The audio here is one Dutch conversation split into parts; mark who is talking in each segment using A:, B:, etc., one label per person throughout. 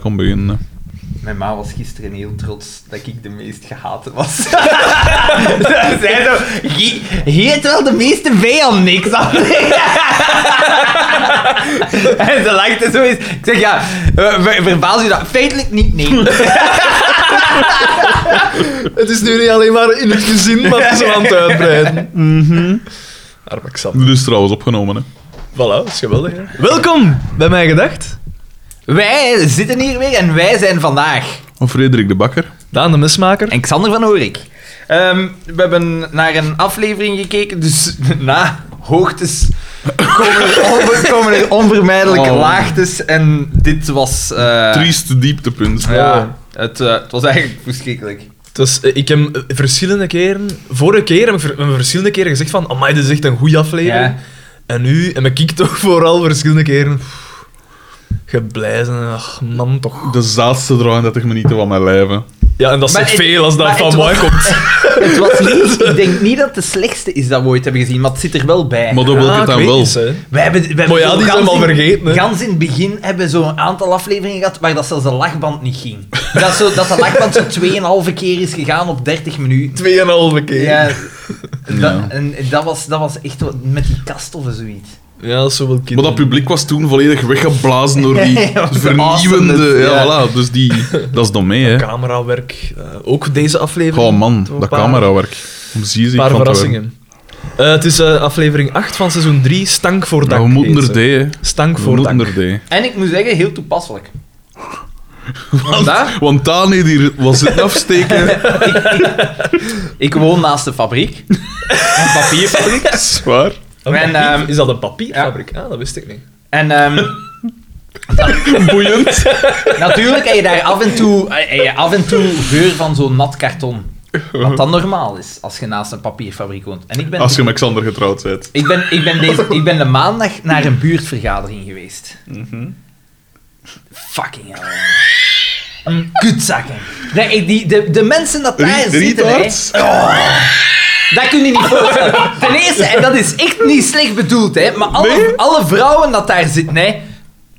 A: kon beginnen.
B: Mijn ma was gisteren heel trots dat ik de meest gehate was. Ze zei zo, "Gie- "Gie heeft wel de meeste vijand niks aan. en ze lachte zo eens. Ik zeg, ja, eh, ver- verbaas je dat? Feitelijk niet, nee.
C: Het is nu niet alleen maar in het gezin, maar het is al aan het uitbreiden. Mhm. Arme Xander.
A: Dit is trouwens opgenomen, hè.
C: Voilà, dat is geweldig. hè. Welkom bij Mij Gedacht.
B: Wij zitten hier weer en wij zijn vandaag.
A: Of Frederik de Bakker.
C: Daan de Mesmaker.
B: En Xander van Horik. Ehm, we hebben naar een aflevering gekeken, dus na hoogtes komen er, onver- komen er onvermijdelijke
A: Oh.
B: laagtes. En dit was... eh,
A: Triest dieptepunt.
B: Ah, Ja, het, eh, het was eigenlijk verschrikkelijk.
C: Dus eh, ik heb eh, verschillende keren... Vorige keer heb ik ver- heb ik verschillende keren gezegd van... Amai, dit is echt een goede aflevering.
B: Ah, Ja.
C: En nu heb ik toch vooral verschillende keren... pff, Geblijzen, ach man toch.
A: De zaadste draai dat ik me niet van mijn lijven.
C: Ja, en dat
B: Maar
C: zegt
B: het-
C: veel als dat
B: maar
C: van
B: het
C: mij
B: was-
C: komt.
B: Het was niet, ik denk niet dat het de slechtste is dat we ooit hebben gezien, maar het zit er wel bij.
A: Maar dat wil ik het
C: Ah,
A: dan
C: weet
A: wel.
C: eens, hè.
B: Wij hebben, wij
C: Maar ja,
B: zo
C: die zijn
B: gans
C: we al
B: in-
C: vergeten, hè.
B: Gans in het begin hebben we zo'n aantal afleveringen gehad waar dat zelfs de lachband niet ging. Dat, zo, dat de lachband zo 2,5 keer is gegaan op 30 minuten.
C: Tweeënhalve keer.
B: Ja,
C: Ja,
A: Ja.
B: dat, en dat was, dat was echt wat- met die kast of zoiets.
C: dat is zo wel
A: Maar
C: kinderen.
A: dat publiek was toen volledig weggeblazen door die
B: Ja, dat was
A: vernieuwende...
B: awesome,
A: ja,
B: ja.
A: voilà. Dus die... Dat is dan mee, hè.
C: Camerawerk. eh, ook deze aflevering.
A: Oh man,
C: Toch een
A: dat
C: paar-
A: camerawerk. Om zie je
C: Een paar verrassingen. Eh, het is eh, aflevering 8 van seizoen 3, Stank voor Dak.
A: Nou, we moeten
C: heet
A: er
C: ze.
A: D, hè.
C: Stank
A: We
C: voor
A: moeten
C: Dak.
A: er D.
B: En ik moet zeggen, heel toepasselijk. Want daar,
A: Want Tani die was het afsteken.
B: ik woon naast de fabriek. Een papierfabriek.
A: Zwaar.
C: Een
B: En,
C: papier-
B: ehm,
C: is dat een papierfabriek? Ah, dat wist ik niet.
B: En ehm,
A: Boeiend.
B: natuurlijk heb je daar af en toe, eh, heb je af en toe geur van zo'n nat karton. Wat dan normaal is, als je naast een papierfabriek woont. En ik ben,
A: Als je met Xander getrouwd bent.
B: ik ben, ik ben, deze, ik ben de maandag naar een buurtvergadering geweest.
A: Mhm.
B: Fucking hell. man. Kutzakken. Nee, die, de, de mensen dat daar
A: Rie-
B: zitten, hè,
A: Rietarts?
B: dat kun je niet voorstellen. Ten eerste, en dat is echt niet slecht bedoeld, hè, maar alle,
A: Nee?
B: alle vrouwen dat daar zitten, hè,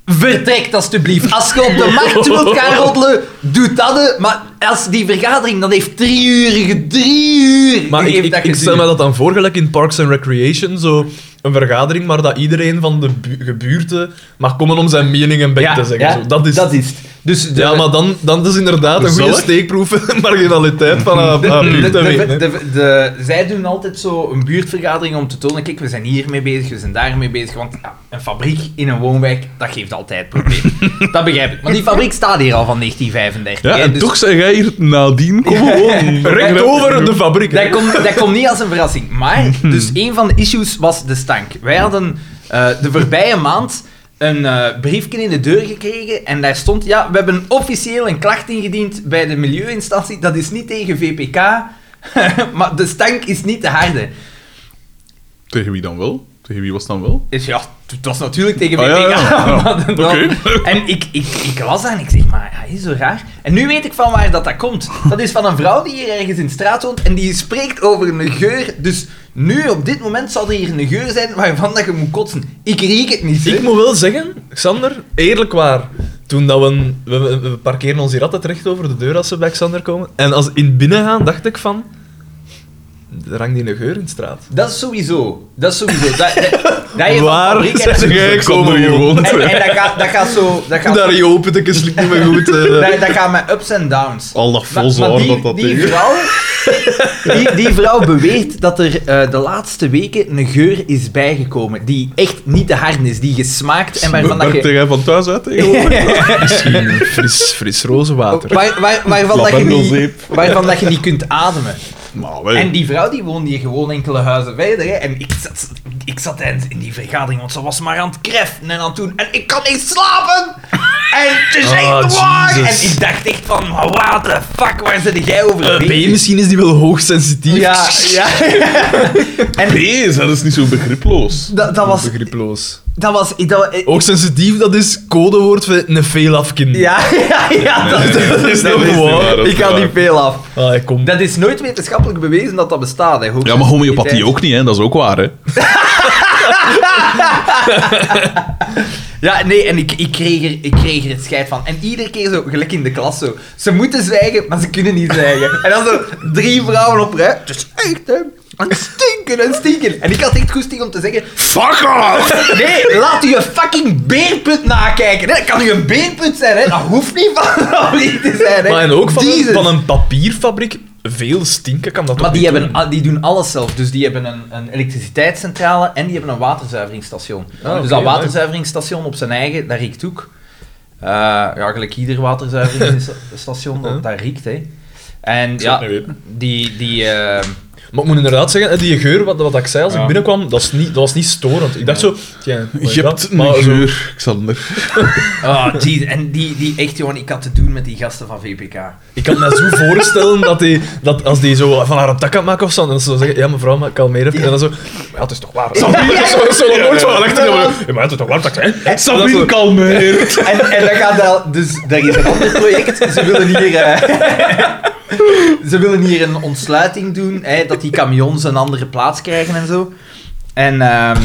B: vertrek alstublieft. Als je op de markt wilt gaan roddelen, doe dat. hè. Maar als die vergadering, dan heeft drie uur, ge- drie uur.
C: Maar ik,
B: heeft
C: ik,
B: dat
C: ik stel
B: geduurd.
C: me dat dan voor, gelijk in Parks and Recreation, zo een vergadering, maar dat iedereen van de bu- gebuurten mag komen om zijn mening en bek te zeggen. zo. Dat is...
B: dat is het. Dus de-
C: ja, maar dan, dan is inderdaad een goede
A: Gezellig.
C: steekproef marginaliteit van een
B: De-
C: een
A: Hmm.
B: de-
C: buurt. te
B: de-
C: weten, hè.
B: de- de- Zij doen altijd zo een buurtvergadering om te tonen: kijk, we zijn hiermee bezig, we zijn daarmee bezig. Want ja, een fabriek in een woonwijk, dat geeft altijd problemen. dat begrijp ik. Maar die fabriek staat hier al van 1935.
A: Ja,
B: hè,
A: en
B: dus
A: toch zei jij hier nadien komen wonen.
C: Recht over de fabriek. hè.
B: Dat komt dat komt niet als een verrassing. Maar, dus een van de issues was de stank. Wij hadden eh, de voorbije maand een eh, briefje in de deur gekregen en daar stond, ja, we hebben officieel een klacht ingediend bij de milieuinstantie. Dat is niet tegen VPK, maar de stank is niet te harde.
A: Tegen wie dan wel? Tegen wie was het dan wel?
B: Dus ja, het was natuurlijk tegen
C: Oh,
A: Ah,
B: VPK.
A: ja, ja, ja.
B: maar dan-
A: Oké.
B: En ik, ik, ik las dat en ik zeg, maar ja, is zo raar. En nu weet ik van waar dat, dat komt. Dat is van een vrouw die hier ergens in de straat woont en die spreekt over een geur. Dus nu, op dit moment, zal er hier een geur zijn waarvan dat je moet kotsen. Ik riek het niet, hè.
C: Ik moet wel zeggen, Xander, eerlijk waar. Toen dat we, we, we parkeren ons hier altijd recht over de deur als we bij Xander komen. En als in binnen gaan, dacht ik van... Er hangt hier een geur in de straat.
B: Dat is sowieso. Dat is sowieso. Dat, dat, dat je van
C: Waar
B: fabriek en-
C: zijn jij
A: Xander
C: komen wonen?
A: gewoond.
B: En, en dat, gaat, dat gaat zo... Dat gaat,
C: Daar je open, ik sliep niet meer goed. eh.
B: dat, dat gaat met ups en downs.
A: Al dat
B: Maar- maar
A: volzaar
B: die-
A: dat dat
B: die
A: tegen.
B: vrouw, die, die vrouw beweert dat er eh, de laatste weken een geur is bijgekomen die echt niet te hard is, die gesmaakt en waarvan dat
A: Werkte
B: je...
A: jij van thuis uit tegenwoordig?
C: Misschien fris, fris roze water.
B: Waar, waar, waarvan, dat je niet,
A: Lavendelzeep.
B: waarvan dat je niet kunt ademen.
A: Maar
B: En
A: wij...
B: die vrouw die woonde hier gewoon enkele huizen verder. Hè. En ik zat, ik zat eind in die vergadering, want ze was maar aan het kreffen en aan het doen. En ik kan niet slapen! En het is
A: Oh,
C: Ah,
B: echt waar! En
C: Jesus.
B: ik dacht echt van, maar what the fuck, waar zit jij over?
C: Eh,
B: bezig?
C: B, misschien is die wel hoogsensitief.
B: Ja, ja. en
A: Nee, dat is niet zo begriploos.
B: dat, dat was...
C: Begriploos.
B: Dat was... Dat,
A: Oh.
B: eh,
C: Hoogsensitief, dat is codewoord voor een veel afkind.
B: ja, ja, ja. Dat,
A: Nee,
B: dat
A: dat
B: is
A: is
B: nog
A: niet
B: waar.
A: waar, dat is
B: Ik ga
A: waar.
B: niet veel af.
C: Ah, ik kom.
B: Dat is nooit wetenschappelijk bewezen dat dat bestaat, hè.
A: Ja, maar homeopathie ook niet, hè. Dat is ook waar, hè.
B: Ja, nee, en ik, ik, kreeg er, ik kreeg er het scheid van. En iedere keer zo, gelijk in de klas zo. Ze moeten zwijgen, maar ze kunnen niet zwijgen. En dan zo drie vrouwen op rij. Het is echt, hè. En stinken en stinken. En ik had echt goesting om te zeggen...
A: Fuck off!
B: Nee, laat u een fucking beerput nakijken. Hè. Dat kan u een beerput zijn, hè. Dat hoeft niet van Laurie te zijn, hè.
C: Maar en ook van een,
B: Jesus.
C: van een papierfabriek, veel stinken kan dat
B: Maar
C: ook
B: die,
C: niet
B: hebben,
C: doen.
B: a- die doen alles zelf. Dus die hebben een, een elektriciteitscentrale en die hebben een waterzuiveringsstation.
C: Ah,
B: dus
C: oké,
B: dat
C: ja.
B: waterzuiveringsstation op zijn eigen, dat riekt ook. Eh, ja, gelijk ieder waterzuiveringsstation, dat, dat riekt, hè. En
A: zou het
B: ja,
A: niet weten.
B: die... die eh,
C: Maar ik moet inderdaad zeggen, eh, die geur, wat, wat ik zei als
A: Ja.
C: ik binnenkwam, dat, is niet, dat was niet storend. Ik dacht zo... Tja, wat is
A: Je
C: dat?
A: hebt een
C: Maar zo-
A: geur, Xander.
B: oh, die, en die, die echt, jongen, ik had te doen met die gasten van VPK.
C: Ik kan me zo voorstellen dat, die, dat als die zo van haar een tak aan het maken of zo, en dat ze zo zeggen, ja mevrouw, maar kalmeer even. En dan zo, ja, het is toch waar. Sabine, zo, zo, zo, nooit zo. Dan dacht ik, ja, maar het is toch waar, dat ik zei, dat
A: Sabine,
C: zo-
A: kalmeer!
B: En, en dan gaat dat... Dus daar is een ander project. Ze willen hier... eh, ze willen hier een ontsluiting doen. Hè, dat die camions een andere plaats krijgen en zo. En... ehm,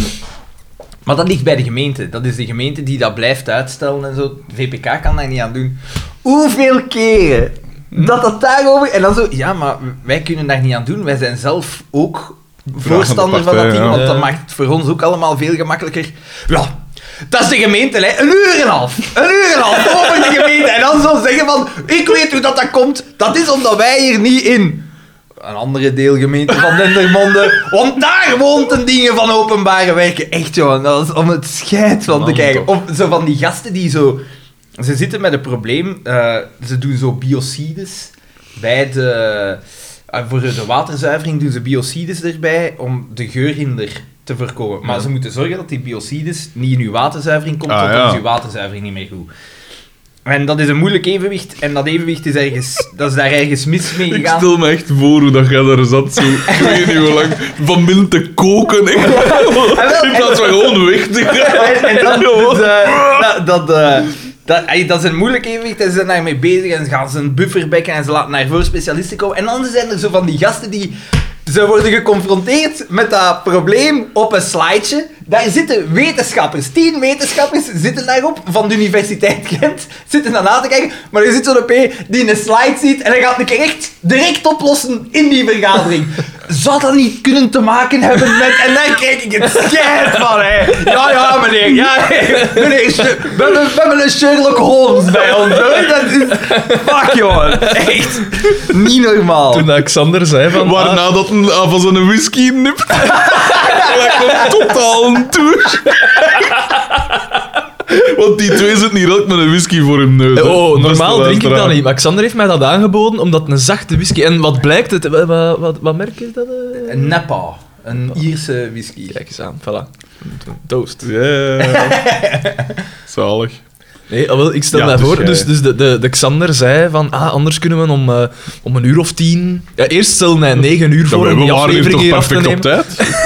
B: maar dat ligt bij de gemeente. Dat is de gemeente die dat blijft uitstellen en zo. De VPK kan daar niet aan doen. Hoeveel keren dat dat daarover... En dan zo... Ja, maar wij kunnen daar niet aan doen. Wij zijn zelf ook voorstander van dat
A: partij,
B: ding.
A: ja.
B: Want dat
C: Ja.
B: maakt het voor ons ook allemaal veel gemakkelijker. Ja, dat is de gemeente, hè. een uur en een half. Een uur en een half over de gemeente. En dan zo zeggen van, ik weet hoe dat, dat komt. Dat is omdat wij hier niet in... Een andere deelgemeente van Dendermonde. Want daar woont een dingen van openbare werken. Echt, joh. Dat is om het scheid van te
C: Man,
B: kijken.
C: toch.
B: Of zo van die gasten die zo... Ze zitten met een probleem. eh, ze doen zo biocides bij de... eh, voor de waterzuivering doen ze biocides erbij om de geurhinder te voorkomen. Maar
C: Ja.
B: ze moeten zorgen dat die biocides niet in uw waterzuivering komt,
A: Ah,
B: want dan
A: ja.
B: is uw waterzuivering niet meer goed. En dat is een moeilijk evenwicht. En dat evenwicht is, ergens, dat is daar ergens mis mee
A: Ik
B: gegaan.
A: stel me echt voor hoe dat jij daar zat, zo twee uur lang van binnen te koken.
B: Ah,
A: In plaats van gewoon weg te gaan.
B: En, en dat, dus, eh, dat, dat, eh, dat, ey, dat is een moeilijk evenwicht. En ze zijn daarmee bezig en ze gaan ze een buffer bekken en ze laten naar voor specialisten komen. En dan zijn er zo van die gasten die. Ze worden geconfronteerd met dat probleem op een slidesje. Daar zitten wetenschappers, tien wetenschappers zitten daarop van de Universiteit Gent, zitten daarna te kijken. Maar er zit zo'n P die een slide ziet en hij gaat het direct, direct oplossen in die vergadering. Zou dat niet kunnen te maken hebben met... En daar kijk ik het schijt van, hè. Ja, ja, meneer. Ja, meneer. meneer Sh- we, hebben, we hebben een Sherlock Holmes bij ons, hoor. Dat is... Fuck, jongen. Echt. Niet normaal.
C: Toen Alexander zei van... ah,
A: Waarna dat een, ah, van zo'n whisky nipt. dat komt totaal een douche. Want die twee zitten hier elk met een whisky voor hun neus. hè,
C: Oh,
A: beste
C: normaal drink ik dat
A: luisteraar.
C: niet. Maar Xander heeft mij dat aangeboden, omdat het een zachte whisky... En wat blijkt het... Wat, wat, wat, wat merk je dat? eh?
B: Een Napa. Een Ierse whisky.
C: Kijk eens aan, voilà. Een Toast.
A: Ja. Zalig.
C: Nee, ah, wel, ik stel
A: Ja,
C: mij
A: dus
C: voor.
A: jij-
C: Dus, dus de, de, de Xander zei van, ah, anders kunnen we om, eh, om een uur of tien... Ja, eerst stelde hij negen uur
A: Ja,
C: voor
A: maar
C: om
A: we
C: die
A: waren hier
C: aflevering
A: toch
C: hier af te
A: perfect op
C: nemen.
A: tijd?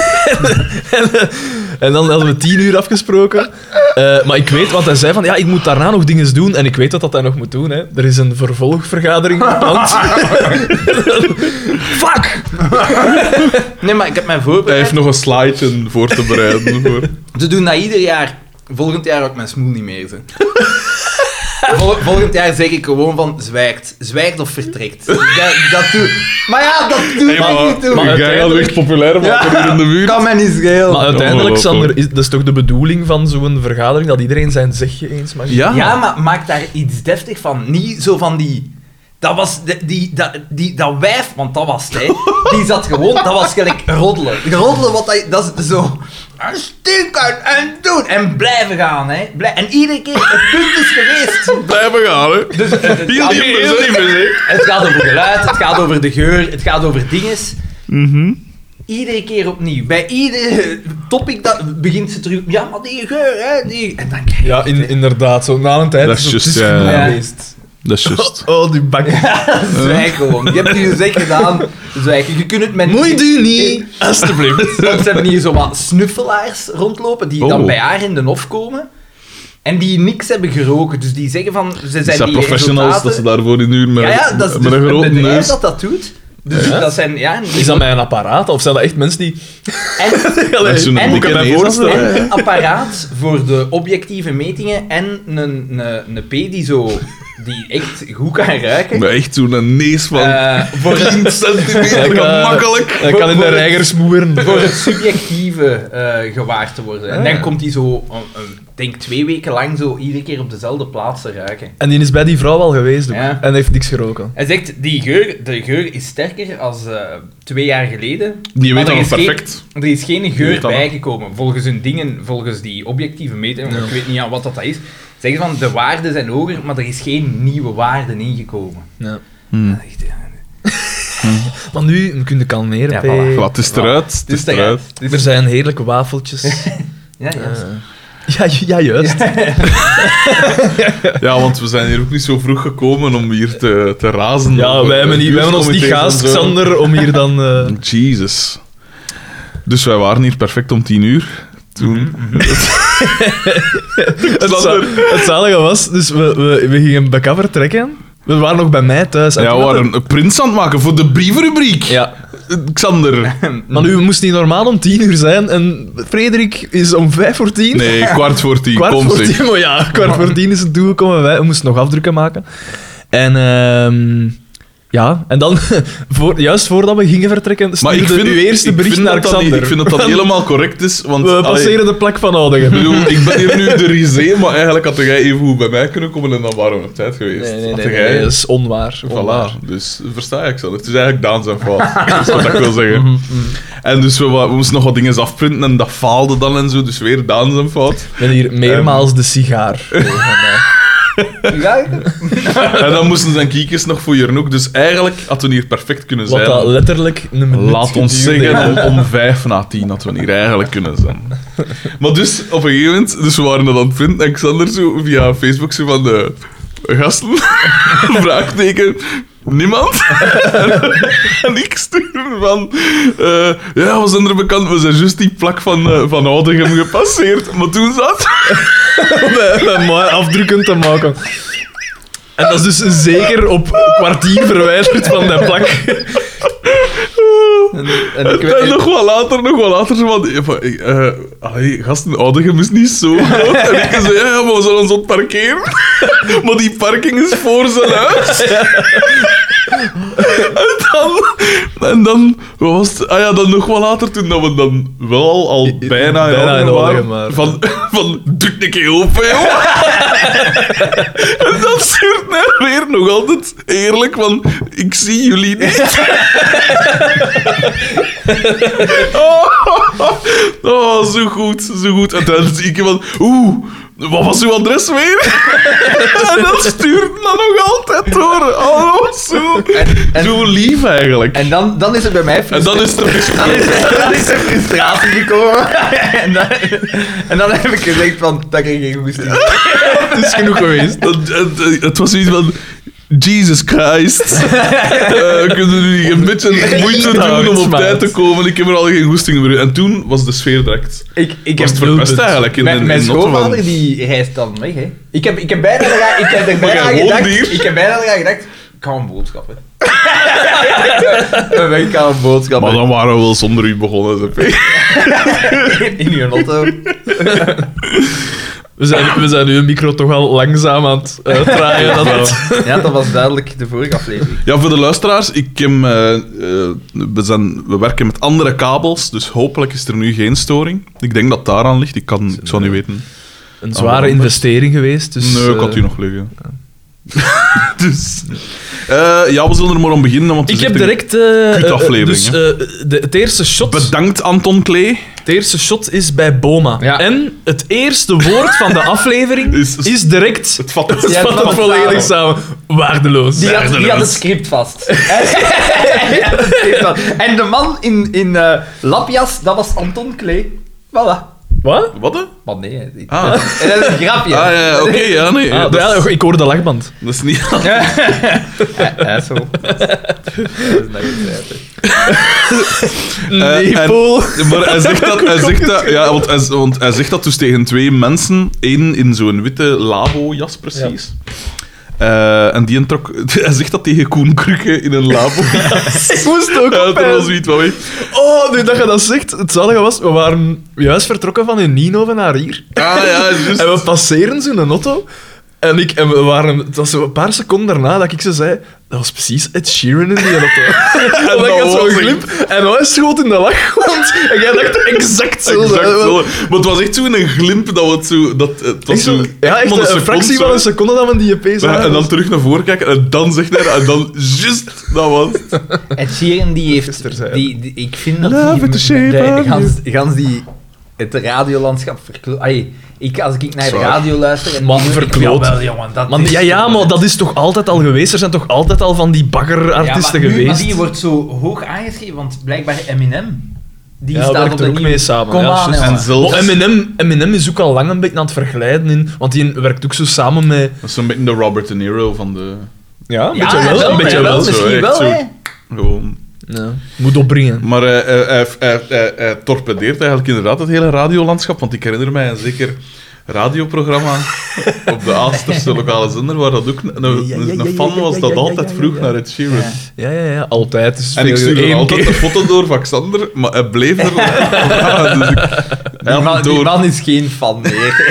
C: En dan hadden we tien uur afgesproken. Eh, maar ik weet, want hij zei van, ja, ik moet daarna nog dingen doen. En ik weet wat dat hij nog moet doen, hè. Er is een vervolgvergadering gepland. Fuck!
B: Nee, maar ik heb mijn
A: Hij
B: voorbereid.
A: heeft nog een slide voor te bereiden. Voor.
B: Ze doen dat ieder jaar. Volgend jaar ook mijn smoel niet meer. Ze. Vol- volgend jaar zeg ik gewoon van zwijgt. Zwijgt of vertrekt. Dat, dat doe... Maar ja, dat doe ik
A: Hey, maar,
B: niet toe.
A: maar jij gaat
C: uiteindelijk-
A: echt populair maken hier in de buurt.
B: kan mij niet schelen.
C: Maar uiteindelijk,
A: Ongelooflijk.
C: Xander, is, dat is toch de bedoeling van zo'n vergadering, dat iedereen zijn zegje eens mag
A: Ja.
B: Ja, maar maak daar iets deftig van. Niet zo van die... Dat was de- die, dat, die, dat wijf, want dat was het, hè. Die zat gewoon, dat was gelijk roddelen. Roddelen, wat dat, dat is zo... En stinken en doen en blijven gaan, hè. Blij- en iedere keer, het punt is geweest.
A: Blijven gaan, hè.
B: Dus het, het,
A: Heel
B: gaat
A: die
B: over-
A: heel die muziek.
B: het gaat over geluid, het gaat over de geur, het gaat over dinges. Mhm. Iedere keer opnieuw. Bij ieder topic dat begint ze terug. Ja, maar die geur, hè? Die... En dan krijg je.
C: Ja, in, inderdaad. Zo na een tijd
A: Dat is
C: het
A: juist,
C: dus
A: ja,
B: ja.
C: geweest.
A: Dat is juist.
C: Oh, die bak.
B: Zwijg gewoon. Je hebt het hier zeker gedaan. Zwijg. Je kunt het met.
C: u niet, alstublieft.
B: Want ze hebben hier zo wat snuffelaars rondlopen die dan
A: Oh.
B: bij haar in de hof komen. En die niks hebben geroken. Dus die zeggen van. Ze zijn,
A: Het zijn
B: die
A: professionals dat ze
B: resultaten-
A: daarvoor in uur met,
B: Ja, ja, dat is
A: met
B: dus
A: een
B: een
A: grote
B: bedrijf
A: neus.
B: dat dat doet. Dus
C: Ja?
B: dat zijn... Ja, en-
C: Is dat met een apparaat? Of zijn dat echt mensen die...
B: en-
A: Mensen
C: Allee,
A: met
B: en-
A: boeken
C: ik kan
A: en
C: mij
A: ezels,
C: voorstellen.
A: hè.
B: Een apparaat voor de objectieve metingen en een, een, een P die zo... Die echt goed kan ruiken.
A: Maar echt zo'n nees van
B: Eh, voor,
A: 10
C: Ja,
A: centimeter,
C: ik, eh,
A: gemakkelijk.
C: Dat kan in de reiger smoeren.
B: voor het subjectieve eh, gewaar te worden. En
C: Ah,
B: dan
C: ja.
B: komt hij zo, eh, eh, denk twee weken lang, zo iedere keer op dezelfde plaats te ruiken.
C: En die is bij die vrouw al geweest ook.
B: Ja.
C: En heeft niks geroken.
B: Hij zegt, die geur, de geur is sterker als eh, twee jaar geleden.
A: Die
B: Maar
A: weet
B: er
A: dat nog
B: is geen-
A: perfect.
B: Er is geen
A: weet
B: geur
A: dat nog.
B: bijgekomen. Volgens hun dingen, volgens die objectieve metingen, want ik weet niet aan wat dat is. Zeggen ze van, de waarden zijn hoger, maar er is geen nieuwe waarde ingekomen.
C: Ja.
A: Hmm.
B: Echt, ja.
C: Maar nu kun je kalmeren.
B: Ja,
C: P.
B: voilà.
A: Wat, het is eruit? Het is eruit.
C: Er zijn heerlijke wafeltjes.
B: Dus Ja, ja.
C: Eh, ja, ju- ja, juist.
A: Ja, want we zijn hier ook niet zo vroeg gekomen om hier te, te razen.
C: Ja,
A: over
C: wij hebben, niet, wij hebben ons niet
A: buurtcomité's
C: gehaast,
A: en zo.
C: Xander, om hier dan... eh,
A: Jesus. Dus wij waren hier perfect om tien uur. Toen.
C: Mhm, Het, za het zalige was, dus we, we, we gingen backup trekken. We waren nog bij mij thuis. En
A: Ja,
C: toen
A: we
C: had
A: waren
C: het-
A: een prins aan het maken voor de brievenrubriek.
C: Ja,
A: Eh, Xander.
C: maar nu moest niet normaal om tien uur zijn en Frederik is om vijf voor tien.
A: Nee, kwart voor tien.
C: kwart
A: kom
C: voor
A: zeg.
C: tien, maar ja, kwart voor tien is het toegekomen. Wij we moesten nog afdrukken maken. En ehm, ja, en dan, voor, juist voordat we gingen vertrekken,
A: Maar
C: stuurde
A: ik vind,
C: uw eerste
A: ik
C: bericht
A: vind
C: naar
A: dat dat niet-
C: Xander.
A: ik vind dat dat helemaal correct is. Want,
C: We
A: allee,
C: passeren de plek van Oudingen.
A: ik bedoel, ik ben hier nu de risé, maar eigenlijk had jij even goed bij mij kunnen komen en dan waren we op tijd geweest. Had jij-
C: dat is onwaar. onwaar.
A: Voilà, dus versta ik zo. Het is eigenlijk Daan zijn fout. dat is wat ik wil zeggen.
C: Mhm.
A: En dus we, wa- we moesten nog wat dingen afprinten en dat faalde dan en zo. Dus weer Daan zijn fout.
C: Ik ben hier meermaals de sigaar.
B: Ja,
A: En dan moesten zijn kiekjes nog voor Jernoek. Dus eigenlijk hadden we hier perfect kunnen
C: Wat
A: zijn.
C: dat letterlijk een minuut
A: Laat ons
C: geduurd
A: zeggen,
C: heeft.
A: om, om vijf na tien dat we hier eigenlijk kunnen zijn. Maar dus, op een gegeven moment, dus we waren dat aan het vinden, en Xander zo via Facebook zo van de gasten, vraagteken, niemand. en ik stuur van, eh, ja, we zijn er bekend, we zijn juist die plak van, eh, van Oudegem gepasseerd. Maar toen zat...
C: Om hem maar afdrukken te maken. En dat is dus zeker op kwartier verwijderd van dat plak. En, en
A: En nog wel later, nog wel later, zo van... eh, van, eh, eh, allee, gasten, Oudegem is niet zo groot. en ik zei, ja, maar we zullen ons ontparkeren. maar die parking is voor zijn huis. en dan... En dan wat was het? Ah ja, dan nog wel later, toen dat we dan wel al, al bijna in
C: bijna
A: Oudegem
C: in
A: waren.
C: Oudegem waren.
A: Van, van, doe een keer open, joh. en dan stuurt hij weer nog altijd eerlijk van... Ik zie jullie niet. Oh, zo goed, zo goed. En dan zie ik van, oeh, wat was uw adres weer? en dat stuurt me nog altijd door. Oh, zo.
B: en-
A: zo lief eigenlijk. En,
B: En dan, dan is het bij mij
A: dan is er dus...
B: Dan is er frustratie gekomen. en, dan, en dan heb ik gezegd van, dat kreeg ik geen goesting.
C: het is genoeg geweest.
A: Het, het- het was zoiets van... Jesus Christ. Eh, kunnen jullie een beetje moeite doen om op tijd te komen? Ik heb er al geen goesting meer in. En toen was de sfeer direct.
B: Ik, ik
A: Was
B: heb
A: het verpest eigenlijk in, in,
B: mijn, mijn
A: in Ottawa.
B: schoonvader die reist dan weg, hè. Ik heb, ik heb bijna eraan- ik heb er
A: Maar
B: bijna
A: jij
B: aan
A: woont
B: gedacht...
A: hier.
B: Ik heb bijna eraan gedacht... Ik ga een boodschap, hè. ik ga een boodschap,
A: Maar
B: hè.
A: dan waren we wel zonder u begonnen. zeg.
B: In uw auto.
C: We zijn, we zijn nu een micro toch al langzaam aan het eh, draaien. Dat het-
B: Ja, dat was duidelijk de vorige aflevering.
A: Ja, voor de luisteraars, ik heb, eh, eh, we, zijn, we werken met andere kabels, dus hopelijk is er nu geen storing. Ik denk dat daaraan ligt, ik, kan, ik zou niet weten.
C: Een zware investering geweest. Dus,
A: nee, ik had
C: eh,
A: u nog liggen. dus, eh, ja, we zullen er maar om beginnen. Want het
C: Ik
A: is
C: heb
A: echt een-
C: direct... eh, eh,
A: kutaflevering,
C: Dus eh, de, het, eerste shot,
A: Bedankt, Anton Klee.
C: het eerste shot is bij Boma.
B: Ja.
C: En het eerste woord van de aflevering
A: Is-
C: is, direct...
A: Het vat het.
C: Het
B: Ja, het
C: vat
B: vat
C: het volledig samen. Waardeloos.
B: Die had, die had het
A: Waardeloos.
B: script vast. Die had het script vast. en de man in, in eh, lapjas, dat was Anton Klee. Voilà.
C: Wat?
A: Wat? hè?
B: Maar nee, hè. Die-
A: Ah, ah
B: En dat is een grapje.
A: ja, ja, oké, ja, nee.
C: Ah,
A: dat,
C: ja,
A: is,
C: ik hoor de lachband.
A: dat is niet...
B: Ja, zo. Dat is nou goed.
A: Eh, en-
C: Paul.
A: Maar hij zegt dat, hij zegt dat, ja, want, hij, want hij zegt dat dus tegen twee mensen. Eén in zo'n witte labo-jas, precies. Eh, en die trok... Hij zegt dat tegen Koen Krukke in een labo.
C: Ik moest ook
A: Hij had er wel
C: opbijten.
A: zoiets van weg.
C: Oh, nu dat je dat zegt, het zalige was, we waren juist vertrokken van in Ninoven naar hier.
A: Ah ja, juist.
C: En we passeren zo'n auto. En, ik, en we waren, het was zo een paar seconden daarna dat ik ze zei, dat was precies Ed Sheeran in die auto. en
A: dat
C: ik had zo'n
A: was
C: glip. En hij schoot in de lach, want en jij dacht exact zo.
A: Exact
C: hè.
A: zo. Maar het was echt zo in een glimp dat we het zo... Dat, het was
C: Echt zo,
A: zo
C: ja, echt
A: maar
C: een,
A: seconde
C: fractie
A: zo.
C: van een seconde dat we die E EP
A: Ja,
C: zagen.
A: en dan terug naar voren kijken en dan zegt hij dat, en dan juist dat was. het.
B: Ed Sheeran, die
C: Gisteren
B: heeft...
C: zei
B: Die, die- ik vind dat
A: Love
B: die...
A: it, the shape
B: de-
A: of
B: gans, gans die... Het radiolandschap verkloot... Ai, ik, als ik naar de
A: Zwaar.
B: radio luister... En
C: Man,
B: ik-
C: verkloot.
B: Jawel, jongen, dat
C: Man,
B: is
C: ja, ja, maar dat is toch altijd al geweest? Er zijn toch altijd al van die baggerartiesten
B: ja, maar nu-
C: geweest?
B: Maar die wordt zo hoog aangeschreven, want blijkbaar Eminem... Die
C: ja,
B: staat
C: werkt
B: op
C: er
B: de
C: ook
B: nieuwe-
C: mee samen.
B: Kom
C: ja,
B: aan,
C: juist.
B: jongen.
A: En zelfs...
C: Maar Eminem, Eminem is ook al lang een beetje aan het vergelijden in, want die werkt ook zo samen met.
A: Dat is zo'n beetje de Robert De Niro van de...
C: Ah, Ja, een
B: ja, wel,
A: een beetje
B: ja,
A: wel, zo,
B: misschien
A: echt
B: wel,
A: zo.
B: hè.
A: Gewoon...
C: Ja. Moet opbrengen.
A: Maar eh, eh, hij, hij, hij- hij torpedeert eigenlijk inderdaad het hele radiolandschap. Want ik herinner mij een zeker radioprogramma op de Aasterse lokale zender, waar dat ook een, een,
C: Ja, ja, ja,
A: een
C: ja,
A: fan
C: ja,
A: was
C: ja,
A: dat
C: ja,
A: altijd
C: ja, ja,
A: vroeg
C: ja.
A: naar het Sheeran.
B: Ja.
C: Ja, ja, ja, altijd. Dus
A: En ik stuurde
C: één
A: hem altijd
C: keer.
A: een foto door van Xander, maar hij bleef er ja, dus ik, hij
B: Die
A: had
B: man,
A: het
B: die
A: door.
B: man is geen fan meer.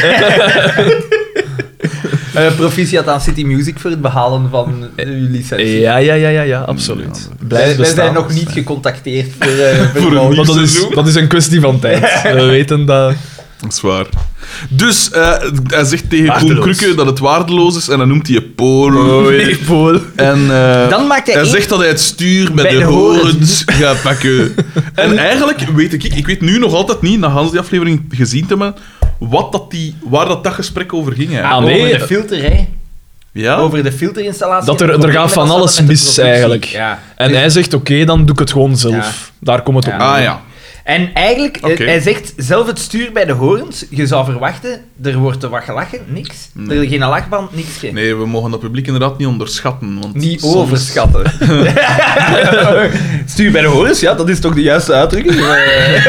B: Eh, proficiat aan City Music voor het behalen van eh, uw licentie.
C: Ja, ja, ja, ja, ja, absoluut.
A: Ja,
B: Wij,
C: Blijf
B: wij
C: bestaan.
B: zijn nog niet gecontacteerd voor, eh, voor
A: Voor een
B: mogelijk-
C: Want dat is, dat is een kwestie van tijd. We weten dat.
A: Dat is waar. Dus eh, hij zegt tegen Koen
C: Waardeloos.
A: Krukke dat het waardeloos is en dan noemt hij je Polen.
C: Oh,
A: En, eh,
B: Dan maakt hij
A: Hij
B: één-
A: zegt dat hij het stuur met
B: Bij
A: de,
B: de horens.
A: horens gaat pakken. En eigenlijk weet ik, ik weet nu nog altijd niet, na Hans die aflevering gezien te hebben, wat dat die, waar dat, dat gesprek over ging. eigenlijk.
C: Ah, nee.
B: Over de filter, hè.
A: ja?
B: Over de filterinstallatie.
C: Dat er-
B: en het
C: er gaat
B: probleem
C: van
B: dat
C: alles
B: ze hebben met de
C: mis,
B: productie.
C: eigenlijk.
B: Ja. Dus
C: En hij zegt: Oké, dan doe ik het gewoon zelf. Daar komt het op.
B: Ja.
A: ah ja.
B: En eigenlijk, eh,
A: Oké.
B: hij zegt zelf het stuur bij de horens. Je zou verwachten, er wordt er wat gelachen, niks.
A: Nee.
B: Er is geen lachband, niks. geen-
A: Nee, we mogen dat publiek inderdaad niet onderschatten. Want
B: Niet
A: soms-
B: overschatten. Stuur bij de horens, ja, dat is toch de juiste uitdrukking? Eh,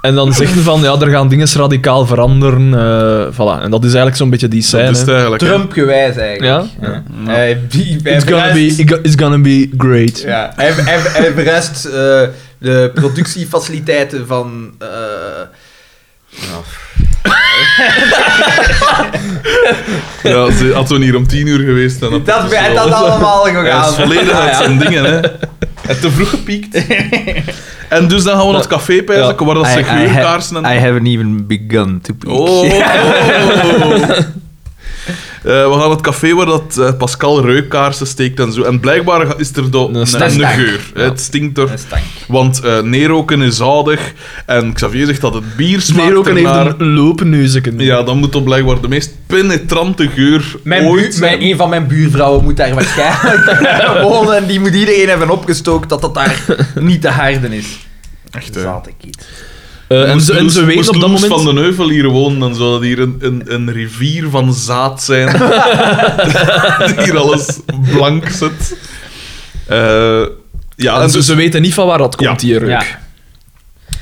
C: En dan zegt hij van: Ja, er gaan dingen radicaal veranderen. eh, voilà. En dat is eigenlijk zo'n beetje die scène.
A: Dat is het eigenlijk. hè.
B: Trump-gewijs eigenlijk.
C: Ja?
A: Ja.
B: Hij, die- hij
C: It's gonna,
B: verhuist-
C: be, it's gonna be great.
B: ja, hij, hij, hij verhuist, eh, de productiefaciliteiten van... eh,
A: Ja, ze had zo hier om tien uur geweest. En
B: dat dat hij dat allemaal
A: Hij is
B: gegaan.
A: volledig
B: Ah,
A: uit
B: ja.
A: zijn dingen, hè. En te vroeg gepiekt. En dus dan gaan we naar het café pijzen, waar dat ze geurkaarsen en...
B: haven't even begun to peek.
A: Oh. Eh, we gaan het café waar dat eh, Pascal reukkaarsen steekt en zo. En blijkbaar ga- is er do een,
C: stank.
A: een geur.
B: Ja.
A: Het stinkt er.
B: Dat is dank.
A: Want eh neeroken is zoudig. En Xavier zegt dat het bier smaakt
C: Smeeroken heeft
A: ernaar.
C: een loopneuzen.
A: Ja, dan moet dat blijkbaar de meest penetrante geur
B: Mijn
A: ooit
B: buur- mijn,
A: zijn.
B: een van mijn buurvrouwen moet daar waarschijnlijk wonen en die moet iedereen hebben opgestookt dat dat daar niet te harden is.
A: Echt, hè.
B: Zalig kind.
C: Eh, en,
A: Moest
C: ze, en
A: Loes-
C: ze weten
A: moest
C: op dat
A: Loes
C: moment...
A: van den Heuvel hier wonen, dan zou dat hier een, een, een rivier van zaad zijn. die hier alles blank zit. Eh, ja,
C: en
A: en
C: ze,
A: dus...
C: ze weten niet van waar dat komt,
A: Ja.
C: die reuk.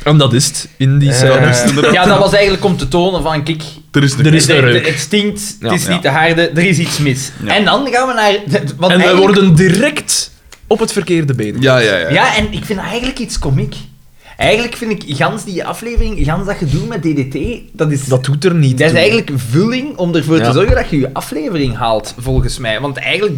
C: En dat is het, in
B: Eh,
C: die scène.
A: dat is het inderdaad.
B: ja, dat was eigenlijk om te tonen van, kijk,
A: Er is een
C: Er is
B: het-
C: een
B: het-
C: reuk.
B: het stinkt,
C: Ja.
B: het is
A: Ja.
B: niet te harde, er is iets mis.
A: Ja.
B: En dan gaan we naar... de- Want
C: en wij
B: eigenlijk-
C: worden direct op het verkeerde been.
A: Ja, ja, ja.
B: Ja, en ik vind dat eigenlijk iets komiek. Eigenlijk vind ik gans die aflevering, gans dat gedoe met DDT, dat is...
C: Dat doet er niet
B: Dat is
C: toe.
B: eigenlijk vulling om ervoor
C: Ja.
B: te zorgen dat je je aflevering haalt, volgens mij. Want eigenlijk,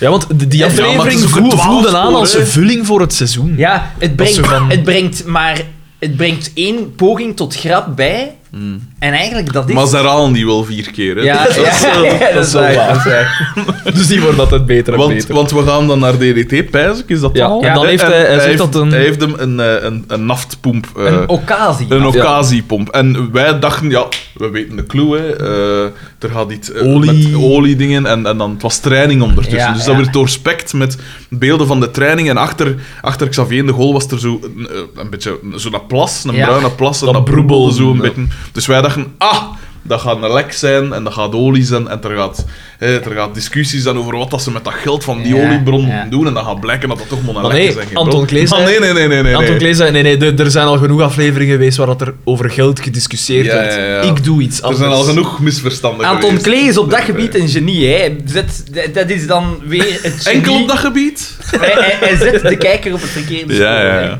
C: Ja, want de- die
A: Ja, maar het is
C: aflevering
A: ook een
C: voel- voelde
A: twaalfspoor,
C: aan als
A: hè.
C: een vulling voor het seizoen.
B: ja, het
C: Dat is
B: brengt,
C: zo van-
B: het brengt maar... Het brengt één poging tot grap bij.
C: Hmm.
B: En eigenlijk, dat is...
A: Maar ze herhalen die wel vier keer. Hè.
B: ja,
A: Dus dat
B: ja,
A: is-
B: ja, dat is
C: wel
B: waar,
C: waar.
B: dat is waar.
C: Dus die wordt altijd beter en
A: Want,
C: beter.
A: want we gaan dan naar DDT, pijs ik, is dat
C: Ja,
A: al?
C: en dan heeft hij- hij zegt
A: heeft,
C: dat een-
A: hij heeft hem een, eh, een, een naftpomp... eh,
B: Een occasie.
A: Een
B: Ja.
A: occasiepomp. En wij dachten, ja, we weten de clue, hè. Eh, er gaat iets eh,
C: Olie.
A: met oliedingen en, en dan het was training ondertussen.
B: Ja,
A: dus
B: ja.
A: dat werd doorspekt met beelden van de training. En achter, achter Xavier in de goal was er zo een, eh, een beetje zo'n plas, een
B: Ja.
A: bruine plas. En
C: Dat
A: dat broebelde zo een
C: broebelde.
A: beetje. Dus wij dachten, ah, dat gaat een lek zijn en dat gaat olie zijn. En er gaat, hè, er gaat discussies zijn over wat dat ze met dat geld van die
B: Ja,
A: oliebron
B: ja.
A: doen. En dan gaat blijken dat dat toch maar een
C: Maar
A: lek
C: nee,
A: is. en geen
C: Anton
A: bron.
C: Klees
A: Maar
C: zei-
A: Ah, nee, nee, nee, nee. nee,
C: Anton
A: nee.
C: Klees zei, nee, nee, de- er zijn al genoeg afleveringen geweest waar dat er over geld gediscussieerd
A: Ja,
C: werd.
A: ja, ja.
C: Ik doe iets
A: Er
C: anders.
A: zijn al genoeg misverstanden
B: Anton
A: geweest.
B: Klee is op dat gebied een genie, hè. Zet, dat- dat is dan weer het genie.
A: Enkel op dat gebied?
B: Hij, hij- hij zet de kijker op het verkeerde spoor,
A: Ja, ja,
B: hè.
A: ja.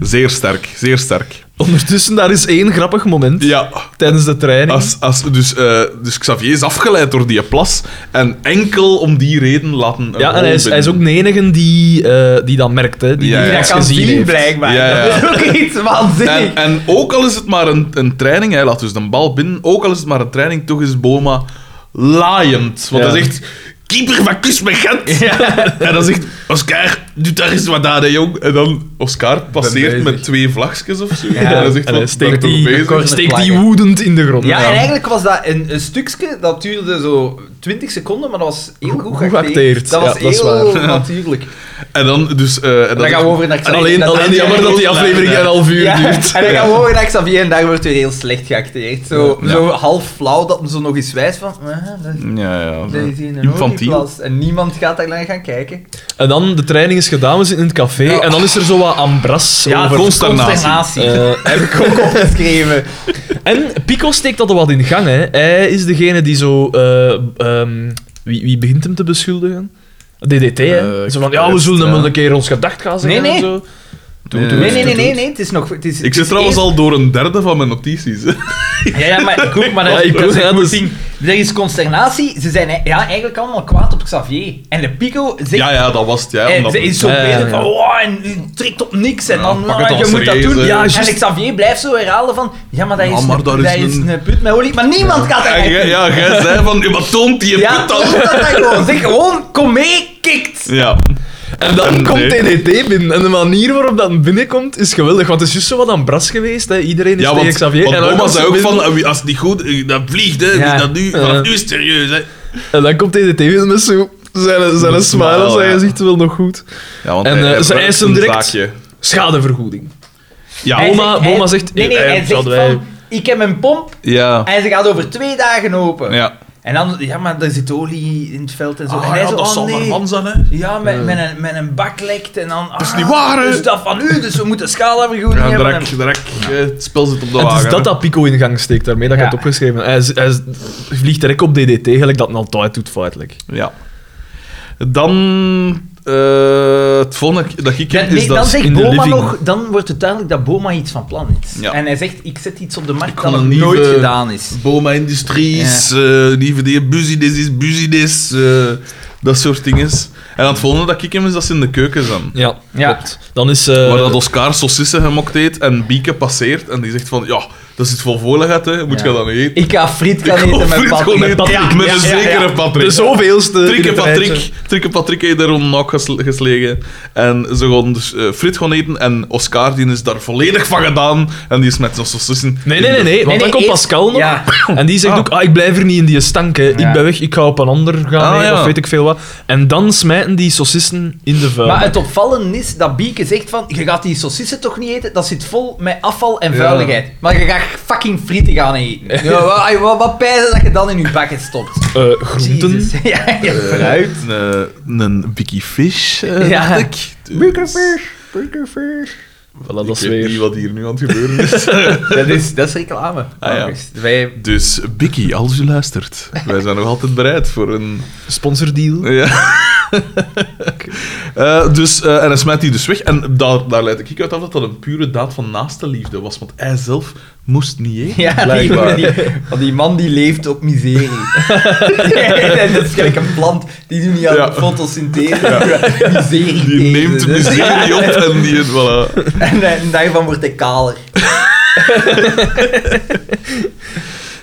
A: Zeer sterk, zeer sterk.
C: Ondertussen, daar is één grappig moment
A: Ja,
C: tijdens de training.
A: Als, als, dus, eh, dus Xavier is afgeleid door die plas en enkel om die reden laten. een
C: ja, en
A: hol
C: hij is, hij is ook
A: binnen.
C: de enige die, eh, die dat merkt, hè, die
A: Ja,
C: die
A: ja.
B: Dat
C: iets
B: kan
C: gezien
B: zien,
C: heeft.
B: blijkbaar.
A: Ja, ja.
B: Dat is ook iets waanzinnig.
A: En, en ook al is het maar een, een training, hij laat dus de bal binnen, ook al is het maar een training, toch is Boma laaiend. Want
C: Ja.
A: hij zegt: Keeper van kus met Gent. En dan zegt Oscar: Doe daar eens wat aan, hè, jong. En dan Oscar passeert
C: bezig.
A: met twee vlagjes of zo.
B: Ja.
A: En hij zegt:
C: En hij
A: Wat ben ik
C: steekt
A: toch
C: die,
A: bezig?
B: kort-
C: steekt
B: Met
C: die
B: plakken.
C: woedend in de grond.
B: Ja, en eigenlijk was dat een, een stukje dat duurde zo 20 seconden, maar dat was heel goed
C: Goed
B: geacteerd.
C: geacteerd.
B: Dat
C: Ja,
B: was
C: dat is
B: heel
C: waar.
B: natuurlijk.
A: En dan dus. eh, en dan
B: Dan gaan we over naar
A: En
B: Xavier.
A: alleen,
B: En
A: alleen
B: dan-
A: jammer dat die aflevering een half uur
B: Ja,
A: duurt.
B: en dan
A: Ja.
B: gaan we over naar Xavier en daar wordt weer heel slecht geacteerd. Zo,
A: Ja.
B: zo half flauw dat hem zo nog eens wijst van... "Ah, dat-
A: Ja, ja.
B: dat is hier een
A: Infantiel.
B: hobbyplas." En niemand gaat daar naar gaan kijken.
C: En dan, de training is gedaan, we zitten in het café.
B: Ja.
C: En dan is er zo wat ambras over.
A: consternatie.
C: Eh,
B: heb ik ook opgeschreven.
C: En Pico steekt dat er wat in gang. Hè. Hij is degene die zo... eh, ehm, wie, wie begint hem te beschuldigen? DDT, hè?
A: Eh,
C: zo van, ja, we
A: Christ,
C: zullen hem
A: ja.
C: een keer ons gedacht gaan zeggen
B: Nee, nee.
C: en zo. Doe,
A: Nee,
C: doe,
B: Nee, nee, nee,
C: doe,
B: nee,
C: doe.
B: nee, het is nog... Het is,
A: Ik zit trouwens al door een derde van mijn notities. hè.
B: Ja, ja, maar ik ook, maar dat
C: Ja,
B: is
C: ik
B: dat
C: ook,
B: is
C: ja,
B: een goed
C: dus-
B: ding. Er is consternatie. Ze zijn e- ja, eigenlijk allemaal kwaad op Xavier. En de Pico zegt...
A: Ja, ja, dat was het. Ja,
B: eh,
A: omdat-
B: ze is zo
C: Ja, ja,
B: bezig
C: ja.
B: van, wow, en u trekt op niks en
A: Ja,
B: dan,
A: pak
B: ah,
A: het
B: je
A: al
B: moet dat
A: serieus,
B: doen.
A: hè.
B: Ja,
C: Ja,
B: en
C: juist.
B: Xavier blijft zo herhalen van, ja, maar dat is,
A: Ja, maar
B: een,
A: daar is
B: dat is
A: een-
B: een put met olie. Maar niemand gaat
A: Ja,
B: daar
A: jij- ja, jij zei van, je wat toont die
B: Ja,
A: put
B: dat
A: al?
B: is dat dan gewoon. Zeg gewoon, kom mee, kikt.
A: Ja.
C: En dan
A: En
C: komt
A: nee.
C: DDT binnen. En de manier waarop dat binnenkomt is geweldig. Want het is juist zo wat ambras geweest. Hè. Iedereen is
A: Ja,
C: tegen
A: want,
C: Xavier.
A: want
C: en dan
A: Boma
C: komt
A: zei
C: ze
A: ook
C: binnen.
A: van, eh, wie- als het niet goed, eh, dan vliegt, hè.
B: Ja.
A: Dus dat nu,
C: Ja.
A: vanaf nu is het serieus, hè.
C: En dan komt DDT binnen met zo... Zijn, zijn
A: Een
C: een
A: smile,
C: smile, zijn
A: ja.
C: gezicht wil nog goed.
A: Ja, want
C: En, eh, ze
A: werkt
C: eisen
A: een
C: direct-
A: zaakje.
C: Schadevergoeding.
A: Ja,
B: Hij
C: Boma-
B: hij-
C: Boma zegt,
B: Nee, nee,
C: eh,
B: hij zegt
C: zouden wij-
B: van, ik heb een pomp
A: ja,
B: en ze gaat over twee dagen open.
A: ja.
B: En dan, ja, maar er zit olie in het veld en zo. en
A: Ah,
B: hij
A: ja,
B: zo,
A: dat
B: oh,
A: zal maar
B: nee.
A: van zijn, hè.
B: Ja, met, met, een, met een bak lekt en dan...
A: is niet waar, hè?
B: Dus dat van u, dus we moeten schaalvergoeding
A: Ja,
B: hebben.
A: direct, direct. eh, Het spel zit op de
C: En het
A: wagen.
C: is dat
A: hè.
C: dat Pico in gang steekt daarmee, dat ik
B: Ja.
C: het opgeschreven. Hij, z- hij z- vliegt direct op DDT, gelijk dat hij altijd doet feitelijk.
A: Ja. Dan... eh, het volgende dat ik
B: Ja,
A: heb,
B: nee,
A: is
B: dan
A: dat...
B: zegt
C: in de
B: Boma
C: living.
B: nog, dan wordt het duidelijk dat Boma iets van plan is.
A: Ja.
B: En hij zegt, ik zet iets op de
A: Ik
B: markt
A: kan
B: dat nog
A: een nieuwe-
B: nooit gedaan is.
A: Boma Industries, eh die verdienen business is business, eh, dat soort dingen. En het volgende dat ik hem is dat ze in de keuken zijn.
C: Ja,
B: Ja.
C: klopt. Dan is... eh,
A: Waar dat Oscar saucissen gemokt heeft en Bieke passeert en die zegt van, ja, dat zit vol voorlegheid, hè. moet
B: Ja.
A: je dat niet eten?
B: Ik ga friet gaan
A: Ik
B: eten
A: hoef
B: met
A: friet
B: Patrick.
A: gewoon
C: met
A: eten.
C: Patrick.
A: Ja, met een
B: Ja, ja, ja.
A: zekere Patrick.
C: de zoveelste...
A: Trikke
C: in het rijtje.
A: Patrick, Trikke Patrick heeft daar om nak gesl- geslagen. En ze gaan dus eh, friet gaan eten en Oscar die is daar volledig van gedaan en die is met zijn saucissen...
C: Nee, nee, nee, nee,
B: Nee,
C: want dan
B: nee,
C: komt
B: eerst-
C: Pascal nog.
B: Ja.
C: En die zegt
A: Ah.
C: ook, ah, ik blijf er niet in die stank, hè.
B: Ja.
C: Ik ben weg, ik ga op een ander gaan,
A: Ah,
C: hè,
A: ja.
C: of weet ik veel wat. En dan smijten die saucissen in de vuil.
B: Maar het opvallende is dat Bieke zegt van, je gaat die saucissen toch niet eten? Dat zit vol met afval en vuiligheid. Maar je gaat fucking frieten gaan eten. Ja, wat, ai, wat, wat pijzen dat je dan in je bakken stopt.
C: Eh, groenten.
B: Jezus. Ja, ja, fruit.
A: Een, eh, een Bicky Fish, eh,
B: Ja.
A: dacht ik. Dus-
C: Voilà, dat is
A: Ik weet niet
C: weer...
A: wat hier nu aan het gebeuren is.
B: Dat is, dat is reclame.
A: Ah, ja.
B: August. Wij...
A: dus Bicky, als u luistert, wij zijn nog altijd bereid voor een.
C: Sponsordeal.
A: Ja. Eh, dus, eh, en hij smijt die dus weg. En daar, daar leid ik uit af dat dat een pure daad van naaste liefde was. Want hij zelf moest niet eten.
B: Ja, die,
A: blijkbaar.
B: die, want die man die leeft op miserie. En dat is gelijk een plant die doet niet aan
A: Ja.
B: fotosynthese. Miserie.
A: Die neemt
C: dus-
B: eten.
A: miserie op en die... Voilà.
B: En, eh, en daarvan wordt hij kaler.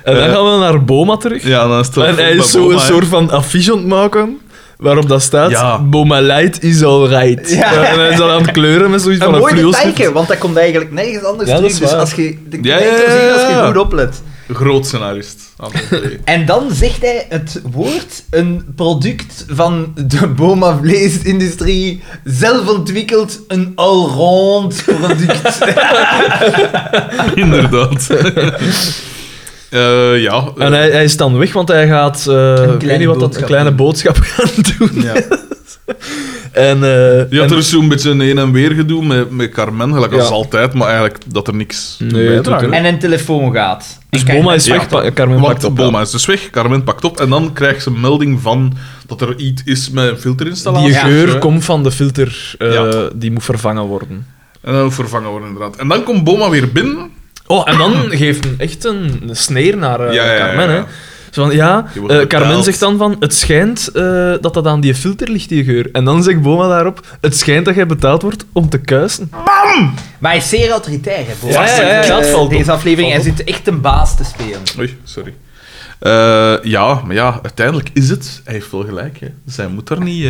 C: En dan
A: Eh.
C: gaan we naar Boma terug.
A: Ja, dan is het
C: En hij is zo een soort van affiche aan het maken, waarop dat staat,
A: Ja.
C: Boma Light is alright.
B: Ja.
C: En hij is dan aan het kleuren met zoiets
B: Een
C: van
B: mooi
C: fluorescent.
B: detail, want dat komt eigenlijk nergens anders
C: Ja, dat
B: terug.
C: is
B: Dus
C: waar.
B: als je de
A: Ja,
B: ja,
A: ja, ja, ja,
B: als je
A: ja.
B: goed oplet.
A: Groot scenarist. Anton Lee.
B: En dan zegt hij het woord, een product van de Boma vleesindustrie, zelf ontwikkeld, een allround product.
A: Inderdaad. Eh, ja.
C: En hij, hij is dan weg, want hij gaat eh, ik weet niet wat dat, een
B: boodschap
C: kleine
B: doen.
C: boodschap gaan doen.
D: Ja.
C: En, eh,
A: ja,
C: en-
A: er is zo'n beetje een heen en weer gedoe met, met Carmen, gelijk als
C: Ja.
A: altijd, maar eigenlijk dat er niks
C: Nee,
A: bijdraagt.
C: doet er niet.
B: En een telefoon gaat.
C: dus
B: En kijk,
C: Boma is
A: Ja,
C: weg, pa- Carmen pakt
A: Want
C: op.
A: Boma is dus weg, Carmen pakt op en dan krijgt ze een melding van dat er iets is met een filterinstallatie.
C: Die
B: Ja.
C: geur
A: Ja.
C: komt van de filter, eh,
A: Ja.
C: die moet vervangen worden.
A: En dan moet vervangen worden, inderdaad. En dan komt Boma weer binnen.
C: Oh, en dan geeft een, echt een, een sneer naar eh,
A: Ja, ja, ja,
C: Carmen.
A: ja.
C: Hè. Zo van, ja,
A: Je wordt
C: eh,
A: betaald.
C: Carmen zegt dan van, het schijnt eh, dat dat aan die filter ligt, die geur. En dan zegt Boma daarop, het schijnt dat jij betaald wordt om te kuisen.
B: Maar hij is zeer autoritair, hè, Boma.
C: Ja, ja, ja, ja, dat
B: Eh,
C: valt op.
B: Deze aflevering, hij
C: Valt op.
B: zit echt een baas te spelen.
A: Oei, sorry. Eh, ja, maar ja, uiteindelijk is het. Hij heeft wel gelijk. Hè. Zij moet er niet, eh,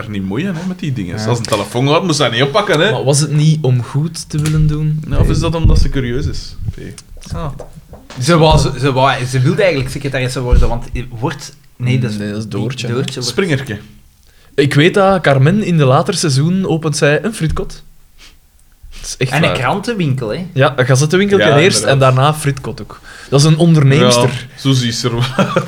A: er niet moeien hè, met die dingen. Als een telefoon gaat, moet ze dat niet oppakken. Hè.
C: Maar was het niet om goed te willen doen?
A: Nou, of is dat omdat ze curieus is? Nee.
B: Ze, was, ze, wou- ze wilde eigenlijk secretaresse worden, want wordt... Nee, dat is,
C: Nee, dat is Doortje.
B: Doortje wordt-
A: Springerke.
C: Ik weet dat Carmen in de later seizoen opent zij een frietkot. Dat is echt
B: En een
C: waar.
B: krantenwinkel, hè.
C: Ja, een gazettenwinkeltje
A: Ja,
C: eerst en
A: inderdaad.
C: daarna frietkot ook. Dat is een onderneemster.
A: Ja, zo zie ze er wel.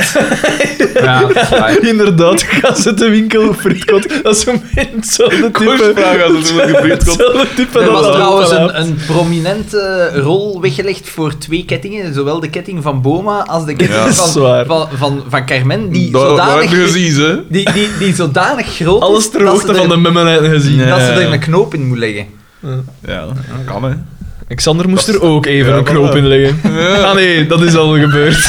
B: Ja,
C: Inderdaad, gazettenwinkel, frietkot. Dat is een beetje hetzelfde type.
A: Koersvraag als het in de gebriefd komt.
C: Hetzelfde type
B: Er
C: dat
B: was
C: dat
B: trouwens
C: wel
B: een, een prominente rol weggelegd voor twee kettingen. Zowel de ketting van Boma als de ketting
A: Ja.
B: van,
C: Dat is waar.
B: van, van, van Carmen. Die
A: Dat dat heb
B: zodanig,
A: je gezien, hè?
B: die, die, die zodanig groot
C: Alles
B: is
C: ter
B: dat ze
C: hoogte
B: er-
C: van de memmen gezien.
A: Ja.
B: Dat ze er een knoop in moet leggen.
A: Ja, kan hè.
C: Alexander moest er ook even
A: Ja,
C: een knoop
A: voilà.
C: in leggen. Ah nee, dat is al gebeurd.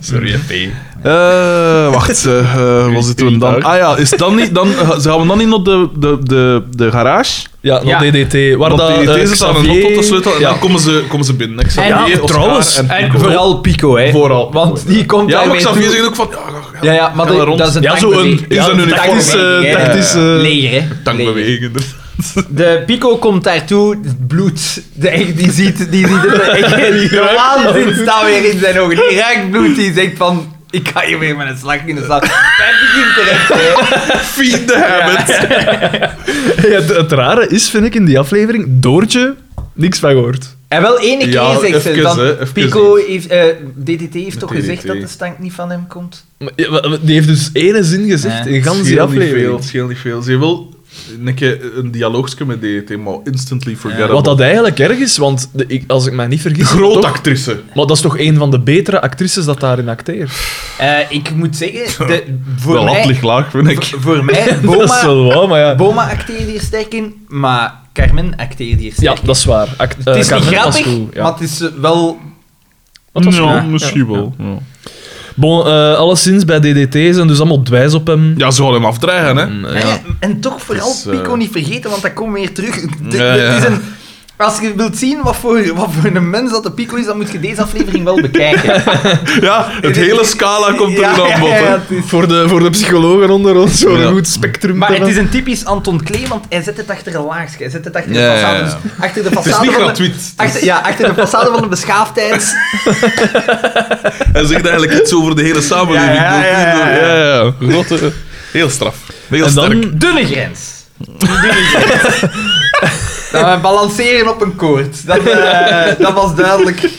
A: Sorry, P. wacht, eh, eh, waar zitten we dan? Ah ja, is dan niet, dan, eh, gaan we dan niet naar de, de, de, de garage?
C: Ja, nog
B: Ja.
C: DDT. Waar dat,
A: Want die-
C: eh,
A: deze staan een
C: Xavier-
A: lot op de sleutel en
C: Ja.
A: dan komen ze, komen ze binnen.
B: En
A: Xavier,
B: ja,
A: Oscar
C: trouwens,
A: en
B: En
A: Pico.
B: vooral Pico, hè.
A: Vooral Pico,
B: Want die komt
A: Ja, maar
B: daarmee
A: Xavier
B: toe.
A: zegt ook van... Ja, ga- ga-
B: Ja, ja, maar
A: ga
B: de-
A: daar rond.
B: dat is een
C: Ja, zo'n
B: tankbeweging.
A: is een
B: tankbeweging,
A: tactische-
B: hè.
C: tactische-
B: Leger, hè. Leger.
A: tankbeweging. inderdaad.
B: De Pico komt daartoe, het bloed. De, echt, die ziet, die ziet het. echt, De waanzin staat weer in zijn ogen. Die ruikt bloed, die zegt van... Ik ga hier weer met een slag in de stad. Hij begint terecht, hè.
A: Feed the habit.
C: Ja, het, het rare is, vind ik, in die aflevering, Doortje, niks van gehoord.
B: En wel ene keer
A: Ja,
B: zegt ze
A: even,
B: van...
A: hè, even
B: Pico
A: niet.
B: heeft... eh, DDT heeft toch
A: DDT.
B: gezegd dat de stank niet van hem komt?
C: Maar, ja, maar Die heeft dus ene zin gezegd
B: Nee.
C: in gans die
A: Scheel niet veel,
C: aflevering.
A: het scheelt niet veel. Ze heeft wel een keer een dialoogje met DDT, maar instantly forgettable.
C: Wat dat eigenlijk erg is, want de- ik, als ik mij niet vergis...
A: Groot
C: toch-
A: actrice.
C: Maar dat is toch een van de betere actrices dat daarin acteert?
B: Eh, ik moet zeggen... De, voor
A: Wel,
B: mij...
A: lat ligt laag, vind ik.
B: v- Voor mij,
C: dat is
B: Eh, Boma...
C: wel waar, maar ja...
B: Boma acteerde hier sterk in, maar Carmen acteerde hier
C: Ja,
B: sterk in.
C: dat is waar. Act- eh,
B: Het is niet
C: Carmen was
B: grappig,
C: goed, ja.
B: maar het is eh, wel
C: Wat was
A: ja,
C: goed?
A: misschien wel. Ja.
C: Bon, eh, alleszins, bij DDT zijn dus allemaal dwijs op hem.
A: Ja, ze gaan hem afdreigen, hè?
C: En, eh,
B: Maar
C: ja.
B: ja, en toch vooral
A: Dus, eh,
B: Pico niet vergeten, want dat komt weer terug. De-
A: Ja, ja.
B: het is een- als je wilt zien wat voor, wat voor een mens dat de Pico is, dan moet je deze aflevering wel bekijken.
A: Ja, het hele scala komt er
B: Ja,
A: aan bod.
B: ja, ja,
A: hè.
B: het is-
C: Voor, de, voor de psychologen onder ons, zo'n
A: Ja.
C: goed spectrum.
B: Maar
C: te
B: het is
C: hebben.
B: een typisch Anton Klee, want hij zet het achter een laagje. Hij zet het achter
A: Ja, ja,
B: de façade.
A: ja.
B: Dus achter de
A: Het is
B: façade
A: niet
B: van de,
A: gratuit.
B: achter, ja, achter de façade van de beschaafdheid.
A: Hij zegt eigenlijk iets over de hele samenleving.
B: Ja, ja, ja, ja, ja.
A: ja, ja. Grote- Heel straf. Heel
C: En
A: sterk.
C: dan...
B: Dunne grens. Dunne grens. Dat we balanceren op een koord. Dat, eh, dat was duidelijk.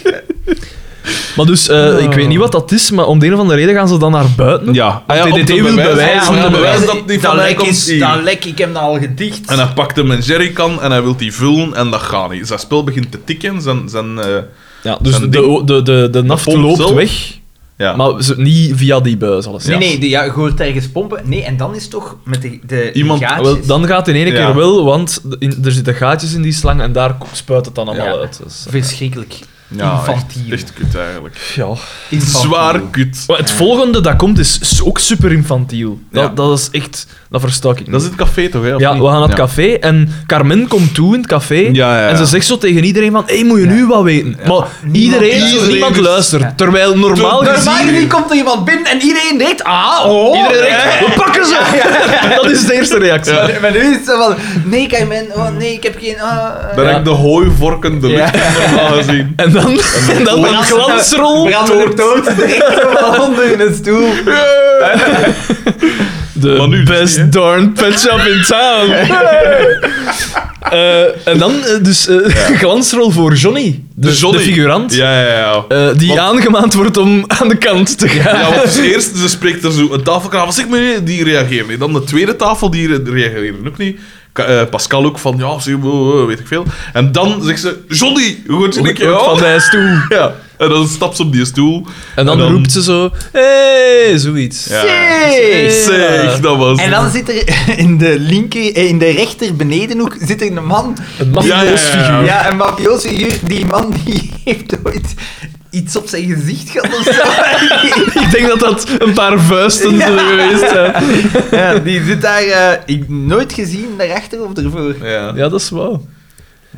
C: Maar dus, eh, ik weet niet wat dat is, maar om de een of andere reden gaan ze dan naar buiten.
A: Ja, ah, ja,
C: DDT
A: om te
C: wil
A: bewijzen-
C: bewijzen-
A: om
C: ja,
A: te bewijzen
B: dat
A: dat die van mij
B: lek
A: komt.
B: is,
A: hier.
B: dat lek, ik heb dat al gedicht.
A: En hij pakt hem een jerrycan en hij wil die vullen en dat gaat niet. Zijn spel begint te tikken, zijn... zijn eh,
C: Ja, dus de,
A: Zo'n
C: de,
A: ding.
C: de, de, naft
A: pompt
C: loopt
A: zelf.
C: weg,
A: ja.
C: maar ze, niet via die buis. Alles.
B: Nee, nee, die, ja, je hoort ergens pompen. Nee, en dan is het toch met de, de
A: Iemand-
B: die gaatjes.
C: Wel, dan gaat het in één
A: Ja.
C: keer wel, want de- in- er zitten gaatjes in die slang en daar ko- spuit het dan allemaal
B: Ja.
C: uit. Dus, eh,
B: Verschrikkelijk.
A: ja echt,
B: infantiel.
A: echt kut eigenlijk.
C: ja.
B: Infantiel.
A: Zwaar kut.
C: eh. Maar het volgende dat komt is s- ook super infantiel. Dat,
A: Ja.
C: dat is echt, dat versta ik niet.
A: Dat is het café toch, hè? of
C: ja,
A: niet?
C: we gaan naar het
A: Ja.
C: café en Carmen komt toe in het café
A: Ja, ja, ja.
C: en ze zegt zo tegen iedereen van, hé, moet je nu wat weten? Maar iedereen,
A: Iedereen
C: niemand
A: is-
C: luistert,
B: Ja.
C: terwijl normaal
A: Terwijl-
C: gezien...
B: Normaal gezien komt er iemand binnen en iedereen denkt, ah, oh.
C: Iedereen denkt,
B: eh.
C: we pakken ze! Dat is de eerste reactie.
B: Maar- Maar nu is het zo van, nee, Carmen, oh, nee, ik heb geen... ah,
A: Daar
B: eh.
A: heb ik de hooivorken de
B: Ja.
A: lucht onder normaal gezien.
C: En dan, en dan een glansrol.
B: Brandende dood, direct zo van onder in een stoel.
C: De
A: Maar nu dus
C: best
A: niet, hè?
C: darn pet shop in town. Eh, en dan eh, dus eh, glansrol voor Johnny, Dus de, de
A: Johnny.
C: figurant,
A: Ja, ja, ja.
C: eh, die
A: Want-
C: aangemaand wordt om aan de kant te gaan.
A: Ja, want dus eerst ze spreekt er zo een tafelkraam van, zeg maar, die reageert niet. Dan de tweede tafel, die re- reageert ook niet. Ka- eh, Pascal ook van, ja, zeg, eh, eh, weet ik veel. En dan zegt ze, Johnny, goed,
C: Wordt-
A: ik
C: wordt van
A: ja.
C: zijn stoel.
A: ja. En dan stapt ze op die stoel.
C: En dan,
A: En dan-
C: roept ze zo, hé, hey, zoiets.
A: Ja.
B: Zeg!
A: Zeg, dat was
B: En dan zit er in de linker, eh, in de rechter benedenhoek zit er een man.
C: Een mafioosfiguur.
A: Ja.
B: Ja, een mafioosfiguur. Die man die heeft ooit iets op zijn gezicht gehad of zo.
C: Ik denk dat dat een paar vuisten
B: Ja.
C: zullen geweest zijn.
B: ja, die zit daar eh, ik, nooit gezien, daarachter of ervoor.
A: Ja.
C: Ja, dat is wauw.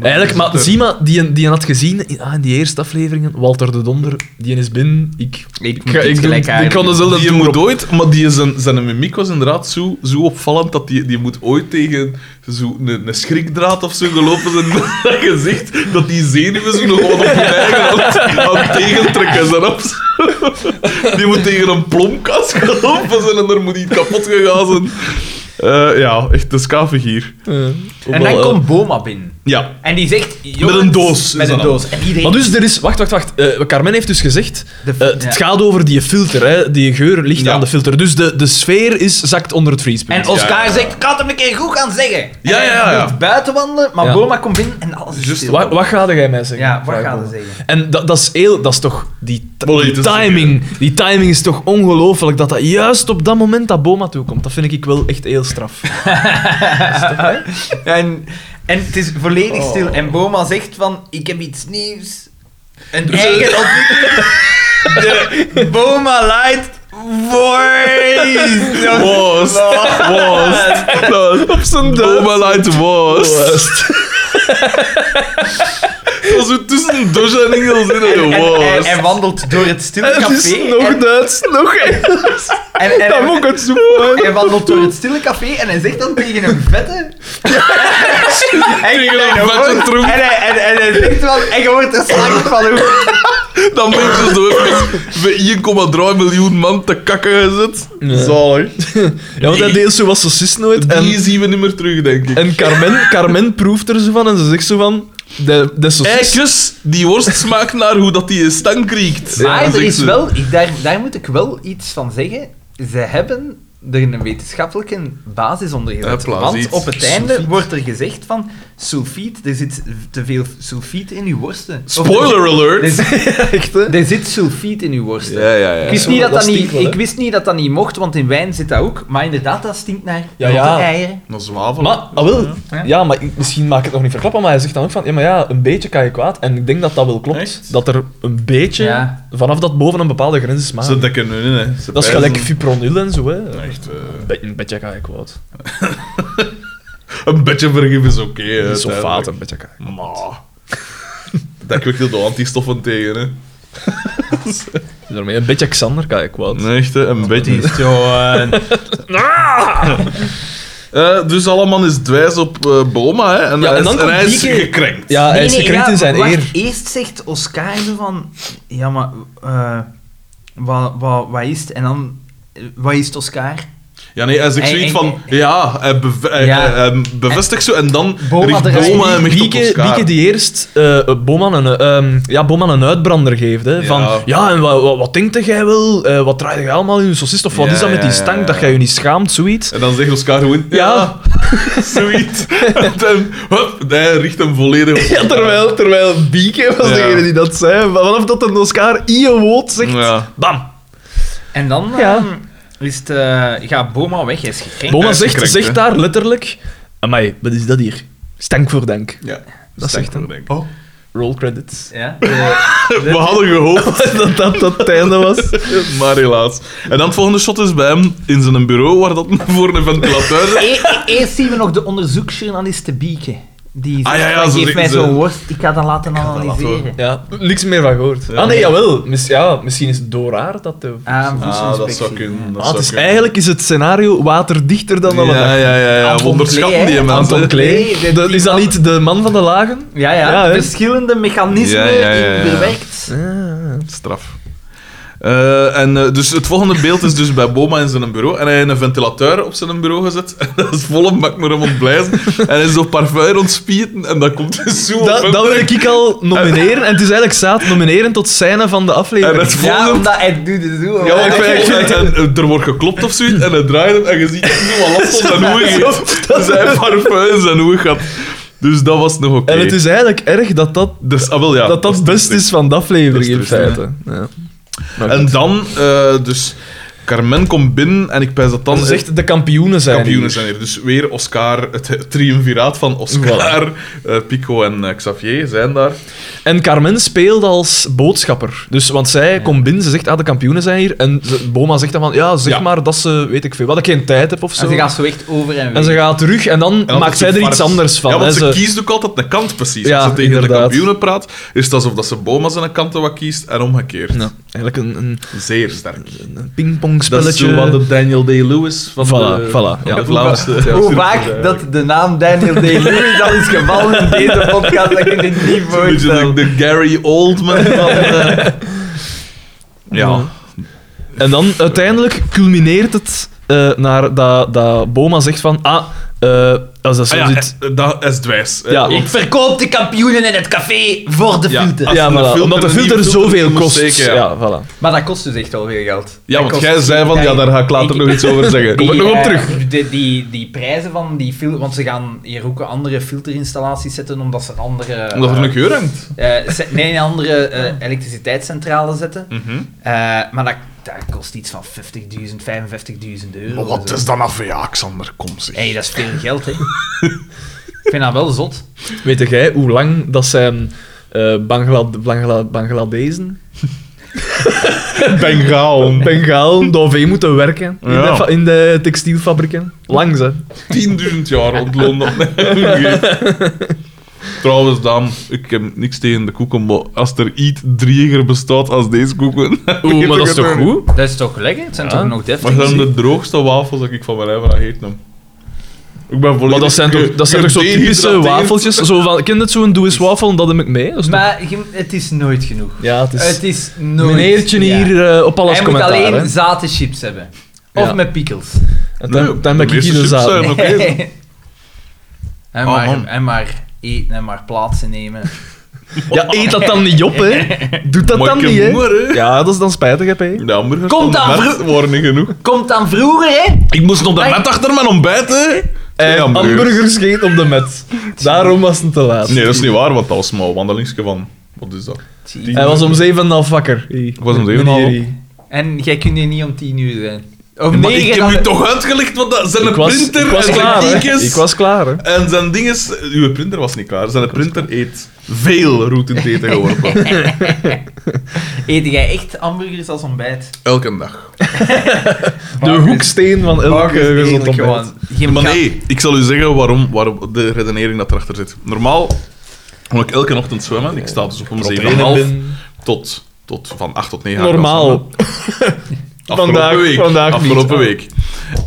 C: Eigenlijk, maar
A: dat is
C: zie maar, die, die had gezien in, ah, in die eerste afleveringen, Walter de Donder, die is binnen, ik...
B: Ik
C: ga- ik, doe- ik kan er zelf dat
A: Die
C: doen.
A: moet ooit, maar die zijn, zijn mimiek was inderdaad zo, zo opvallend dat die, die moet ooit tegen zo een, een schrikdraad of zo gelopen zijn met dat gezicht, dat die zenuwen zo nog gewoon op hun eigen hand aan het tegentrekken zijn. Op. Die moet tegen een plomkast gelopen zijn en daar moet iets kapot gegaan zijn. Eh, ja, echt de skavig hier.
C: Eh,
B: En
C: wel,
B: dan
C: eh.
B: komt Boma binnen.
A: Ja.
B: En die zegt...
A: Met een doos is
B: Met een
A: dat
B: doos. En iedereen...
C: Maar dus, er is... Wacht, wacht, wacht. Eh, Carmen heeft dus gezegd...
B: De-
C: eh, het
B: ja.
C: gaat over die filter, hè. Die geur ligt
A: Ja.
C: aan de filter. Dus de, de sfeer is, zakt onder het vriespunt.
B: En Oscar
A: Ja, ja, ja.
B: zegt, ik kan het hem een keer goed gaan zeggen. En
A: Ja,
B: hij
A: ja, ja, ja.
B: komt buiten wandelen, maar
C: Ja.
B: Boma komt binnen en alles is
A: Juist,
B: stil.
C: Dus Wat, wat ga jij mij zeggen?
B: Ja, wat
C: Vraag
B: ga
C: me.
B: je zeggen?
C: En dat, dat is heel... Dat is toch... Die, t-
A: Molly,
C: die
A: dat is-
C: timing. Die timing is toch ongelooflijk. Dat dat juist op dat moment dat Boma toekomt. Dat vind ik wel echt heel straf.
B: En, en het is volledig
C: Oh.
B: stil. En Boma zegt van, ik heb iets nieuws. Een
A: Dus,
B: eigen
A: eh,
B: ontwikkeling. De Boma Light Voice.
A: Was. Was. Dat was.
C: Op zijn
A: Boma Oh, Light was. Dat zo tussen douche en Engels in
B: En,
A: de
B: en, en,
A: was.
B: en wandelt door het stille
C: Het
B: café.
C: is nog
B: en,
C: Duits, nog Engels.
B: en, en,
C: Dat moet ik het zoeken.
B: Hij wandelt door het stille café en hij zegt dan tegen een vette. En-
A: Tegen een
B: en hij
A: vette
B: wordt-
A: troep.
B: En hij, en, en hij zegt van, en je wordt er slacht van hoe.
A: Dan ben je zo met 1,3 miljoen man te kakken gezet.
C: Ja.
A: Zalig.
C: Ja, want hij deed zo was zo nooit. En,
A: Dus Die zien we niet meer terug, denk ik.
C: En Carmen, Carmen proeft er zo van en ze zegt zo van... De, de saucis-
A: Eikjes, die worst smaakt naar hoe dat die een stank kriekt.
B: Maar
A: zegt
B: Ah, er is
A: ze.
B: wel, ik, daar, daar moet ik wel iets van zeggen. Ze hebben er een wetenschappelijke basis onder gezet.
A: Hopla,
B: want
A: ziet.
B: op het einde
A: Sulfiet.
B: wordt er gezegd van sulfiet, er zit te veel sulfiet in uw worsten. Of
A: Spoiler
B: Er, er
A: alert.
B: zit-
C: Echt, hè?
B: er zit sulfiet in uw worsten.
A: Ja, ja,
B: Ik
A: ja.
B: wist, niet dat dat
C: Lastiek
B: niet,
C: wel, hè?
B: ik wist niet dat dat niet mocht, want in wijn zit dat ook. Maar inderdaad, dat stinkt naar
C: Ja,
B: ja,
C: ja.
B: eieren.
A: Nog zwavel.
C: Maar, ah, wel,
B: Ja.
C: ja, maar ik- misschien maak ik het nog niet verklappen, maar hij zegt dan ook van, ja, maar ja, een beetje kan je kwaad. En ik denk dat dat wel klopt.
A: Echt?
C: Dat er een beetje,
B: Ja.
C: vanaf dat boven een bepaalde grens is, maar...
A: Ze dekken hun in, hè. Ze
C: Ah. Dat is
A: pijzen.
C: gelijk fipronil en zo, hè.
A: Echt, eh,
C: Een be- Een beetje kan je kwaad.
A: een beetje vergif is oké. hè,
C: Een sulfaat,
A: uiteindelijk.
C: een beetje kan je kwaad.
A: Maar... Dat kwikkelt de antistoffen tegen, hè.
C: Daarmee, een beetje Xander kan je kwaad.
A: Nee, echt, hè, een beetje. Eh, dus allemaal is dwijs op eh, Boma, hè. En
C: Ja,
A: hij
C: en
A: is,
C: dan
A: en
C: komt
A: hij is
C: Dieke-
A: gekrenkt.
C: Ja, hij
B: Nee,
C: is
B: nee,
C: gekrenkt
B: ja,
C: in zijn
B: wacht,
C: eer.
B: Eerst zegt Oscar zo van... Ja, maar... eh, wat, wat, wat is het? En dan... eh, Wat is het, Oscar?
A: Ja, nee, hij zegt
B: Hij-
A: zoiets
B: hij-
A: van... Ja, hij, beve- hij-
B: Ja.
A: hij- hij bevestigt zo en dan
B: Boma
A: richt
C: Dus
B: eruit.
A: Boma hem echt op
C: Bieke,
A: elkaar.
C: Bieke die eerst eh eh, Boman een, eh, ehm, ja, Boman een uitbrander geeft. Hè, Van,
A: Ja.
C: ja, en wat, wat, wat denkt jij wel? Eh, wat draait jij allemaal in je socist? Of wat
A: Ja,
C: is dat met die
A: ja, ja,
C: stank
A: ja.
C: dat jij je niet schaamt? Zoiets.
A: En dan zegt Oscar gewoon... Ja, zoiets. en dan, hup, hij richt hem volledig op.
C: Ja, terwijl, terwijl Bieke was
A: Ja.
C: degene die dat zei. Maar Vanaf dat een Oscar Io woord zegt,
A: Ja.
C: bam.
B: En dan...
C: Ja.
B: Ja. is het... eh, gaat Boma weg, hij is gekrenkt.
C: Boma
A: hij is
C: zegt,
A: gekrenkt, hè.
C: zegt daar letterlijk... Amai, wat is dat hier? Stank voor dank.
A: Ja,
C: Dat zegt hem.
A: denk ik.
C: Roll credits.
B: ja, eh,
A: We hadden gehoopt.
C: dat, dat dat het einde was.
A: Maar helaas. En dan het volgende shot is bij hem in zijn bureau, waar dat voor een ventilateur zit.
B: e- e- eerst zien we nog de onderzoeksjournaliste Bieke. Die zegt,
A: Ah, ja, ja,
B: van,
A: ze
B: geef
A: zegt
B: mij
A: ze-
B: zo'n worst, ik ga dat laten analyseren.
A: laten-
C: Ja, niks meer van gehoord.
A: Ja.
C: Ah nee, jawel. Mis, ja, misschien is het door haar dat... De...
B: Ah,
A: Ah, dat zou
B: voedselinspectie.
A: kunnen. Dat
C: Ah, het
A: zou
C: is,
A: kunnen.
C: eigenlijk is het scenario waterdichter dan alle
A: Ja,
C: dagen.
A: ja, ja. ja.
B: Anton
A: Onderschatten
B: Klee,
A: die
B: hè?
A: mensen.
C: Anton
B: Anton
C: Klee.
B: Klee, de-
C: Dat-
B: die
C: is dat
B: man-
C: niet de man van de lagen?
B: Ja, ja,
C: Ja, hè?
B: verschillende mechanismen
A: Ja, ja, ja, ja.
B: in verwerkt.
A: Straf. Eh, Eh, en, eh, dus het volgende beeld is dus bij Boma in zijn bureau. En hij heeft een ventilateur op zijn bureau gezet. En dat is volle mak naar hem ontblijven. En hij is door parfum rondspieten. En dat komt dus zo op
C: Dat,
A: hem
C: dat wil
A: terug.
C: ik al nomineren. En het is eigenlijk zaad nomineren tot scène van de aflevering.
A: En het
B: Ja,
A: volgende...
B: omdat hij doet het zo.
A: Ja,
B: maar-
A: ik vind, ik vind- en, en er wordt geklopt of zoiets en hij draait hem en je ziet hem wat last op zijn ogen heeft. Dus hij heeft parfum in zijn ogen gehad. Dus dat was nog oké.
C: En het is eigenlijk erg dat dat,
A: Dus, ah, wel, ja,
C: dat, dat best is van de aflevering
A: Dat
C: in
A: is dus trist,
C: feite. Ja.
A: En dan, eh, dus Carmen komt binnen en ik pijs dat dan
C: Dat is echt de kampioenen zijn.
A: eh, kampioenen
C: hier.
A: zijn hier. Dus weer Oscar, het triumviraat van Oscar, eh, Pico en eh, Xavier zijn daar.
C: En Carmen speelt als boodschapper. Dus, want zij komt binnen, ze zegt, ah, de kampioenen zijn hier. En ze- Boma zegt dan van, ja, zeg
A: Ja.
C: maar dat ze, weet ik veel, wat ik geen tijd heb of zo.
B: En ze gaan zo echt over en weer.
C: En ze gaat terug en dan,
A: En
C: maakt
A: altijd
C: zij
A: zo
C: er iets
A: vars.
C: anders van.
A: Ja,
C: hè.
A: want ze
C: Ze-
A: kiest ook altijd een kant, precies.
C: Ja,
A: Als ze tegen de
C: inderdaat.
A: kampioenen praat, is het alsof dat ze Boma zijn kanten wat kiest en omgekeerd.
C: Ja, eigenlijk een, een,
A: Zeer sterk.
C: een pingpongspelletje.
A: Daniel Day-Lewis van
C: Voilà, voilà, ja.
A: de Vlaamse...
B: Hoe vaak dat de naam Daniel Day-Lewis al is gevallen in deze podcast, dat ik dit niet
A: Een beetje de,
B: voorstel.
A: de Gary Oldman van... eh. Ja.
C: En dan uiteindelijk culmineert het eh, naar dat, dat Boma zegt van, ah, eh, als dat zo
A: Ah ja,
C: zit...
A: eh, dat is dwijs. eh,
C: Ja,
A: want-
B: Ik verkoop de kampioenen in het café voor de
A: Ja.
B: filter.
A: als
C: Ja,
A: een
C: voilà,
A: filter
C: omdat de
A: een nieuwe
C: filter
A: filter
C: zoveel
A: moet
C: kost.
A: steken, ja.
C: ja. voilà.
B: Maar dat kost dus echt wel veel geld.
A: Ja,
B: Dat
A: want
B: kost-
A: jij zei van, ja, daar ga ik later nog iets over zeggen. Kom ik nog op
B: eh,
A: terug.
B: de- die, die prijzen van die filter... Want ze gaan hier ook andere filterinstallaties zetten, omdat ze een andere...
A: Omdat er
B: eh,
A: een geur hangt.
B: eh, ze- nee, een andere eh, elektriciteitscentrale zetten.
A: Mhm.
B: Eh, maar dat, dat kost iets van 50.000, 55.000 euro. of zo.
A: dan AVA, Xander? Kom zeg.
B: Hé, dat is veel geld, hè. Ik vind dat wel zot.
C: Weet jij hoe lang dat zijn eh Bangla Bangla Bangladezen,
A: Bengaal.
C: Bengalen, daarvoor moeten werken in,
A: Ja.
C: de, fa- in de textielfabrieken? Lang, ze.
A: 10.000 jaar rond Londen. Trouwens, Daan, ik heb niks tegen de koeken, maar als er iets drieger bestaat als deze koeken...
C: Oeh, maar dat is toch
A: vergeet ik het
C: goed?
B: Dat is toch lekker? Het zijn
C: Ja.
B: toch nog
A: Maar
B: deftig?
A: dat zijn de droogste wafels dat ik van mijn lijf aan gegeten heb. Ik ben volledig
C: Maar dat zijn toch, dat zijn toch zo typische
A: gedehydrateerd.
C: wafeltjes? Zo van, ken je het zo'n doe eens wafel en dat heb ik mee? Dat is toch-
B: Maar je- het is nooit genoeg.
C: ja, het is...
B: Het is nooit...
C: Meneertje
B: Ja.
C: hier eh, op alles
B: Hij moet
C: commentaar.
B: alleen
C: hè.
B: zaten chips hebben. Of
C: Ja.
B: met pickles.
C: En
A: Nee,
C: dan, dan ben
A: de
C: ik hier
A: meeste
C: de
A: chips
C: zaal.
A: zijn- En oké.
B: en,
A: Oh,
B: maar,
A: man.
B: en maar eten en maar plaatsen nemen.
C: Ja, eet dat dan niet op, hè. Doe dat
A: Maar
C: dan
A: ik heb
C: niet, hè.
A: honger, hè.
C: Ja, dat is dan spijtig, hè, P.
A: De hamburgers
B: Kom
A: van de
B: daar,
A: markt waren niet genoeg.
B: Komt dan vroeger, hè?
A: Ik moest nog
B: Hey.
A: net achter mijn ontbijt, hè. Eh, Twee
C: En Eh, hamburgers geen op de met. Daarom was het te laat.
A: Nee, dat is niet waar, want dat was maar een wandelingsje van... Wat is dat?
C: Hij was om zeven en een half wakker. Ik
A: was om zeven en een half.
B: En jij kunt hier niet om tien uur zijn.
A: maar
B: Om negen
A: ik heb
B: dan-
A: u toch uitgelegd, want dat zijn
C: Ik
A: een
C: was,
A: printer
C: ik was
A: en
C: klaar,
A: zijn
C: hè.
A: tiekes.
C: Ik was klaar, hè.
A: En zijn ding is... Uw printer was niet klaar. Zijn printer eet veel roet in het eten geworpen.
B: Eet jij echt hamburgers als ontbijt?
A: Elke dag.
C: De hoeksteen van elk
B: Hamburgers
C: eh, gezond
B: eigenlijk
C: ontbijt.
B: gewoon. Geen
A: Maar
B: ka-
A: nee, ik zal u zeggen waarom, waarom de redenering dat erachter zit. Normaal moet ik elke ochtend zwemmen. Ik sta dus op om
C: Trainen
A: 7,5
C: ben-
A: tot, tot van 8 tot 9
C: Normaal.
A: Afgelopen
C: Vandaag-
A: week.
C: vandaag niet.
A: afgelopen
C: Ah.
A: week.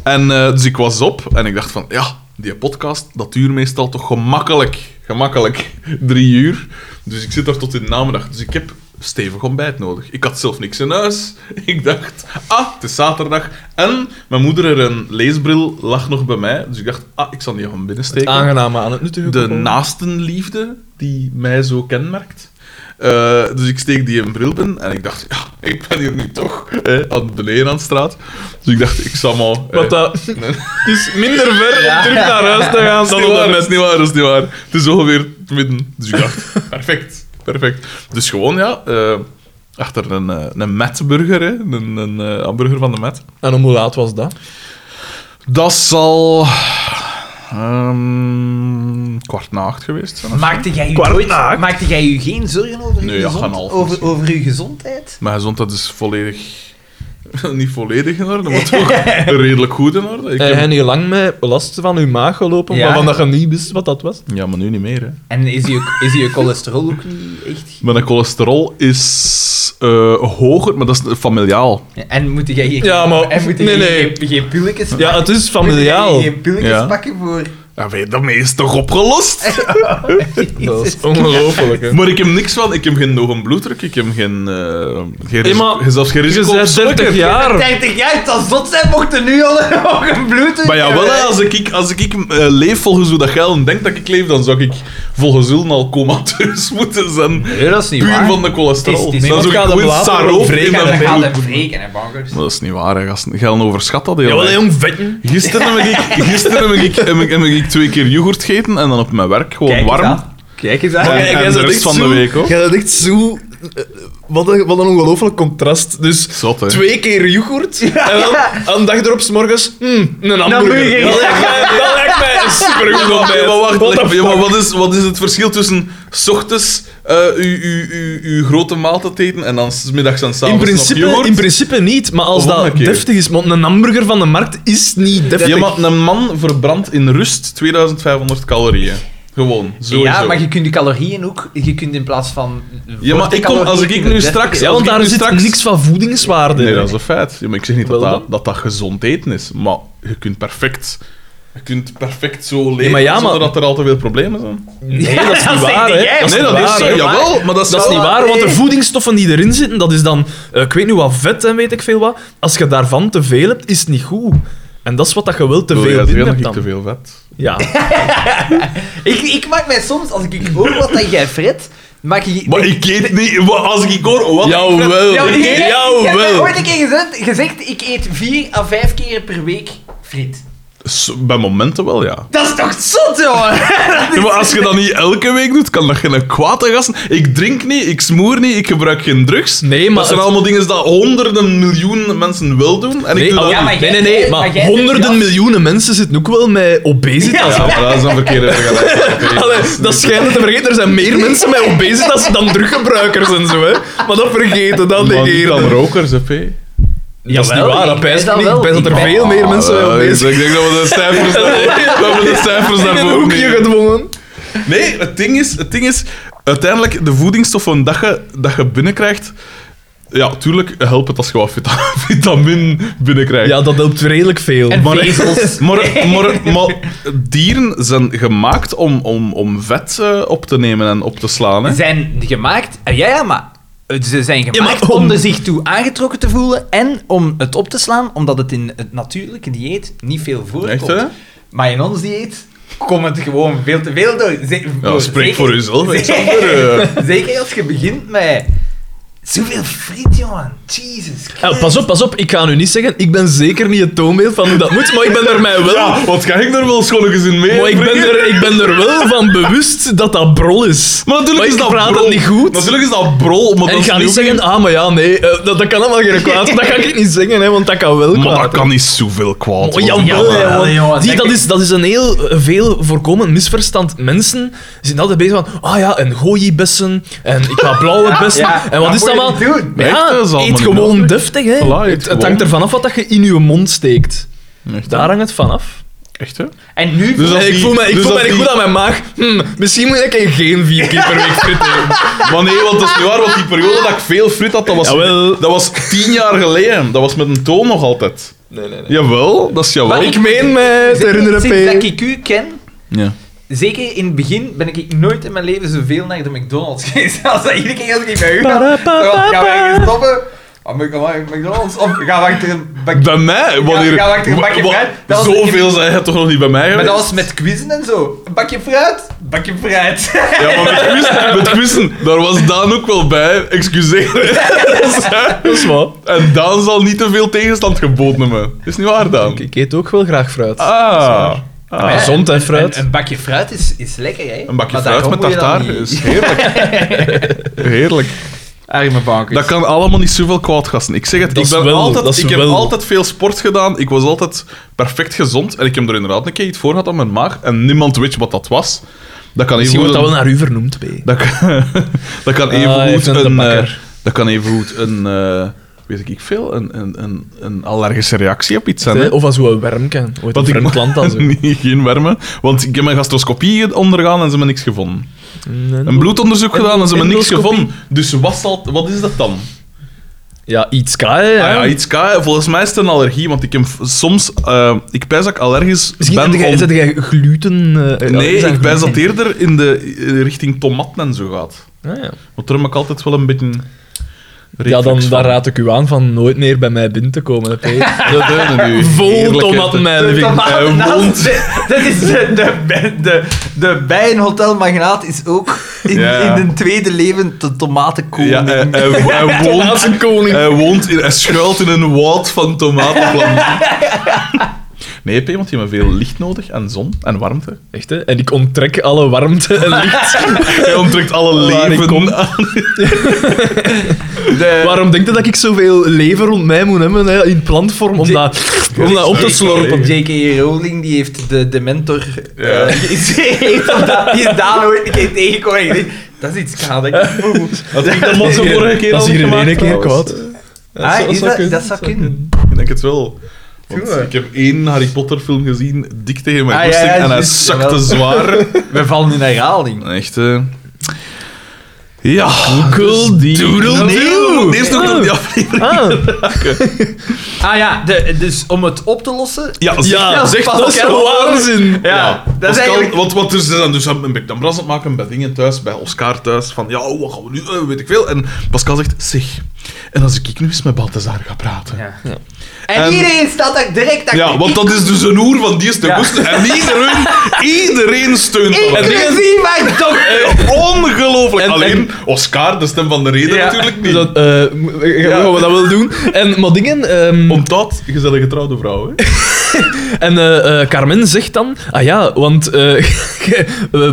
A: En eh, dus ik was op en ik dacht van, ja, die podcast, dat duurt meestal toch gemakkelijk, gemakkelijk drie uur. Dus ik zit daar tot in de namiddag. Dus ik heb stevig ontbijt nodig. Ik had zelf niks in huis. Ik dacht, ah, het is zaterdag. En mijn moeder, er een leesbril lag nog bij mij. Dus ik dacht, ah, ik zal die gewoon binnensteken
C: Aangename aan het natuurlijk.
A: de naastenliefde die mij zo kenmerkt. Eh, dus ik steek die een bril in en ik dacht, ja, ik ben hier nu toch eh, aan beneden aan de straat. Dus ik dacht, ik zal maar...
C: Wat
A: eh,
C: dat... Het is minder ver
B: Ja.
C: om terug naar huis te gaan.
A: dat is niet waar, dat is niet waar, dat is niet waar. Het is ongeveer het midden. Dus ik dacht, perfect, perfect. Dus gewoon, ja, eh, achter een, eh, een metburger, hè, een, een eh, hamburger van de met.
C: En om hoe laat was dat?
A: Dat zal... ehm, kwart na acht geweest zijn. of
B: Maakte jij, u
C: Kwart
B: nooit-
C: na acht.
B: maakte jij u geen zorgen over, uw
A: Nee, ja,
B: gezond,
A: gaan half
B: over,
A: misschien.
B: over uw gezondheid?
A: Mijn gezondheid is dus volledig... Niet volledig in orde, maar toch redelijk goed in orde. Ik
B: Eh,
C: Heb
A: heb-
C: je niet lang met last van uw maag gelopen,
B: Ja.
C: waarvan dat je niet wist wat dat was?
A: Ja, maar nu niet meer, hè.
B: En is je, is je cholesterol ook niet echt...
A: Mijn cholesterol is eh, hoger, maar dat is familiaal.
B: En moet jij hier
C: Ja, maar-
B: en moet jij
C: nee,
B: hier
C: nee.
B: Geen, geen pilletjes
C: Ja,
B: pakken?
C: het is
B: Moet jij
C: familiaal.
B: hier Geen pilletjes
A: Ja.
B: pakken voor...
A: Ja, weet je, daarmee is het toch opgelost?
C: Dat is ongelooflijk, hè.
A: maar ik heb niks van, ik heb geen nog een bloeddruk, ik heb geen, eh geen
C: Hey, maar-
A: ris- zelfs geen
C: Je
A: risico op
C: bent 30
A: suiker.
C: jaar.
B: 30 jaar, dat zot zijn, mocht er nu al nog een bloed in.
A: Maar ja, wel, hè, als ik, ik- als ik, ik eh, leef volgens hoe dat jij dan denkt dat ik leef, dan zou ik volgens Ullen al comateus moeten zijn.
B: Nee, dat is niet
A: Puur
B: waar.
A: van de cholesterol.
B: Het is- het is-
A: dan
C: niemand
A: zou ik
C: gaat hem
A: gewoon
C: later
A: saroof
C: vreken,
A: in
B: Ik
A: dat
B: heb
A: bloed.
B: gaat hem wreken, hè, bankers.
A: Maar Dat is niet waar, hè, gasten. Gel overschat dat heel
C: Jawel,
A: erg.
C: hè, jong vetten.
A: Gisteren heb ik, gisteren heb ik, heb ik, heb ik twee keer yoghurt gegeten en dan op mijn werk gewoon warm.
B: Kijk eens
A: En-
C: Maar
B: aan.
C: jij- jij
A: en de
C: bent
A: rest
C: echt
A: van de
C: zo-
A: week, hoor.
C: Jij bent echt zo... eh, Wat een, wat een ongelooflijk contrast. Dus
A: Zot, hè?
C: twee keer yoghurt en dan aan de dag erop 's morgens hmm, een hamburger.
B: hamburger.
C: Dat lijkt mij, dat lijkt mij een supergoed
A: Ja,
C: ontbijt.
A: maar wacht,
C: What the
A: leg- ja, maar
C: fuck?
A: wat, is, wat is het verschil tussen s ochtends eh, uw uw- uw- uw grote maaltijd eten en dan 's middags en
C: In
A: s'avonds nog
C: principe,
A: yoghurt?
C: in principe niet, maar als
A: Of
C: dat
A: omgekeerd.
C: deftig is, want een hamburger van de markt is niet deftig.
A: Ja, maar een man verbrandt in rust 2500 calorieën. Gewoon, sowieso.
B: Ja, maar je kunt de calorieën ook... Je kunt in plaats van...
A: Ja, maar ik kom, als ik, ik nu straks...
C: Ja,
A: als
C: want
A: ik
C: daar
A: nu
C: zit
A: straks...
C: niks van voedingswaarde.
A: Nee, dat is een feit. Ja, maar ik zeg niet dat
C: Wel
A: dat,
C: dan?
A: dat dat gezond eten is, maar je kunt perfect... Je kunt perfect zo leven
C: maar ja, maar-
A: zonder dat er al te veel problemen zijn.
C: Nee, dat is
B: Ja,
C: niet
B: dat
C: waar,
B: zeg
C: hè.
B: jij.
A: nee,
B: niet
A: dat is
B: waar,
A: zo.
B: hè.
A: Jawel, maar dat is,
C: Dat is niet waar, want de
B: nee.
C: voedingsstoffen die erin zitten, dat is dan, eh, ik weet niet wat, vet en weet ik veel wat. Als je daarvan te veel hebt, is het niet goed. En dat is wat dat je wel te
A: Wil jij
C: veel binnen
A: zeggen
C: hebt
A: dat ik te
C: dan.
A: veel vet.
C: Ja.
B: Ik, ik maak mij soms, als ik hoor wat dat jij frit, maak ik...
A: Maar ik eet niet... wa- Als ik hoor... Wat
C: Jawel.
B: Ja, maar ik-
C: Jawel.
B: Ik heb mij ooit een keer gezegd, gezegd, ik eet vier à vijf keer per week friet.
A: S- Bij momenten wel, ja.
B: Dat is toch zot, jongen? Dat is-
A: Ja, maar als je dat niet elke week doet, kan dat geen kwaad aan gasten. Ik drink niet, ik smoer niet, ik gebruik geen drugs.
C: Nee, maar
A: dat zijn
C: het-
A: allemaal dingen die miljoenen miljoenen mensen wel doen. En ik
C: Nee,
A: doe dat
C: al-
B: Ja,
A: niet.
B: maar
C: nee,
B: jij-
C: nee, nee,
B: jij-
C: maar
B: maar jij-
C: honderden
B: ja.
C: miljoenen mensen zitten ook wel met obesitas.
A: Ja,
C: Ja.
A: maar dat is een verkeerde vergelijking.
C: dat schijnt te vergeten. Er zijn meer mensen met obesitas dan druggebruikers en zo, hè. Maar dat vergeten, dat
A: Maar niet dan
C: negeren.
A: rokers, hè, P.
C: Dat is niet
B: Jawel,
C: waar, dat
B: ik
C: pijs
B: ben
C: ik
B: dat
C: niet. Ik
B: wel.
C: pijs dat
B: Ik
C: er
B: ben-
C: veel meer mensen met
A: Ah, dus
C: obesitas
A: ik denk dat we de cijfers, dat we de cijfers
C: in een
A: daarvoor
C: hoekje
A: nemen.
C: gedwongen.
A: Nee, het ding is, het ding is uiteindelijk de voedingsstoffen dat je, dat je binnenkrijgt. Ja, tuurlijk helpt het als je wat vita- vitamine binnenkrijgt.
C: Ja, dat helpt redelijk veel.
B: En
C: Maar-
B: vezels.
A: Maar, maar, maar dieren zijn gemaakt om, om, om vet eh, op te nemen en op te slaan. Hè?
B: zijn gemaakt... eh, Ja, ja, maar... eh, Ze zijn
C: Ja, maar
B: gemaakt
C: om-
B: om er zich toe aangetrokken te voelen en om het op te slaan, omdat het in het natuurlijke dieet niet veel voorkomt.
A: Echt, hè?
B: Maar in ons dieet komt het gewoon veel te veel door. Ze-
A: Ja,
B: door-
A: spreek
B: zeker-
A: voor jezelf, Alexander.
B: Zeker,
A: eh.
B: zeker als je begint met... Zoveel friet, jongen. Jesus Christ.
C: Ja, Eh, Ah, pas op, pas op. Ik ga nu niet zeggen, ik ben zeker niet het toonbeeld van hoe dat moet, maar ik ben er mij wel...
A: Ja, wat ga ik daar wel schoonlijkjes in mee?
C: Maar ik ben,
A: brengen?
C: er, ik ben er wel van bewust dat dat brol is.
A: Maar natuurlijk
C: ik
A: is dat
C: praat
A: brol.
C: het niet goed.
A: Natuurlijk is dat brol, maar
C: En
A: dat
C: ik
A: is
C: ga niet
A: ook
C: zeggen, ah, maar ja, nee, eh, dat, dat kan allemaal geen kwaad. Dat kan ik niet zeggen, hè, want dat kan wel kwaad.
A: Maar dat kan niet zoveel kwaad.
C: Oh,
A: worden.
C: jawel, hè,
B: Ja,
C: want
B: nee, jongen,
C: zie,
B: zeg
C: dat,
B: ik-
C: is, dat is een heel eh, veel voorkomend misverstand. Mensen zijn altijd bezig van, ah ja, en gooibessen, en ik ga blauwe bessen,
B: ja,
C: en wat
B: dat
C: is dat
B: moet je
C: allemaal?
B: niet doen.
C: Maar
A: Echt,
C: Ja,
A: dat is allemaal
C: eet
A: niet
C: gewoon
A: nodig.
C: deftig,
A: Voilà,
C: hè.
A: eet
C: het, het
A: gewoon.
C: hangt ervan af wat dat je in je mond steekt.
A: Echt, hè?
C: Daar hangt het van af.
A: Echt, hè?
B: En nu...
A: Dus als
C: Nee, ik
A: die-
C: voel me, ik
A: dus
C: voel
A: als
C: me niet
A: die-
C: goed aan mijn maag. Hm, misschien moet ik er geen vier keer per week frit eten.
A: Maar nee, want dat is niet waar, want die periode dat ik veel frit had, dat was,
C: Jawel.
A: dat was tien jaar geleden. Dat was met een toon nog altijd.
C: Nee, nee, nee.
A: Jawel, dat is jawel.
B: Maar
C: Ik meen me te herinneren,
B: Sinds dat
C: P.
B: ik u ken,
A: Ja.
B: zeker in het begin, ben ik nooit in mijn leven zoveel naar de McDonald's geweest. Als dat iedere keer als ik bij u ga, zo van, gaan we ergens stoppen? Of moet ik nog maar McDonald's? Of gaan we achter een bakje...
A: Bij mij? Wanneer,
B: ja, wacht, een bakje
A: wa- wa-
B: fruit. Dat was-
A: Zoveel zijn je toch nog niet bij mij
B: Maar
A: geweest?
B: dat was met quizzen en zo. Een bakje fruit? Een bakje fruit.
A: Ja, maar met quizzen, met quizzen, daar was Daan ook wel bij. Excuseer.
C: Dat is waar.
A: En Daan zal niet te veel tegenstand geboden hebben. Is niet waar, Daan?
C: Ik eet ook wel graag fruit.
A: Ah.
B: Maar ja,
A: ah.
C: gezond, hè,
B: een-
C: fruit.
B: Een, een bakje fruit is, is lekker, hè?
A: Een bakje
B: Maar
A: fruit
B: daarom
A: met
B: moet je dat
A: tartaar
B: niet-
A: is heerlijk. Heerlijk.
B: Arme bankers.
A: Dat kan allemaal niet zoveel kwaad, gasten. Ik zeg het,
C: Dat
A: ik,
C: is
A: ben
C: wel, dat
A: altijd,
C: is
A: ik heb
C: wel.
A: altijd veel sport gedaan. Ik was altijd perfect gezond. En ik heb er inderdaad een keer iets voor gehad aan mijn maag. En niemand weet wat dat was. Dat kan even
C: Misschien wordt dat wel naar u vernoemd, P.
A: Dat kan, dat kan even
C: Ah,
A: goed
C: even de
A: een.
C: bakker.
A: eh, dat kan even goed een. eh, weet ik veel, een, een, een, een allergische reactie op iets zijn. hè.
C: Eh, Of als we een worm kennen. Ooit een
A: ik-
C: vreemd land dan zo.
A: Nee, geen wormen. Want ik heb mijn gastroscopie ondergaan en ze hebben niks gevonden. Een bloedonderzoek
C: en-
A: gedaan en ze hebben niks
C: endoscopie.
A: gevonden. Dus wat, zal, wat is dat dan?
C: Ja, iets ka, hè.
A: Ah ja, iets ka. Volgens mij is het een allergie, want ik heb soms... eh, ik pijs dat ik allergisch
C: Misschien
A: ben
C: zet jij,
A: om-
C: zet jij gluten... eh, ja,
A: Nee,
C: is dat
A: ik pijs dat
C: gluten?
A: eerder in de eh, richting tomaten en zo gaat.
C: Ah, ja.
A: Want daar heb ik altijd wel een beetje...
C: Ja, dan,
A: reflex
C: dan
A: van.
C: raad ik u aan van nooit meer bij mij binnen te komen. hè, Peter.
A: De deunen nu.
C: Vol
A: Heerlijke-
C: tomaten, mijn
B: De
C: lieving.
B: tomaat
A: eh,
B: naast-
A: wond.
B: de- Dat is de, de, bij- de, de bijenhotelmagnaat is ook in,
A: Ja.
B: in een tweede leven de tomatenkoning.
A: Ja, eh, hij, hij, hij woont,
C: koning.
A: hij woont in, hij schuilt in een woud van tomatenplanten. Nee, P, want je hebt veel licht nodig en zon en warmte.
C: Echt, hè? En ik onttrek alle warmte en licht.
A: Hij onttrekt alle
C: Waar ik kom.
A: leven aan.
B: De-
C: Waarom denk je dat ik zoveel leven rond mij moet hebben hè, in plantvorm om
B: Die-
C: dat, om dat op te
A: Sorry,
C: slorpen?
A: sorry.
B: J.K. Rowling die heeft de, de mentor. eh,
A: Ja.
B: die heeft dat- die is daar ooit een keer tegengekomen. en ik denk, Dat is iets gaaf. dat ik-
A: Had ik dat motto vorige keer
C: Dat
A: al
C: is hier in
A: gemaakt,
C: één keer
A: trouwens?
C: kwaad.
B: Ah, is dat- dat zou kunnen.
A: Ik denk het wel. Want
B: Goed, hè?
A: ik heb één Harry Potter film gezien, dik tegen mijn
B: Ah, ja,
A: goesting,
B: ja,
A: en hij
B: juist,
A: zakte
B: jawel.
A: zwaar.
B: We vallen in herhaling.
A: Echt, eh. Ja,
C: Google
A: dus die-
C: Doodle
A: Nee,
C: Doo.
A: Eerst nog door die aflevering.
C: Ah,
B: Ah ja, de- dus om het op te lossen.
A: Ja, zeg,
C: ja,
A: zeg
C: zeg
A: dat.
C: dat is
B: Pascal.
C: waanzin.
B: Ja, dat
A: Pascal,
B: is eigenlijk.
A: Want, want dus, dan, dus dan ben ik dan bras aan het maken bij dingen thuis, bij Oscar thuis, van ja, wat gaan we nu, eh, weet ik veel. En Pascal zegt, zeg, en als ik nu eens met Balthazar ga praten. Ja,
B: Ja. En,
A: En-
B: iedereen staat daar direct achter.
A: want dat is dus een oer van die is te
B: Ja.
A: woesten. En iedereen, iedereen steunt dat.
B: Inclusief mijn dokter.
A: Eh, Ongelooflijk.
C: En-
A: Alleen Oscar, de stem van de reden
B: Ja.
A: natuurlijk niet.
C: Dus dat, eh, gaan we- gaan we dat wel doen. En, maar dingen... ehm,
A: Omdat, gezellige trouwde vrouw, hè.
C: En eh, eh, Carmen zegt dan, ah ja, want eh, eh,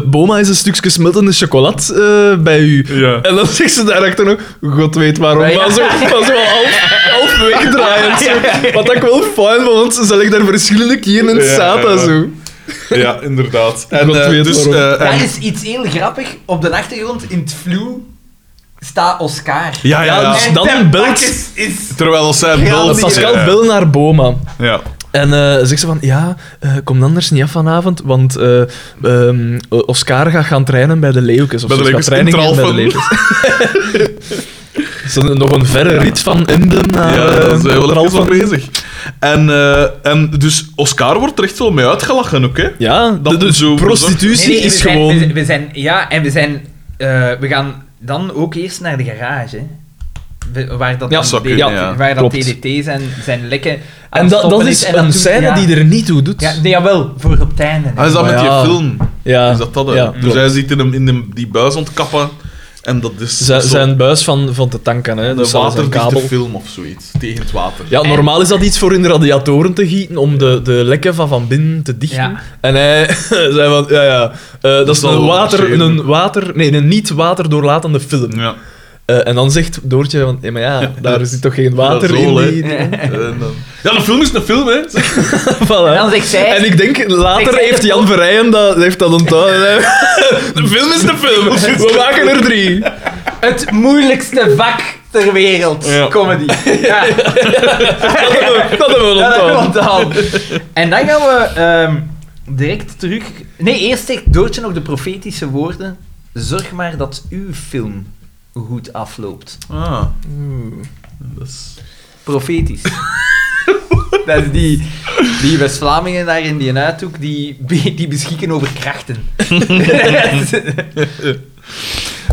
C: Boma is een stukje smeltende chocolat eh, bij u.
A: Ja.
C: En dan zegt ze daarachter nog, god weet waarom,
B: Ja.
C: maar zo, maar zo half, half wegdraaiend. zo. Wat ik wel fijn vond, want ze ik daar verschillende keren in
A: Ja,
C: zaten.
A: ja.
C: Zo.
A: Ja, inderdaad. En,
C: God
A: eh,
C: weet
A: dus,
C: waarom.
A: eh, en-
B: Dat is iets heel grappig. Op de achtergrond in het vloe staat Oscar.
A: ja, ja, ja.
C: Ja, dus-
B: En
C: dan
B: ten
C: belt-
B: pak Is, is...
A: Terwijl als zij
B: Ja,
A: belt...
B: die-
C: Pascal
A: eh,
C: bel naar Boma.
A: Ja.
C: En eh, zegt ze van, ja, eh kom anders niet af vanavond, want eh, ehm, Oscar gaat gaan trainen bij de Leeuwkes. Of
A: Bij de
C: zo,
A: Leeuwkes
C: gaat
A: in
C: trainingen bij de
A: Tralfen.
C: Leeuwkes. Is dat nog een verre rit van Emden naar
A: Ja, dat is eh,
C: eh,
A: wel even
C: Tralfen?
A: van bezig. En, eh, en dus Oscar wordt er echt wel mee uitgelachen ook, hè?
C: Ja,
A: Dat
C: de, de
A: zo-
C: prostitutie
B: Nee, nee,
C: Dus is
B: we zijn-
C: gewoon...
B: we- we zijn, ja, en we zijn... eh, we gaan dan ook eerst naar de garage. hè. We- Waar dat,
C: Ja,
B: dan
A: zou
B: de-
A: kunnen, ja.
B: waar dat
C: Klopt.
B: TDT zijn, zijn lekken aan
C: en
B: het
C: dat, dat
B: stoppen
C: is
B: en
C: een
B: doet-
C: scène
B: ja.
C: die er niet toe doet.
B: Ja, nee, jawel, voor op het einde. hè.
A: Hij is dat
C: Maar
A: met
C: ja.
A: die film.
C: Ja,
A: Is dat dat, hè?
C: ja,
A: dus
C: klopt.
A: hij ziet in, hem, in hem die buis ontkappen en dat is
C: Zij-
A: zo
C: zijn buis van, van te tanken, hè.
A: de
C: Dus dat is een
A: waterdichte
C: kabel.
A: film of zoiets. Tegen het water.
C: Ja, normaal is dat iets voor in de radiatoren te gieten, om de, de lekken van van binnen te dichten.
B: Ja.
C: En hij zei van, ja, ja, eh, dat is
A: zal
C: een
A: wel
C: water,
A: marcheren.
C: een water... Nee, een niet-waterdoorlatende film.
A: Ja.
C: Eh, en dan zegt Doortje van, ja, maar ja, daar zit toch geen water
A: dat is wel,
C: in die...
A: hè. En dan- Ja, de film is een film, hè? Zeg,
C: Voilà.
B: En dan zegt zij-
C: En ik denk,
B: Zegt
C: later
B: zij
C: heeft
B: dat-
C: Jan Verheyen dat, heeft dat onthouden. hè. De film is de film. We maken er drie.
B: Het moeilijkste vak ter wereld,
A: Ja.
B: comedy. Ja.
C: Dat hebben we, dat hebben we
B: Ja, dat
C: onthouden.
B: klopt dan. En dan gaan we ehm, direct terug. Nee, eerst zegt Doortje nog de profetische woorden. Zorg maar dat uw film goed afloopt.
A: ah. Dat is...
B: Profetisch. dat is die, die West-Vlamingen daar in die uithoek, die, die beschikken over krachten.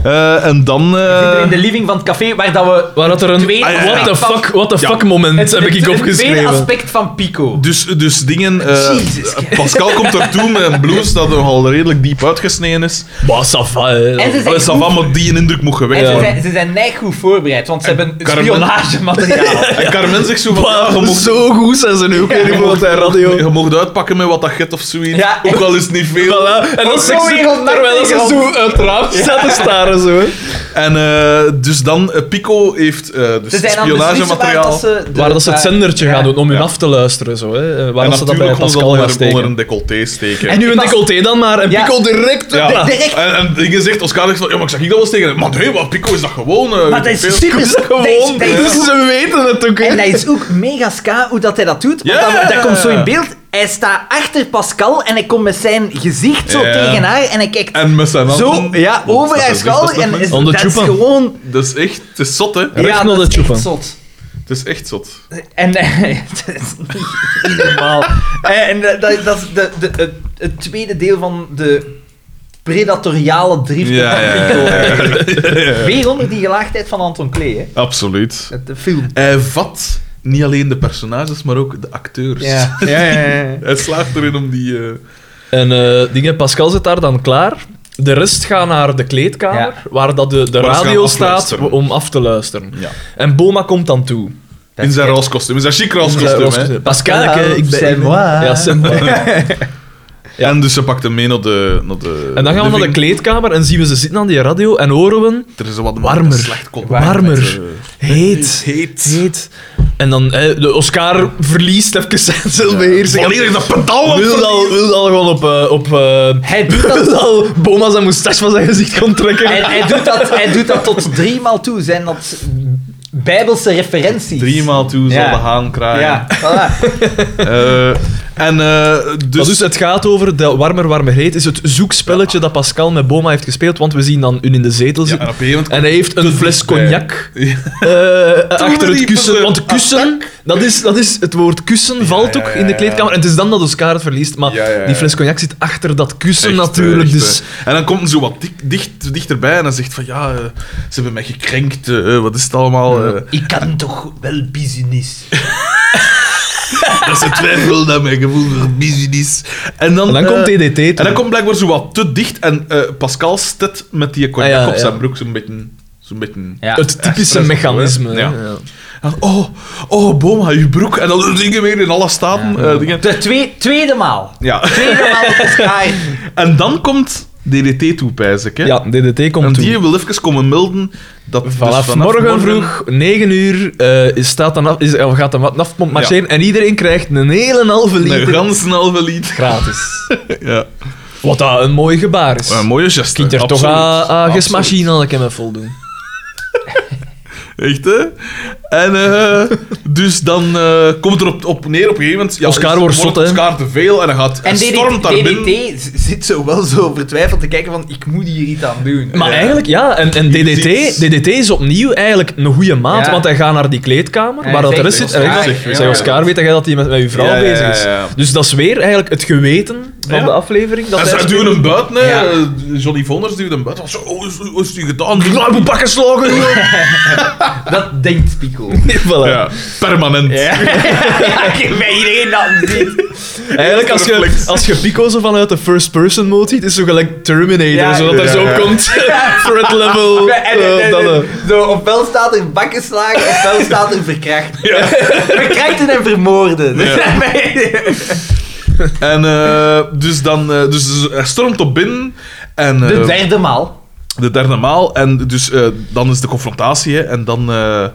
A: Eh, en dan... eh,
B: We zitten in de living van het café waar dat we
C: Waar had er een
B: Twee-
C: what the
B: Ah, ja.
C: fuck, what the
A: Ja.
C: fuck moment
B: het,
C: heb ik
B: het-
C: hier
B: het tweede
C: opgeschreven.
B: aspect van Pico.
A: Dus, dus dingen. eh,
B: Jezus.
A: Pascal komt daartoe met een blouse dat nogal redelijk diep uitgesneden is.
C: Bah, safa,
B: En ze
A: Allee,
B: zegt
A: ça va, maar die een indruk moet
B: En
A: gewekt
B: ze,
A: worden.
B: zijn, ze zijn neig goed voorbereid, want ze hebben
A: Carmen-
B: spionagemateriaal.
A: En Carmen zegt zo van, ja, je mocht,
C: zo goed zijn ze nu ook weer in de radio.
A: je mocht uitpakken met wat dat get of zoiets.
B: Ja,
A: Ook al is het niet veel.
C: Voilà. En dan
B: Zo
C: zegt ze,
B: wereld-
C: terwijl ze zo uit het raam staat te staren. Zo. hè.
A: En eh, dus dan, eh, Pico heeft eh dus
B: Ze zijn aan het beslissen waar
A: spionagemateriaal.
B: dat ze... Eh, de-
C: Waar dat ze het zendertje
B: ja.
C: gaan doen om hun
A: Ja.
C: af te luisteren. Zo, hè. Eh, Waar
A: en
C: dat ze dat bij
A: natuurlijk ons dan
C: Pascal gaan
A: onder, onder
C: steken.
A: een decolleté steken.
C: En nu een
B: Pas-
C: decolleté dan maar. En
B: Ja.
C: Pico direct.
A: ja.
B: direct-
A: en, en dingen zegt, Oscar zegt van, ja, maar ik zag ik dat wel tegen. hem. Maar nee, wat Pico is dat gewoon. eh,
B: Maar dat
A: weet ik
B: is
A: veel.
B: super...
C: Dus gewoon,
B: dat is- dat
C: dus
B: is-
C: ze weten het ook. hè.
B: En dat is ook mega ska hoe dat hij dat doet. Want
A: Ja.
B: dat, dat komt zo in beeld. Hij staat achter Pascal en hij komt met zijn gezicht zo
A: Ja.
B: tegen haar en hij kijkt
A: En met zijn handen.
B: zo ja,
A: Want
B: over
A: dat
B: haar
A: is- dus dat is
B: schouder.
A: toch
B: En
A: mensen?
B: is,
C: Om de
B: dat is
C: tjoepen.
B: gewoon...
A: Dat is echt, het is zot, hè.
C: Recht
B: Ja,
C: naar
B: dat
C: de
B: is echt
C: tjoepen.
B: zot.
A: is echt zot.
B: En eh, het is niet niet normaal. Eh, En eh, dat, dat is de, de, het- het tweede deel van de predatoriale drift
A: Ja,
B: van
A: ja, ja,
B: Rico.
A: ja,
B: eigenlijk. Weer onder die gelaagdheid van Anton Klee, hè.
A: Absoluut.
B: Het eh, film.
A: Hij vat niet alleen de personages, maar ook de acteurs.
B: Ja, ja, ja. ja.
A: Hij slaagt erin om die... eh,
C: En eh, dingen, Pascal zit daar dan klaar. De rest gaat naar de kleedkamer,
B: Ja.
C: waar dat de, de
A: Waar ze
C: radio
A: gaan
C: staat
A: afluisteren.
C: om af te luisteren.
A: ja.
C: En Boma komt dan toe.
A: In zijn raskostuum. In zijn chic raskostuum, hè.
C: Pascal,
B: Pascal,
C: ik ben...
B: c'est moi.
C: Ja, c'est moi. Ja.
A: En dus ze pakt hem mee naar de... Naar de
C: En dan gaan we naar de
A: living.
C: kleedkamer en zien we ze zitten aan die radio en horen we...
A: Er is wat
C: Warmer.
A: Slecht contact.
C: Warmer.
A: Eh,
C: Heet.
A: Heet.
C: Heet. En dan, eh, de Oscar verliest even zijn zelfbeheersing.
A: Wanneer is Oh, dat pedaal
C: Wil al, wil al gewoon op... eh, op eh,
B: Hij doet dat
C: wil al Boma zijn moustache van zijn gezicht kon trekken.
B: Hij, hij, doet dat, hij doet dat tot drie maal toe. Zijn dat bijbelse referenties?
A: Driemaal toe
B: Ja.
A: zal de haan kraaien.
B: Ja, voilà.
A: Eh, en eh,
C: Dus,
A: dus...
C: dus het gaat over de warmer, warmer heet. Is het zoekspelletje dat Pascal met Boma heeft gespeeld. Want we zien dan hun in de zetel
A: Ja, en
C: zitten.
A: op een gegeven moment...
C: en hij heeft een fles cognac eh, achter het
A: die van
C: kussen.
A: de
C: Want kussen, dat is, dat is, het woord kussen valt
A: ja,
C: ook
A: ja,
C: in de
A: ja.
C: kleedkamer. En het is dan dat Oscar het verliest. Maar
A: Ja, ja, ja.
C: die fles cognac zit achter dat kussen
A: Echt,
C: natuurlijk.
A: echt,
C: dus
A: eh. En dan komt hij zo wat dik, dicht, dichterbij en dan zegt van ja, eh, ze hebben mij gekrenkt, eh, wat is het allemaal? eh,
B: Ik kan toch wel business.
A: dat ze twijfel naar mijn gevoel voor business. En dan,
C: en dan
A: eh,
C: komt DDT. toe.
A: En dan komt blijkbaar zo wat te dicht en eh, Pascal stet met die cognac
C: Ah, ja,
A: op zijn
C: ja.
A: broek zo'n beetje... Zo'n beetje...
B: Ja.
C: het typische
A: stress,
C: mechanisme.
A: hè?
C: hè.
A: Ja. En, oh, oh, Boma, je broek. En dan dingen weer in alle staten. eh, dingen.
B: Ehm, De twee, tweede maal.
A: Ja.
B: Tweede maal Oscar.
A: En dan komt DDT toe, pijs ik, hè?
C: Ja, DDT komt
A: en
C: toe.
A: die wil even komen melden dat dus
C: Vanaf, morgen, vroeg, 9 uur, eh, is staat dan af, is, of gaat een naftpomp marcheren en iedereen krijgt een hele halve
A: een
C: liter
A: gans halve lied.
C: gratis.
A: Ja.
C: Wat dat een mooi gebaar is.
A: Een
C: Je
A: mooie geste.
C: kunt er toch
A: absoluut.
C: aan aan
A: Absoluut.
C: gesmachine aan hem voldoen.
A: Echt, hè? En eh, dus dan eh, komt er op, op neer op een gegeven moment... Ja,
C: Oscar
A: is-
C: wordt zot, hè?
A: Oscar te veel en hij gaat... En
B: En
A: stormt
B: DDT,
A: daar binnen.
B: DDT zit zo wel zo vertwijfeld te kijken van ik moet hier iets aan doen.
C: Maar
A: Ja.
C: eigenlijk, ja, en, en DDT,
A: ziet-
C: DDT is opnieuw eigenlijk een goede maat,
B: Ja.
C: want hij gaat naar die kleedkamer
B: Ja,
C: waar dat de
B: zeker.
C: rest zit. En hij
A: Oscar,
C: zegt,
A: ja.
C: zei Oscar, weet jij dat hij met, met uw vrouw
A: Ja, ja,
C: bezig
A: ja,
C: is?
A: ja.
C: Dus dat is weer eigenlijk het geweten van
A: Ja.
C: de aflevering. Dat
A: en
C: hij
A: zij duwen hem buiten, hè.
B: Ja.
A: Eh, Johnny Vonders duwt hem buiten. Zo, oh, is, hoe is die gedaan?
C: moet pakken slagen!
B: Dat denkt Pico.
C: Voilà.
A: Ja, permanent.
B: ja, ik ben iedereen dat ziet.
C: Eigenlijk, als je,
A: Reflex.
C: als je Pico zo vanuit de first-person mode ziet, is zo gelijk Terminator.
B: Ja,
C: zodat er
A: ja,
C: zo
A: ja.
C: komt. Threat level.
B: En, en,
C: eh,
B: en,
C: dat, eh.
B: en, zo, ofwel staat er bakken slagen, ofwel staat er verkracht. Verkrachten en vermoorden.
A: Ja. En eh, dus dan... eh, dus hij stormt op binnen en... eh,
B: De derde maal.
A: de derde maal. En dus eh, dan is de confrontatie, hè. En dan... eh,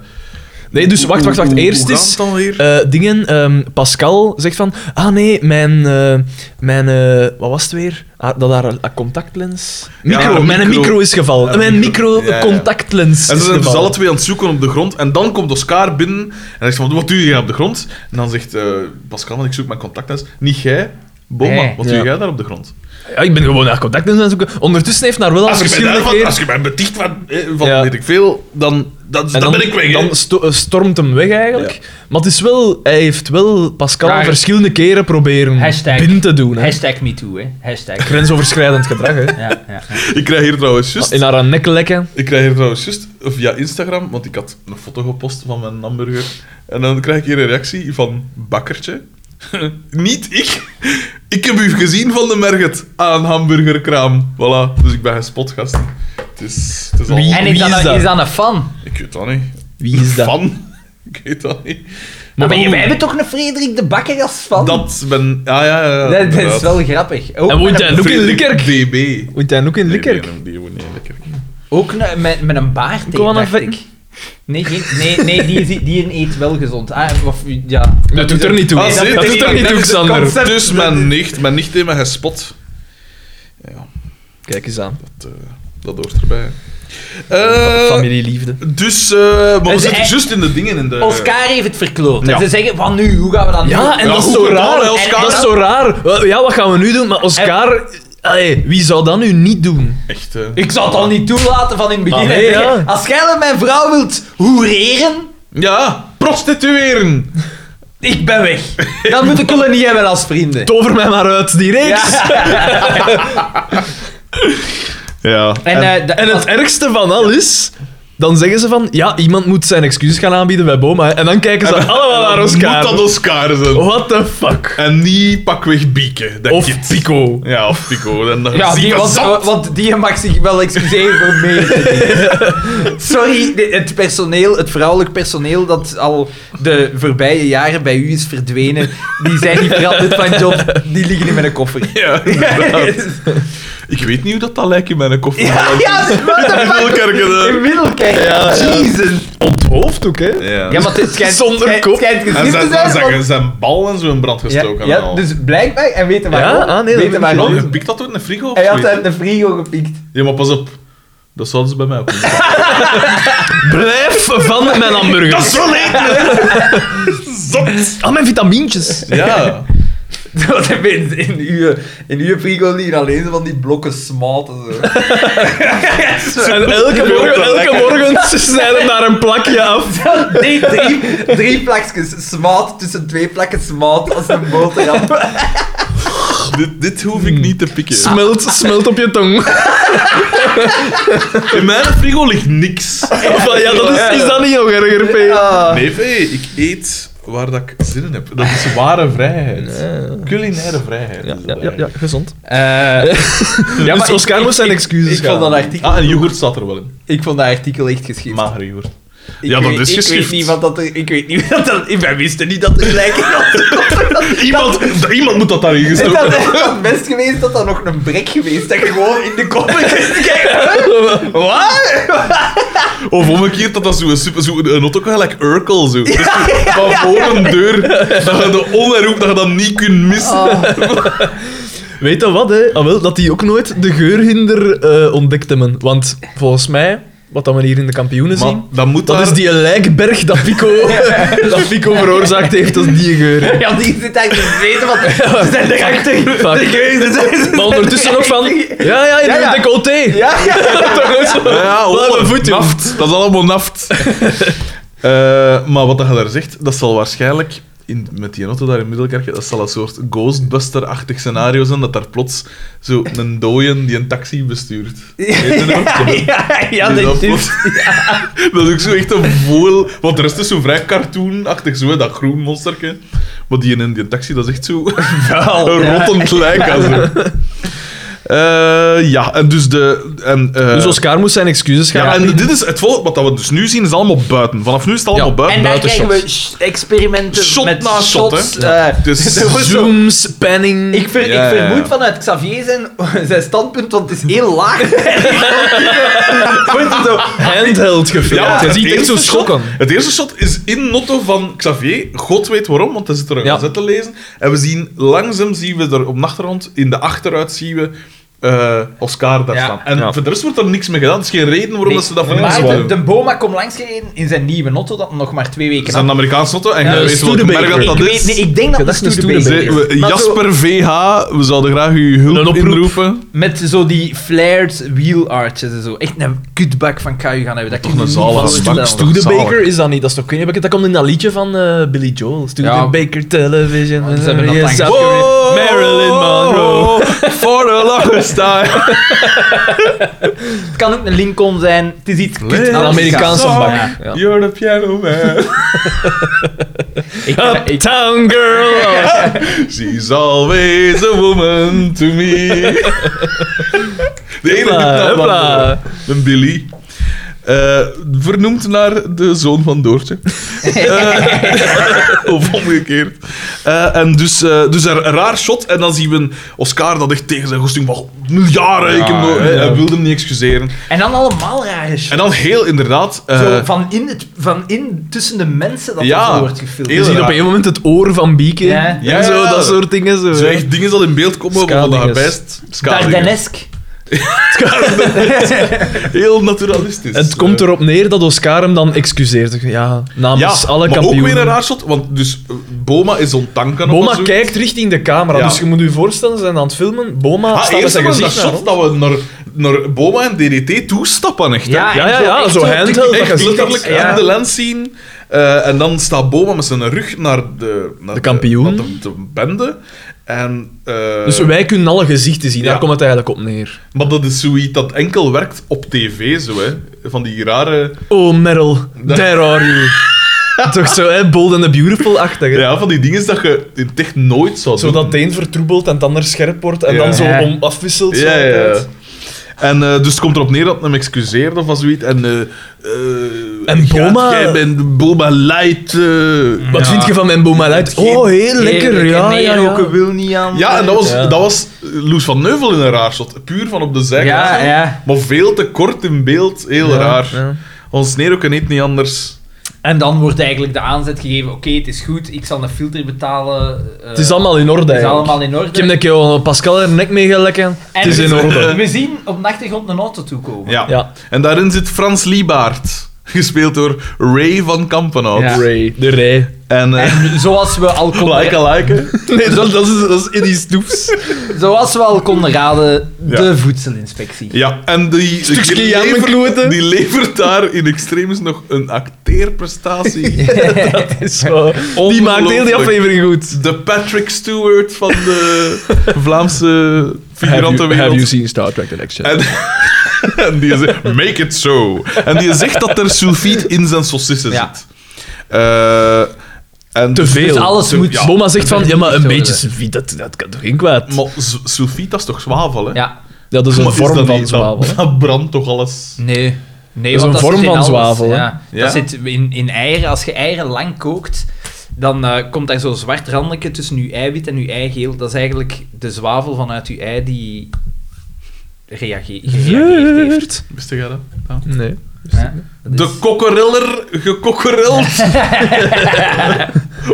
C: Nee, dus wacht, wacht, wacht.
A: hoe- hoe
C: Eerst
A: gaat
C: is
A: het dan weer?
C: eh, dingen. ehm, Pascal zegt van. Ah nee, mijn. eh, mijn eh, wat was het weer? Ah, dat daar een een contactlens.
A: Ja,
C: Micro,
A: een
C: mijn
A: micro.
C: micro is gevallen.
A: Ja,
C: mijn
A: micro.
C: micro
A: Ja, ja.
C: contactlens.
A: En ze
C: is
A: zijn dus
C: gevallen.
A: alle twee aan het zoeken op de grond. En dan komt Oscar binnen en hij zegt van, wat doe je hier op de grond? En dan zegt eh, Pascal, want ik zoek mijn contactlens. Niet jij, Boma,
B: Nee.
A: wat doe
C: Ja.
A: jij daar op de grond?
C: Ja, ik ben gewoon naar contactlens aan het zoeken. Ondertussen heeft naar wel al
A: Als, je mij
C: verschillende
A: daarvan-
C: keer.
A: als je mij beticht van, eh, van
C: Ja.
A: weet ik veel, dan, dan,
C: En
A: dan, ben ik weg. hè.
C: dan sto- eh, stormt hem weg eigenlijk.
A: Ja.
C: Maar het is wel, hij heeft wel Pascal
B: Raar.
C: verschillende keren proberen
B: Hashtag.
C: binnen te doen. Hè.
B: Hashtag MeToo, hè. Hashtag.
C: Grensoverschrijdend gedrag. Hè.
B: Ja, ja, ja.
A: Ik krijg hier trouwens just...
C: In haar nek lekken.
A: Ik krijg hier trouwens just via Instagram, want ik had een foto gepost van mijn hamburger. En dan krijg ik hier een reactie van Bakkertje. Niet ik. Ik heb u gezien van de Merget aan hamburgerkraam. Voilà, dus ik ben gespot, gast. Het is, het is al...
C: Wie?
B: En is dat,
C: is
B: een-
C: dat?
B: is dat een fan?
A: Ik weet dat niet.
C: Wie is dat?
A: Van? Ik weet dat niet.
B: Maar wij,
C: hoe-
B: wij hebben toch een Frederik de Bakker als fan?
A: Dat ben... Ja, ja, ja.
B: Dat- dat is
A: inderdaad.
B: wel grappig. Ook,
C: En woont
B: met,
C: hij
B: een-
C: ook in
A: Frederik
C: Likkerk?
A: DB.
C: Woont hij ook in
A: Nee,
C: Likkerk?
A: nee, die woont niet in Likkerk.
B: ook een- met, met een baard,
C: Kom
B: hè,
C: aan,
B: dacht
C: Vink.
B: ik. Nee, geen- nee, nee die, is- die eet wel gezond. Ah, of, ja.
C: Dat doet er niet toe.
A: Ah,
C: Dat
A: zie,
C: doet
A: zie,
C: er niet
A: dat
C: toe,
A: is het
C: Xander.
A: concept. Dus mijn nicht, mijn nicht heeft me gespot. Ja.
C: Kijk eens aan.
A: Dat, eh, dat hoort erbij. Eh,
C: Familieliefde.
A: dus, eh, maar we
B: Dus
A: zitten
B: hij-
A: juist in de dingen in de...
B: Eh, Oscar heeft het verkloot. En
A: Ja.
B: ze zeggen, van nu, hoe gaan we dat doen?
C: Ja, en
A: Ja,
C: dat is
A: goed
C: zo
A: gedaan,
C: raar.
A: hè, Oscar.
C: Dat is zo raar. Wel, Ja, wat gaan we nu doen? Maar Oscar... Allee, wie zou dat nu niet doen?
A: Echt, eh,
B: Ik zal het al niet toelaten van in het begin.
C: Ah, nee,
B: En zeggen,
C: ja.
B: Als jij met mijn vrouw wilt hoereren,
A: Ja,
C: prostitueren.
B: Ik ben weg. Dat moet ik jullie niet hebben als vrienden.
C: Tover mij maar uit, die reeks.
B: Ja.
A: Ja.
B: En, eh, de-
C: En het ergste van al is... Dan zeggen ze van, ja, iemand moet zijn excuses gaan aanbieden bij Boma. hè. En dan kijken ze allemaal naar Oscar.
A: Moet dat dus- Oscar zijn.
B: Oh.
C: What the fuck?
A: En niet pakweg Bieke, dat
C: Of
A: kind.
C: Pico.
A: Ja, of Pico. Dan dan
B: ja,
A: zie
B: die,
A: ik
B: want,
A: zat.
B: want die mag zich wel excuseren voor mee. Sorry, de- het personeel, het vrouwelijk personeel dat al de voorbije jaren bij u is verdwenen, die zijn niet veranderd van job, die liggen in mijn koffer.
A: Ja, inderdaad. Ik weet niet hoe dat, dat lijkt in mijn koffer.
B: Ja, ja, what the
A: In
B: fuck?
A: Middelkerken, hè.
B: In Middelkerk.
C: Ja, ja.
B: Jezus.
C: Onthoofd ook, hè?
A: Ja.
B: Ja, maar het schijnt,
C: Zonder
B: schijnt-
C: kop.
B: schijnt
A: en
B: gezien
A: zijn,
B: te
A: dan
B: zijn.
A: zijn,
B: want-
A: zijn bal en zo in brand
B: ja,
A: gestoken. en
B: ja,
A: al.
B: dus blijkbaar, en weten
C: Ja?
B: waarom.
C: Ah, nee, dat
B: weten
C: weet ik
A: Oh,
B: waarom.
A: je pikt dat door in de frigo of
B: Hij had
A: zoiets?
B: uit de frigo gepikt.
A: Ja, maar pas op. Dat zouden ze bij mij ook doen.
C: Blijf van mijn hamburger.
A: Dat is wel eten!
C: Al mijn vitamintjes.
A: Ja.
B: Wat heb je in, in, uw, in uw frigo liggen alleen zo van die blokken smaalt en zo.
C: En elke morgen, elke morgen ze snijden daar een plakje af.
B: Nee, drie, drie plakjes smaalt tussen twee plakken smaalt als een boterham.
A: Dit, dit hoef
B: Hmm.
A: ik niet te pikken.
C: Smelt, smelt op je tong.
A: In mijn frigo ligt niks.
C: Van, ja, dat is, is dat niet nog erger, P?
B: Ah.
A: Nee, nee, ik eet waar dat ik zin in heb. Dat is ware vrijheid. Culinaire vrijheid. is dat eigenlijk.
C: gezond.
B: Eh, ja,
C: dus
B: maar
C: Oscar moest zijn excuses
B: ik vond
C: gaan
B: dat artikel,
A: Ah, en yoghurt staat er wel in.
B: ik vond dat artikel echt geschikt.
A: Magere yoghurt.
B: Ik
A: ja, dat
B: weet-
A: is
B: Ik
A: geschikt.
B: weet niet wat dat... er- Ik weet niet wat dat... Ik wij wisten niet dat er gelijk
A: Iemand, iemand moet dat daarin
B: Het
A: gestoken
B: had echt het best geweest dat dat nog een brek geweest. Dat je gewoon in de kop kijkt. Wat?
A: Of omgekeerd, dat dat zo'n super... Zo een auto gelijk Urkel, zo. Dus
B: ja,
A: van voor een deur, dat je de onherroep, dat je dat niet kunt missen.
B: Oh,
C: Weet je wat, hè? Ah, wel, dat die ook nooit de geurhinder eh ontdekte, men. Want volgens mij, wat dat we hier in de kampioenen
A: Maar
C: zien,
A: dat moet
C: dat
A: daar-
C: is die lijkberg dat Pico, dat Pico veroorzaakt heeft, dat is die geur.
B: Ja, die zit eigenlijk te weten wat... Ze zijn erachter.
C: Fuck.
B: De geuzen zijn- ze
C: Maar
B: zijn
C: ondertussen ook van, ja, ja, in
B: Ja,
C: de
B: ja.
C: decolleté.
B: Ja, ja.
A: Ja, ja,
C: Laat
A: hoor,
C: mijn voet doen.
A: naft. Dat is allemaal naft. Eh, maar wat dat je daar zegt, dat zal waarschijnlijk... In, met die auto daar in Middelkerken, dat zal een soort Ghostbuster-achtig scenario zijn, dat daar plots zo een dooien die een taxi bestuurt. Weet je nog?
B: Ja, ja,
A: Die
B: dat
A: dat
B: is...
A: plots- Dat is ook zo echt een voel... Want de rest is zo vrij cartoonachtig, zo, hè, dat groen monsterke. Maar die in die taxi, dat is echt zo...
B: Oh,
A: een rottend lijk. aan zo. Eh, ja, en dus de... En, eh,
C: Dus Oscar moest zijn excuses gaan
A: ja, en
C: aanbieden.
A: dit is het volgende, wat dat we dus nu zien, is allemaal buiten. Vanaf nu is het allemaal
C: Ja.
A: buiten.
B: En dan
C: Buiten
B: krijgen we sh- experimenten
A: Shot
B: met
A: na shot,
B: shots.
A: hè. Ja.
B: eh,
A: Dus
B: er wordt zo-
C: Zooms, panning.
B: Ik, ver,
A: Ja, ja,
B: ik
A: ja.
B: vermoed vanuit Xavier zijn, zijn standpunt, want het is heel laag. Wordt het zo-
C: handheld gefilmd.
A: Ja,
C: je
A: het
C: ziet echt zo
A: eerste
C: schokken.
A: shot- Het eerste shot is in Notto van Xavier. God weet waarom, want hij zit er een
C: Ja.
A: gazet te lezen. En we zien, langzaam zien we er op de achtergrond, in de achteruit zien we eh, Oscar daar
B: Ja.
A: staan. En
C: Ja.
A: voor de rest wordt er niks mee gedaan. Er is geen reden waarom dat ze dat van
B: maar
A: niks
B: de,
A: doen.
B: de Boma komt langsgereden in zijn nieuwe auto dat nog maar twee weken
A: Het is een Amerikaans Notto en
B: Ja,
A: je
B: een
A: weet welke merk dat,
C: Studebaker.
A: dat
B: ik,
A: is.
B: weet, niet, ik denk dat het
C: Ja, dat
B: een
C: is een
B: Studebaker
A: Ze-
B: is.
A: we-
B: Maar zo-
A: Jasper VH, we zouden graag uw hulp
C: Een oproep.
A: inroepen.
B: met zo die flared wheel arches en zo. Echt een kutbak van KU gaan hebben. Dat
A: Toch
B: kun je
A: een
B: niet
A: zalige
B: voorstellen.
A: bak. Stu-
C: Studebaker
A: Zalig.
C: is dat niet, dat is toch kun je bekend- Dat komt in dat liedje van eh, Billy Joel. Studebaker Television.
A: Oh,
B: ze hebben dat
C: Yes,
B: lang-
C: I've
A: Wow,
C: got it. Marilyn Monroe.
A: For the longest time.
B: Het kan ook een Lincoln zijn. Het is iets kut.
A: Een
B: Amerikaans.
C: Amerikaanse
B: Ja.
C: bak.
B: Ja.
C: Ja.
A: You're the piano man.
B: Ik, ik-
C: Uptown Girl.
A: She's always a woman to me. De ene
C: Hopla,
A: doet dat
C: hopla.
A: wel. Een Billy. Eh, vernoemd naar de zoon van Doortje. Eh, of omgekeerd. Eh, en dus, eh, dus een raar shot. En dan zien we een Oscar dat echt tegen zijn goesting van miljarden. ik hem,
B: Ja,
A: nog- hè,
C: ja.
A: Hij wilde hem niet excuseren.
B: en dan allemaal rare shit.
A: En dan heel inderdaad. eh,
B: Zo van in, het, van in tussen de mensen dat
A: Ja.
B: er zo wordt gefilmd. Dus
A: Heel
C: Je ziet op
A: raar.
C: een gegeven moment het oor van Bieke.
B: Ja.
C: En
A: Ja,
C: zo,
A: ja.
C: dat soort dingen. Zo,
A: zo Dus echt dingen zal in beeld komen waarvan dat je
C: Skadinges.
A: best... Skadinges.
B: Dardanesk.
A: Heel naturalistisch.
C: het komt
A: Eh,
C: erop neer dat Oscar hem dan excuseert. Ja, namens alle
A: maar
C: kampioenen.
A: ook weer een raar shot, want dus eh, Boma is ontanken of
C: Boma
A: zo.
C: kijkt richting de camera,
A: Ja.
C: dus je moet je voorstellen, ze zijn aan het filmen. Boma
A: Ah,
C: staat met
A: eerst
C: zijn
A: hebben we dat
C: gezicht naar
A: shot dat we naar naar Boma en DDT toestappen. Echt, hè.
B: Ja,
C: Ja, ja, ja, zo
B: echt zo-
C: handheld.
A: Echt
C: dat-
A: letterlijk
B: Ja.
A: aan de lens zien. Eh, en dan staat Boma met zijn rug naar de... Naar
C: De kampioen.
A: naar De, de bende. En, eh,
C: Dus wij kunnen alle gezichten zien,
A: Ja.
C: daar komt het eigenlijk op neer.
A: Maar dat is zoiets dat enkel werkt op tv, zo, hè. Van die rare...
C: Oh, Meryl, there are you. Toch zo, hè, bold and the beautiful-achtig. hè?
A: Ja, van die dingen dat je in het echt nooit zou doen.
C: Zodat het een vertroebelt en het ander scherp wordt en
A: Ja.
C: dan zo
B: Ja.
C: om afwisselt. zo
A: Ja, ja.
C: altijd.
A: En eh, dus het komt erop neer dat hem excuseerde of zoiets. En, eh, eh,
C: En
A: gaat
C: Boma-
A: Jij bent Boma Light. eh.
C: Wat
B: Ja.
C: vind je van mijn boom uit? Oh, heel lekker, ja, ja, ja.
B: ook wil niet aan. eh,
A: Ja, en dat was,
C: Ja.
A: dat was Loes van Neuvel in een raar shot. Puur van op de
B: Ja,
A: zijkant.
B: ja.
A: Maar veel te kort in beeld. Heel
C: Ja,
A: raar.
C: ja.
A: Ons Neroken eet niet anders.
B: En dan wordt eigenlijk de aanzet gegeven: oké, het is goed, ik zal een filter betalen. eh,
C: Het is allemaal in orde.
B: het is
C: eigenlijk.
B: allemaal in orde.
C: Ik heb een keer al Pascal er nek mee gelekken.
B: En
C: Het is in orde.
B: We zien op de achtergrond een auto toekomen.
A: Ja.
C: Ja.
A: En daarin zit Frans Liebaert. Gespeeld door Ray van Kampenhout.
B: Ja.
C: Ray. De Ray.
A: En eh
B: En zoals we al konden,
A: like a like.
C: Nee, dat, dat, is, dat is in die stoefs.
B: zoals we al konden raden,
A: Ja.
B: de voedselinspectie.
A: Ja, en die,
C: Stukje
A: die,
C: jammerkloten.
A: levert, die levert daar in extremis nog een acteerprestatie.
C: Dat is zo. Die maakt heel die
A: Ongelooflijk.
C: aflevering goed.
A: De Patrick Stewart van de Vlaamse figurantenwereld.
C: seen Star Trek The Next
A: En, en die zegt, make it so. En die zegt dat er sulfiet in zijn saucissen
B: Ja.
A: zit. Eh, en
C: Te veel.
B: Dus alles moet-
C: Ja. Boma zegt van, ja, maar een
B: Zo,
C: beetje
B: ja.
C: sulfiet, dat, dat kan toch geen kwaad?
A: Maar s- sulfiet, dat is toch zwavel, hè?
B: Ja.
C: Ja, dat is
A: Maar
C: een
A: is dat
C: vorm
A: niet-
C: van
A: dat-
C: zwavel. hè.
A: Dat, brandt toch alles?
B: Nee. Nee,
C: Dat is
B: want
C: een vorm
B: zit in
C: van
B: alles.
C: zwavel, hè?
B: Ja.
A: Ja?
B: Dat zit in, in eieren. Als je eieren lang kookt, dan eh, komt daar zo'n zwart randje tussen je eiwit en je eigeel. Dat is eigenlijk de zwavel vanuit je ei die reage- gereageerd heeft.
C: Weird.
A: Wist jij dat?
C: Nee.
B: Ja, dat is-
A: De kokkeriller gekokkereld.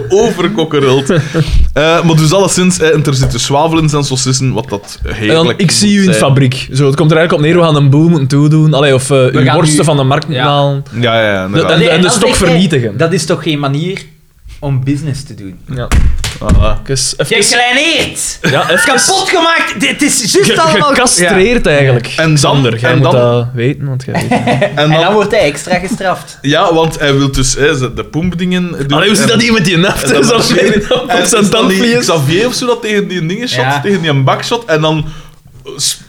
A: Overkokkereld. Eh, maar dus alleszins, eh, en er zitten zwavel in zijn saucissen, wat dat
C: En
A: heerlijk
C: dan, Eh, ik zie u in
A: moet
C: de
A: zijn.
C: fabriek. Zo, het komt er eigenlijk op neer, we gaan een boel moeten toedoen. Allee, of eh, uw
B: gaan
C: worsten
B: nu-
C: van de markt
B: Ja.
C: moeten halen.
A: Ja, ja, ja. inderdaad.
C: en de- en de
B: dan
C: stok
B: zeg jij,
C: vernietigen.
B: Dat is toch geen manier om business te doen?
C: Ja.
A: Voilà.
C: Kus,
B: Je
C: even,
B: kleineert!
C: ja, even
B: Kapot gemaakt! Dit is juist allemaal...
C: gecastreerd eigenlijk.
A: En dan-
C: Sander, jij
A: en
C: moet
A: dan-
C: dat weten, want jij weet het.
A: En
B: En dan
A: dan,
B: wordt hij extra gestraft.
A: ja, want hij wil dus hè, ze- de pompdingen doen.
C: Allee, hoe zit
A: En-
C: dat hier met die
A: en
C: naft?
A: dan
C: Is dat
A: marcheren.
C: mijn naft
A: En
C: op zijn
A: is dan die
C: tandvlies?
A: Xavier of zo dat tegen die dingen shot,
B: Ja.
A: tegen die bak shot, en dan... eh, sp-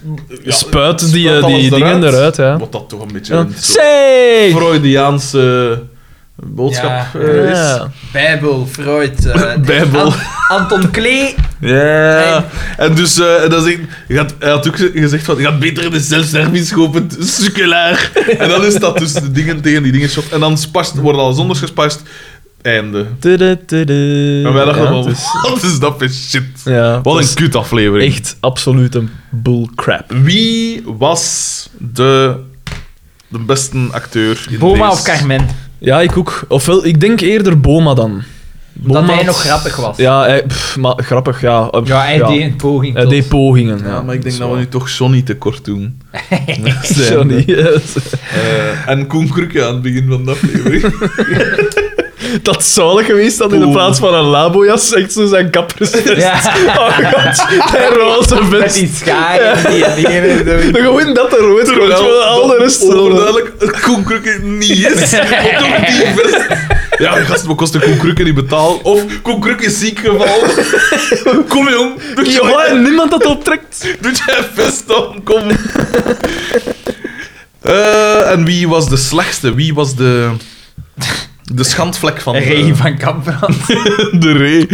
A: ja,
C: Spuit die, eh,
A: alles
C: die dingen eruit, ja.
A: Wat dat toch een beetje
C: Ja.
A: een soort
C: Say!
A: Freudiaanse boodschap
B: Ja.
A: eh, is.
C: Ja.
B: Bijbel, Freud... eh,
A: Bijbel.
B: An- Anton Klee...
A: Ja. En dus, eh, en dan zegt, je had, hij had ook ze- gezegd van, je had beter in de zelfservice kopen, sukkelaar. En dan is dat dus de dingen tegen die dingen shot. En dan spast, worden alles anders gespast. Einde.
C: Tudu, tudu.
A: En wij dachten
C: Ja,
A: van,
C: het is-
A: wat is dat voor shit? Dus
C: Ja,
A: Wat
C: het
A: een
C: is
A: kut aflevering.
C: Echt absoluut een bull crap.
A: Wie was de, de beste acteur in
B: Boma
A: deze?
B: of Carmen?
C: Ja, ik ook. Ofwel, ik denk eerder Boma dan.
B: Dat
C: Boma
B: hij
C: had-
B: nog grappig was.
C: Ja, hij- pff, maar grappig, ja.
B: Ja, hij deed een poging
C: Hij
B: tot.
C: deed pogingen. Ja,
A: Ja, maar ik denk dat we nu
C: niet.
A: toch Johnny tekort doen.
C: Johnny.
A: Eh, en Koen Krukke aan het begin van de aflevering.
C: Dat is zalig geweest dat in de
A: Oeh.
C: plaats van een labojas echt zo zijn kappers.
B: Ja.
C: Oh god, die roze
B: Met
C: vest.
B: die sky en die dingen. doen.
C: Dan Gewoon dat er rood wordt,
A: Terwijl
C: terwijl al de
A: dat
C: rest rood.
A: Overduidelijk, Koen Krukke niet is. Maar toch die vest. Ja, gast, maar kost de Koen Krukke niet betaald. Of Koen Krukke is ziek gevallen. Kom jong, doe
C: Ja,
A: jij,
C: en niemand dat optrekt.
A: doe jij vest aan, kom. Eh, en wie was de slechtste? Wie was de... De schandvlek van... de-
B: Ray van Kamprand.
A: De Ray.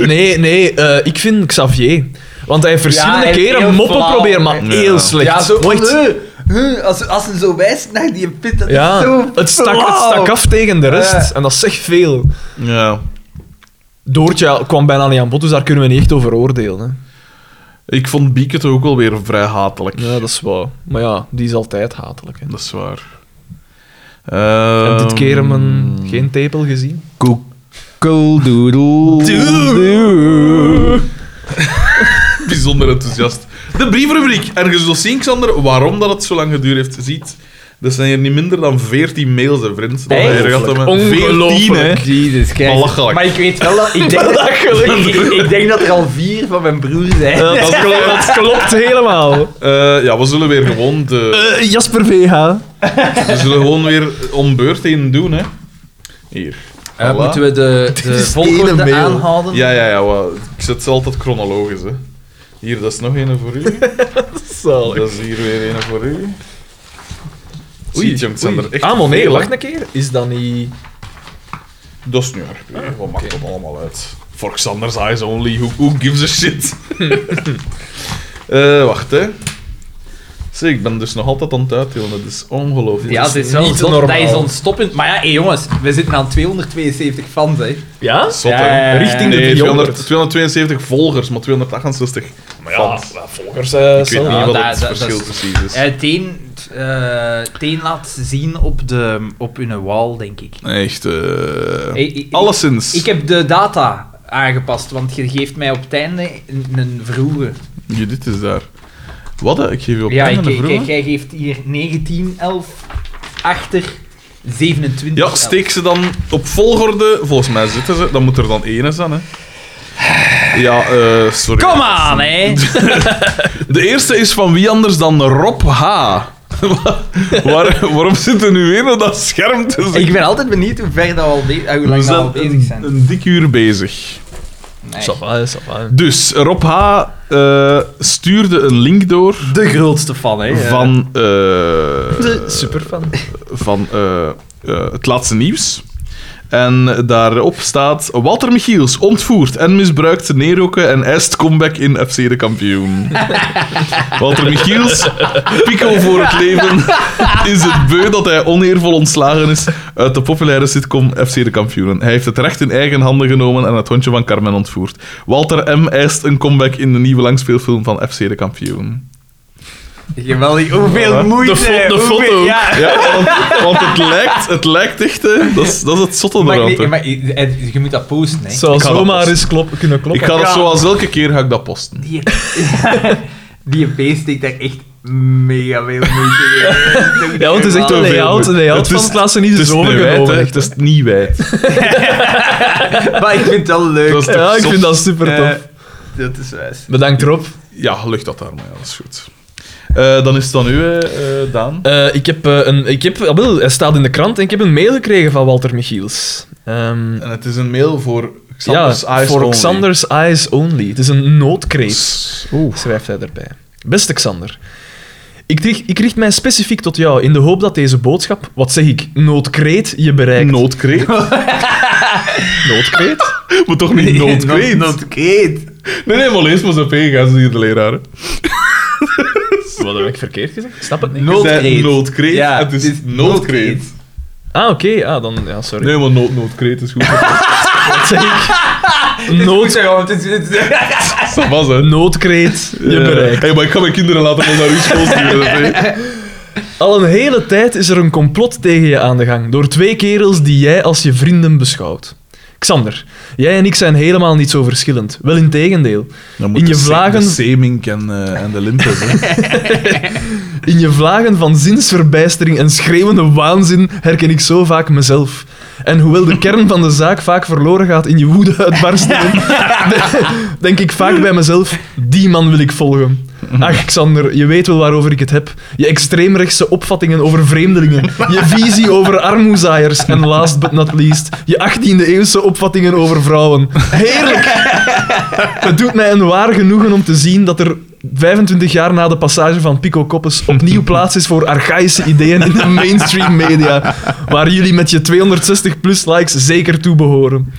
C: Eh, nee, nee, eh, ik vind Xavier. Want hij heeft verschillende
B: hij heeft heel
C: keren moppen
B: flauw.
C: probeert, maar
A: Ja.
C: heel slecht.
B: Ja, zo.
C: Ooit.
B: eh, eh, Als, als ze zo wijst naar die pit, dat is
C: Ja,
B: zo.
C: het stak, het stak af tegen de rest.
B: Ja.
C: En dat zegt veel.
A: Ja.
C: Doortje ja, kwam bijna niet aan bod, dus daar kunnen we niet echt over oordelen. Hè.
A: Ik vond Bieke toch ook wel weer vrij hatelijk.
C: Ja, dat is waar. Maar ja, die is altijd hatelijk. Hè.
A: Dat is waar. Uh,
C: En dit keer hebben we geen tepel gezien.
A: Ehm, Bijzonder enthousiast. De briefrubriek. En je zult zien, Xander, waarom dat het zo lang geduurd heeft. Ziet Dat zijn er niet minder dan 14 mails, hè, vriends. Dat
B: Eigenlijk.
A: hij gaat dat met-
C: Ongelooflijk.
A: 14, hè.
B: Jezus, kijk.
A: Belachelijk.
B: Maar ik weet wel dat... Ik denk, dat,
C: Belachelijk.
B: ik, ik denk dat er al vier van mijn broers zijn.
C: Ja, dat, klopt, dat klopt helemaal.
A: Eh, ja, we zullen weer gewoon de,
C: Eh, Jasper VH.
A: we zullen gewoon weer om beurt heen doen, hè. Hier.
B: Eh,
A: Voilà.
B: moeten we de, de
C: is
B: volgorde
C: één mail.
B: aanhouden?
A: Ja, ja, ja. wa- Ik zet ze altijd chronologisch, hè. Hier, dat is nog een voor u.
C: Zalig.
A: Dat is hier weer een voor u. Oei,
C: Oei,
A: Ziet, jongens, zijn er echt
C: Ah, maar nee,
A: veel, hè.
C: wacht een keer. Is dat niet...
A: Dat is nu erg. hè.
B: Ah,
A: Wat maakt dat allemaal uit? For Xander's eyes only, who, who gives a shit? Eh, wacht, hè. Zie, ik ben dus nog altijd aan het uitdelen. Dat is ongelooflijk.
B: Ja,
A: Dat
B: dat
A: is
B: is wel
C: niet
B: zot,
C: normaal.
B: Dat is ons toppunt. Maar ja, hé, jongens, we zitten aan 272 fans, hè.
C: Ja?
A: zot, hè.
B: Ja, ja, ja.
C: Richting de
A: Nee,
C: 300.
A: 272 volgers, maar 268
C: Maar ja,
A: fans.
C: volgers... eh,
A: Ik weet
C: zelf.
A: niet wat
B: dat-
A: het
B: dat-
A: verschil
B: dat
A: precies is.
B: Eh, Teen, eh, Teen laat zien op, de, op hun wall, denk ik.
A: Echt, eh...
B: Hey, ik-
A: alleszins.
B: Ik heb de data aangepast, want je geeft mij op het einde een, een vroege.
A: Judith is daar. Wat? hè? Ik geef je op
B: Ja,
A: ja,
B: ik,
A: een
B: kijk,
A: vroeg.
B: jij geeft hier 19, 11, achter, 27.
A: Ja,
B: elf.
A: steek ze dan op volgorde. Volgens mij zitten ze. Dan moet er dan één zijn, hè. Ja, eh, sorry.
B: Kom aan, hè.
A: De eerste is van wie anders dan Rob H. Waar, waarom zit er nu weer op dat scherm te zien?
B: ik ben altijd benieuwd hoe ver dat we al, be- eh, hoe
A: We
B: lang dat we
A: zijn
B: al bezig
A: een,
B: zijn.
A: een dik uur bezig.
B: Nee.
C: Ça va, hè, ça va, hè.
A: Dus, Rob H. eh, stuurde een link door
B: De grootste fan, hè. eh.
A: van... eh,
C: De superfan.
A: van eh, eh, het laatste nieuws. En daarop staat Walter Michiels ontvoerd en misbruikt neerrokken en eist comeback in FC de kampioen. Walter Michiels, pico voor het leven, is het beu dat hij oneervol ontslagen is uit de populaire sitcom FC de kampioenen. Hij heeft het recht in eigen handen genomen en het hondje van Carmen ontvoerd. Walter M. eist een comeback in de nieuwe langspeelfilm van FC de kampioen.
B: Geweldig. Hoeveel
A: Voilà.
B: moeite.
C: De fo- de
B: hoeveel-
C: foto.
B: Ja.
A: Ja, want, want het, lijkt, het lijkt echt, hè. Dat is, dat is het zotte
B: Maar,
A: eraan,
B: nee,
A: toch?
B: maar je, eh, je moet dat posten, hè.
C: Zou
A: Ik ga dat
C: zomaar
A: posten.
C: eens klop, kunnen kloppen.
A: Ik ga dat
B: Ja.
A: zoals elke keer ga ik dat posten.
B: Die, die beest steekt daar echt mega veel moeite in.
C: Ja, want het is echt een
A: Te veel
C: layout,
A: moeite.
C: de layout
A: Het
C: van
A: is-
C: het laatste nieuws
A: het
C: is
A: is niet wijd,
C: overgenomen.
A: hè.
C: echt.
A: Het is niet wijd.
B: Maar ik vind het wel leuk.
A: Dat is toch
C: Ja, ik
A: zot?
C: vind dat super tof.
A: Eh,
B: Dat is wijs.
C: Bedankt Rob.
A: Ja, lucht dat daar maar, ja, dat is goed. Eh, dan is het dan u, eh, eh, Daan.
C: Eh, ik heb eh, een... Ik heb, ah, wel, hij staat in de krant en ik heb een mail gekregen van Walter Michiels. Ehm,
A: En het is een mail voor Xander's
C: ja,
A: Eyes
C: voor
A: Only.
C: Xander's Eyes Only. Het is een noodkreet.
A: Oeh.
C: schrijft hij erbij. Beste Xander, ik, richt- ik richt mij specifiek tot jou in de hoop dat deze boodschap, wat zeg ik, noodkreet je bereikt.
A: Noodkreet?
C: noodkreet?
A: maar toch niet noodkreet?
B: Noodkreet.
A: Nee, nee, maar lees maar eens op heen, gaan ze hier de leraar. hè.
C: wat heb ik verkeerd gezegd? Ik snap het niet.
A: Ik zei
B: Noodkreet.
A: Noodkreet,
B: Ja,
A: het is
B: het is
A: noodkreet.
C: Ah, oké. Ah, dan, ja, sorry.
A: Nee, maar nood, noodkreet is goed. Eh,
C: Wat zeg ik?
B: Nood.
C: Nood,
A: Dat was, hè.
C: noodkreet je
A: Eh,
C: bereikt.
A: hey, maar ik ga mijn kinderen later wel naar uw school sturen. hè.
C: Al een hele tijd is er een complot tegen je aan de gang door twee kerels die jij als je vrienden beschouwt. Xander, jij en ik zijn helemaal niet zo verschillend. Wel in tegendeel.
A: Dan
C: In
A: de
C: je
A: se-
C: vlagen-
A: De Semink en, eh, en de Limpes. hè.
C: In je vlagen van zinsverbijstering en schreeuwende waanzin herken ik zo vaak mezelf. En hoewel de kern van de zaak vaak verloren gaat in je woede uitbarstingen, de- denk ik vaak bij mezelf, die man wil ik volgen. Ach, Xander, je weet wel waarover ik het heb. Je extreemrechtse opvattingen over vreemdelingen. Je visie over armoezaaiers. En last but not least, je 18e-eeuwse opvattingen over vrouwen. Heerlijk! Het doet mij een waar genoegen om te zien dat er 25 jaar na de passage van Pico Koppes opnieuw plaats is voor archaïsche ideeën in de mainstream media, waar jullie met je 260 plus likes zeker toe behoren.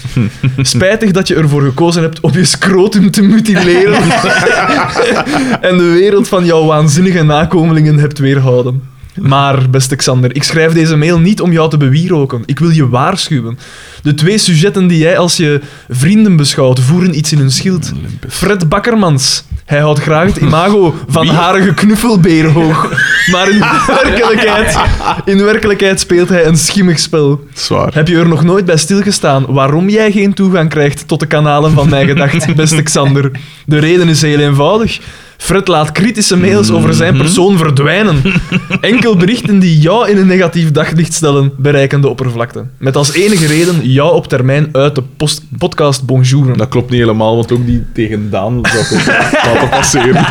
C: Spijtig dat je ervoor gekozen hebt om je scrotum te mutileren en de wereld van jouw waanzinnige nakomelingen hebt weerhouden. Maar, beste Xander, ik schrijf deze mail niet om jou te bewieroken. Ik wil je waarschuwen. De twee sujetten die jij als je vrienden beschouwt, voeren iets in hun schild. Fred Bakkermans. Hij houdt graag het imago van harige knuffelbeer hoog. Maar in werkelijkheid, in werkelijkheid speelt hij een schimmig spel.
A: Zwaar.
C: Heb je er nog nooit bij stilgestaan waarom jij geen toegang krijgt tot de kanalen van Mijn Gedacht, beste Xander? De reden is heel eenvoudig. Fred laat kritische mails over
A: Mhm.
C: zijn persoon verdwijnen. Enkel berichten die jou in een negatief daglicht stellen, bereiken de oppervlakte. Met als enige reden jou op termijn uit de post- podcast bonjouren.
A: Dat klopt niet helemaal, want ook die tegen Daan zou ik ook laten passeren.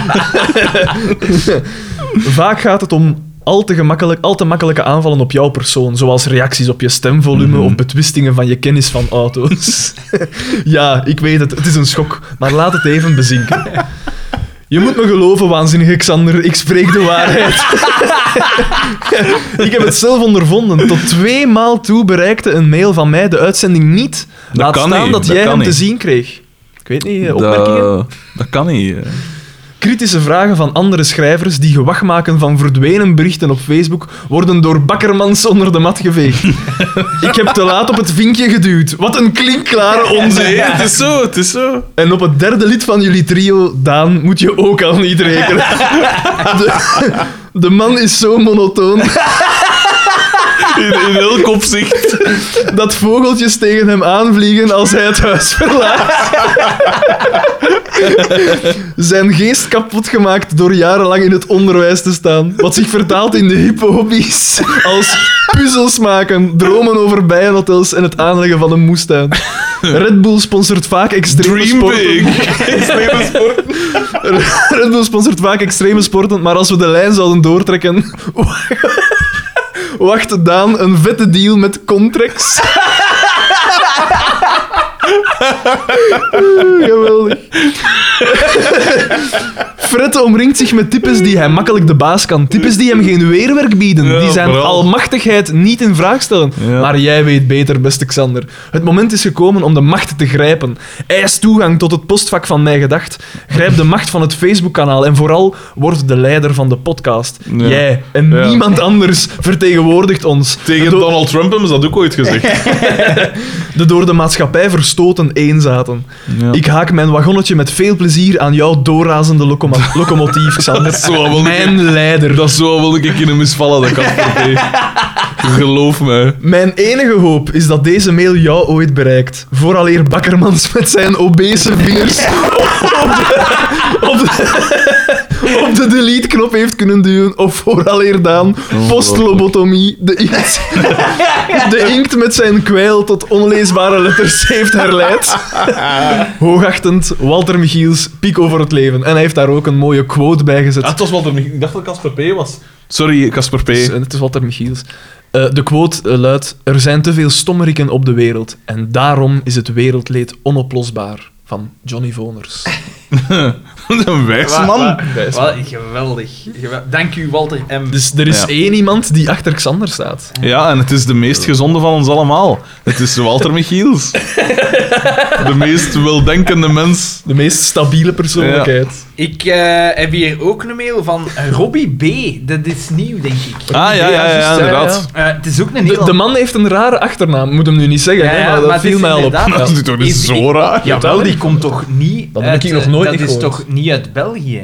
C: Vaak gaat het om al te, gemakkelijk, al te makkelijke aanvallen op jouw persoon, zoals reacties op je stemvolume
A: Mhm.
C: of betwistingen van je kennis van auto's. ja, ik weet het, het is een schok, maar laat het even bezinken. Je moet me geloven, waanzinnige Xander, ik spreek de waarheid. ik heb het zelf ondervonden. Tot twee maal toe bereikte een mail van mij de uitzending niet.
A: Dat
C: laat
A: kan
C: staan
A: niet,
C: dat
A: dat
C: jij
A: kan
C: hem te
A: niet.
C: zien kreeg. Ik weet niet, eh, opmerkingen?
A: Dat, dat kan niet. eh.
C: Kritische vragen van andere schrijvers die gewag maken van verdwenen berichten op Facebook worden door bakkermans onder de mat geveegd. Ik heb te laat op het vinkje geduwd. Wat een klinkklare
A: Oh, Nee,
C: onzin.
A: het is zo, het is zo.
C: En op het derde lid van jullie trio, Daan, moet je ook al niet rekenen. De, de man is zo monotoon
A: In, in elk opzicht.
C: dat vogeltjes tegen hem aanvliegen als hij het huis verlaat. Zijn geest kapot gemaakt door jarenlang in het onderwijs te staan. Wat zich vertaalt in de hippe hobby's als puzzels maken, dromen over bijenhotels en het aanleggen van een moestuin. Red Bull sponsort vaak extreme
A: Dream
C: sporten.
A: big. Extreme sport.
C: Red Bull sponsort vaak extreme sporten, maar als we de lijn zouden doortrekken... Wacht Daan, een vette deal met Contrex. Oeh, Geweldig. Fred omringt zich met types die hij makkelijk de baas kan. Types die hem geen weerwerk bieden.
A: Ja,
C: die zijn
A: vooral.
C: almachtigheid niet in vraag stellen.
A: Ja.
C: Maar jij weet beter, beste Xander. Het moment is gekomen om de macht te grijpen. Eis toegang tot het postvak van Mij Gedacht. Grijp de macht van het Facebookkanaal. En vooral, word de leider van de podcast.
A: Ja.
C: Jij en
A: Ja.
C: niemand anders vertegenwoordigt ons.
A: Tegen
C: De-
A: Donald Trump hebben ze dat ook ooit gezegd.
C: de door de maatschappij verstoten eenzaten.
A: Ja.
C: Ik haak mijn wagonnetje met veel plezier aan jouw doorrazende locomo- locomotief, Xander.
A: Zo wel een keer-
C: Mijn leider.
A: Dat zo wil ik in hem misvallen, dat kan niet. Geloof me.
C: Mijn enige hoop is dat deze mail jou ooit bereikt. Vooraleer Bakkermans met zijn obese vingers op de, op de, op de delete-knop heeft kunnen duwen. Of vooraleer Daan, postlobotomie, de inkt, de inkt met zijn kwijl tot onleesbare letters heeft herleid. Hoogachtend, Walter Michiels, pico voor het leven. En hij heeft daar ook een mooie quote bij gezet.
A: het was wat er, ik dacht dat Casper P was. Sorry, Casper P.
C: Dus, eh, Het is Walter Michiels. Eh, de quote eh, luidt: Er zijn te veel stommeriken op de wereld. En daarom is het wereldleed onoplosbaar. Van Johnny Voners.
A: Een eh, wijs
B: Wa-
A: man.
B: wa- wa- geweldig. Gewel- Dank u, Walter M.
C: Dus er is
A: Ja.
C: één iemand die achter Xander staat.
A: Ja, en het is de meest gezonde van ons allemaal. Het is Walter Michiels. De meest weldenkende mens.
C: De meest stabiele persoonlijkheid.
B: Ik eh, heb hier ook een mail van Robbie B. Dat is nieuw, denk ik.
A: Ah, ja, ja, ja,
C: juist,
A: inderdaad.
B: Eh, het is ook een
C: De,
B: Nederlander.
C: de man heeft een rare achternaam, moet hem nu niet zeggen,
B: Ja,
C: hè,
B: ja,
C: maar dat
B: maar het
C: viel
B: is
C: mij al op.
B: inderdaad-
C: Ja.
A: Dat is toch niet
B: Is-
A: zo raar?
B: Jawel, die komt toch niet
C: Dat heb
B: uit, eh,
C: ik nog nooit
B: Dat
C: niet
B: is
C: gehoord.
B: toch niet uit België?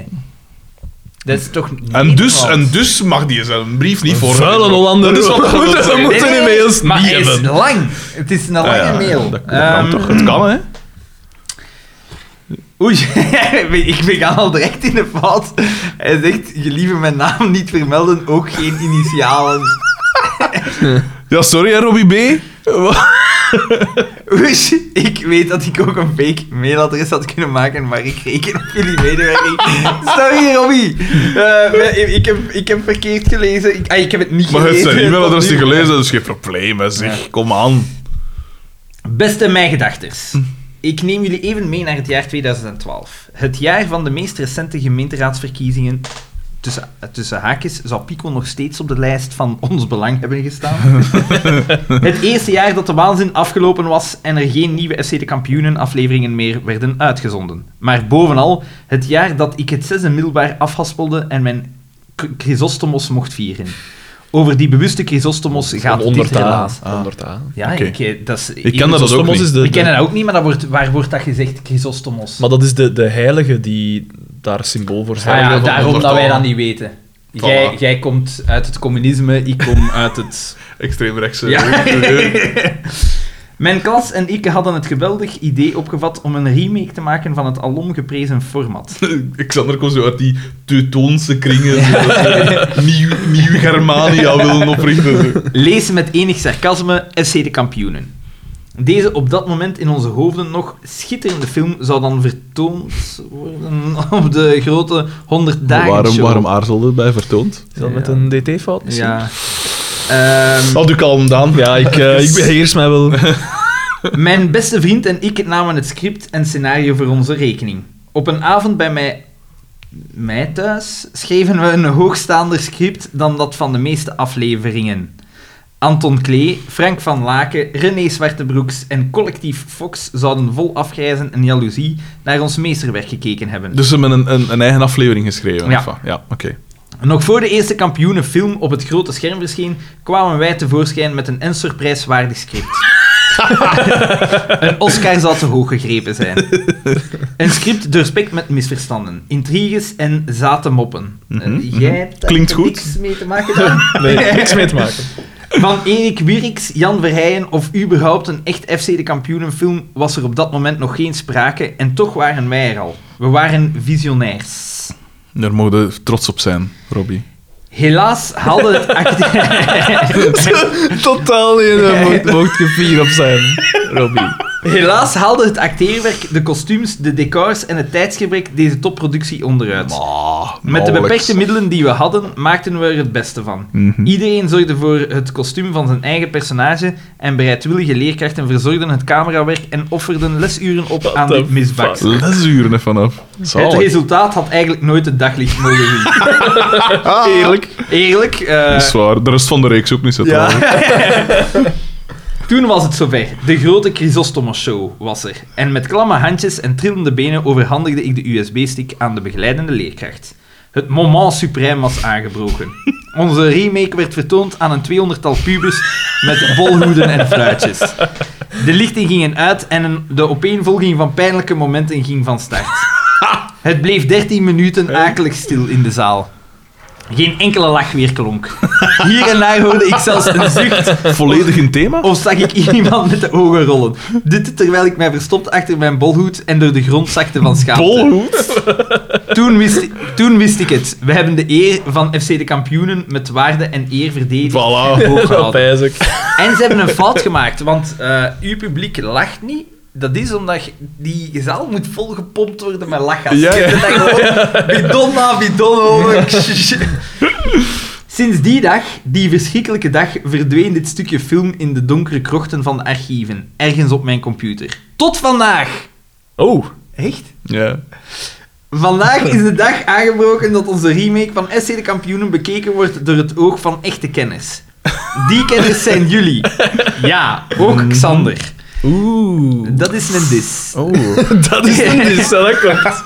B: Dat is toch
A: En dus,
B: Nederlands?
A: en dus mag die zijn brief niet voor.
C: Vuile Hollander.
A: dus- Dat is wat
C: we
A: ik wil
C: moeten, we
A: zeggen.
C: moeten die mails
B: maar
C: niet
B: hij is
C: hebben.
B: lang. Het is een lange
A: Ah, ja,
B: mail.
A: Dat, dat kan
B: Ehm,
A: toch? Het kan, hè?
B: Oei, ik ben al direct in de fout. Hij zegt, gelieve mijn naam niet vermelden, ook geen initialen.
A: Ja, sorry, hè, Robbie B.
B: Oei, Dus ik weet dat ik ook een fake mailadres had kunnen maken, maar ik reken op jullie medewerking. Sorry, Robbie. Eh, ik- ik, heb, ik heb verkeerd gelezen. Ik, ah, ik heb het niet
A: Maar
B: gelezen.
A: het zijn e-mailadres
B: tot nu.
A: niet gelezen, dus geen probleem, hè, zeg. Kom aan.
B: Beste
A: Hm.
B: mijgedachters. Ik neem jullie even mee naar het jaar 2012. Het jaar van de meest recente gemeenteraadsverkiezingen. Tussen, tussen haakjes zou Pico nog steeds op de lijst van ons belang hebben gestaan. het eerste jaar dat de waanzin afgelopen was en er geen nieuwe FC de Kampioenen afleveringen meer werden uitgezonden. Maar bovenal, het jaar dat ik het zesde middelbaar afhaspelde en mijn Chr- Chrysostomos mocht vieren. Over die bewuste Chrysostomos gaat dit helaas.
C: Ah. Ondertaan.
B: Ja,
A: Oké.
B: ik, eh, dat is,
A: Ik ken dat ook
C: Chrysostomos
A: niet.
C: Dus is de-
B: we kennen dat ook niet, maar dat wordt, waar wordt dat gezegd? Chrysostomos.
C: Maar dat is de, de heilige die daar symbool voor
B: Ah
C: staat.
A: van
B: ja, daarom dat wij
A: Ondertaal.
B: dat niet weten. Jij,
A: Voilà.
B: jij komt uit eh, het communisme, ik kom uit het...
A: Extreemrechtse.
B: Ja. Mijn klas en ik hadden het geweldig idee opgevat om een remake te maken van het alom geprezen format.
A: Xander komt zo uit die Teutoonse kringen. zo, nieuw, nieuw Germania willen oprichten. zo.
B: Lees met enig sarcasme SC de Kampioenen. Deze op dat moment in onze hoofden nog schitterende film zou dan vertoond worden op de grote 100 dagen
A: Waarom,
B: show.
A: waarom aarzelde het bij vertoond?
C: Is dat
B: Ja.
C: met een DT-fout misschien?
B: Ja. Ehm,
A: Had u kalm dan?
C: Ja, ik, eh
A: Dus-
C: ik beheers mij wel.
B: Mijn beste vriend en ik namen het script en scenario voor onze rekening. Op een avond bij mij, mij thuis schreven we een hoogstaander script dan dat van de meeste afleveringen. Anton Klee, Frank van Laken, René Zwartebroeks en collectief Fox zouden vol afgrijzen en jaloezie naar ons meesterwerk gekeken hebben.
A: Dus ze hebben een, een, een eigen aflevering geschreven.
B: Ja.
A: enfin. ja oké.
B: Nog voor de eerste kampioenenfilm op het grote scherm verscheen, kwamen wij tevoorschijn met een Ensorprijswaardig script. een Oscar zou te hoog gegrepen zijn. Een script doorspekt met misverstanden, intriges en zate moppen. Eh,
A: Mhm,
B: Jij hebt daar
A: Klinkt goed.
B: niks mee te maken dan?
C: Nee, niks mee te maken.
B: Van Erik Wierks, Jan Verheyen of überhaupt een echt FC de kampioenenfilm was er op dat moment nog geen sprake en toch waren wij er al. We waren visionairs.
A: Daar mogen we trots op zijn, Robbie.
B: Helaas haalde het acte-
C: Totaal niet. Daar mocht, mocht je fier op zijn, Robbie.
B: Helaas haalde het acteerwerk, de kostuums, de decors en het tijdsgebrek deze topproductie onderuit. Met de beperkte middelen die we hadden, maakten we er het beste van.
A: Mhm.
B: Iedereen zorgde voor het kostuum van zijn eigen personage en bereidwillige leerkrachten verzorgden het camerawerk en offerden lesuren op aan
C: the
B: dit misbak.
C: fuck?
A: Lesuren ervan af.
B: Het
A: Zalig.
B: resultaat had eigenlijk nooit het daglicht mogen zien.
C: Eerlijk.
B: Eerlijk, eh,
A: Dat Ah. is waar. De rest van de reeks ook niet zo trouwens.
B: Toen was het zover. De grote Chrysostomos Show was er. En met klamme handjes en trillende benen overhandigde ik de USB-stick aan de begeleidende leerkracht. Het moment suprême was aangebroken. Onze remake werd vertoond aan een tweehonderdtal pubers met bolhoeden en fluitjes. De lichten gingen uit en een- de opeenvolging van pijnlijke momenten ging van start. Het bleef 13 minuten akelig stil in de zaal. Geen enkele lach weer klonk. Hier en daar hoorde ik zelfs een zucht
A: Volledig een thema?
B: of zag ik iemand met de ogen rollen? Dit terwijl ik mij verstopte achter mijn bolhoed en door de grond zakte van schaamte. Toen wist, toen wist ik het. We hebben de eer van FC de kampioenen met waarde en eer verdedigd.
A: Voilà.
B: Hoog
C: Op
B: gehouden.
C: ijzek.
B: En ze hebben een fout gemaakt, want eh, uw publiek lacht niet. Dat is omdat je- die zaal moet volgepompt worden met lachgas.
A: Ja,
B: Je
A: ja.
B: hebt dat gewoon bidon na bidon over. Sinds die dag, die verschrikkelijke dag, verdween dit stukje film in de donkere krochten van de archieven. Ergens op mijn computer. Tot vandaag!
C: Oh.
B: Echt?
A: Ja.
B: Vandaag is de dag aangebroken dat onze remake van SC de Kampioenen bekeken wordt door het oog van echte kenners. Die kenners zijn jullie. Ja, ook Xander.
C: Oeh.
B: Dat is een dis.
A: Oh.
C: Dat is een dus, dat klopt.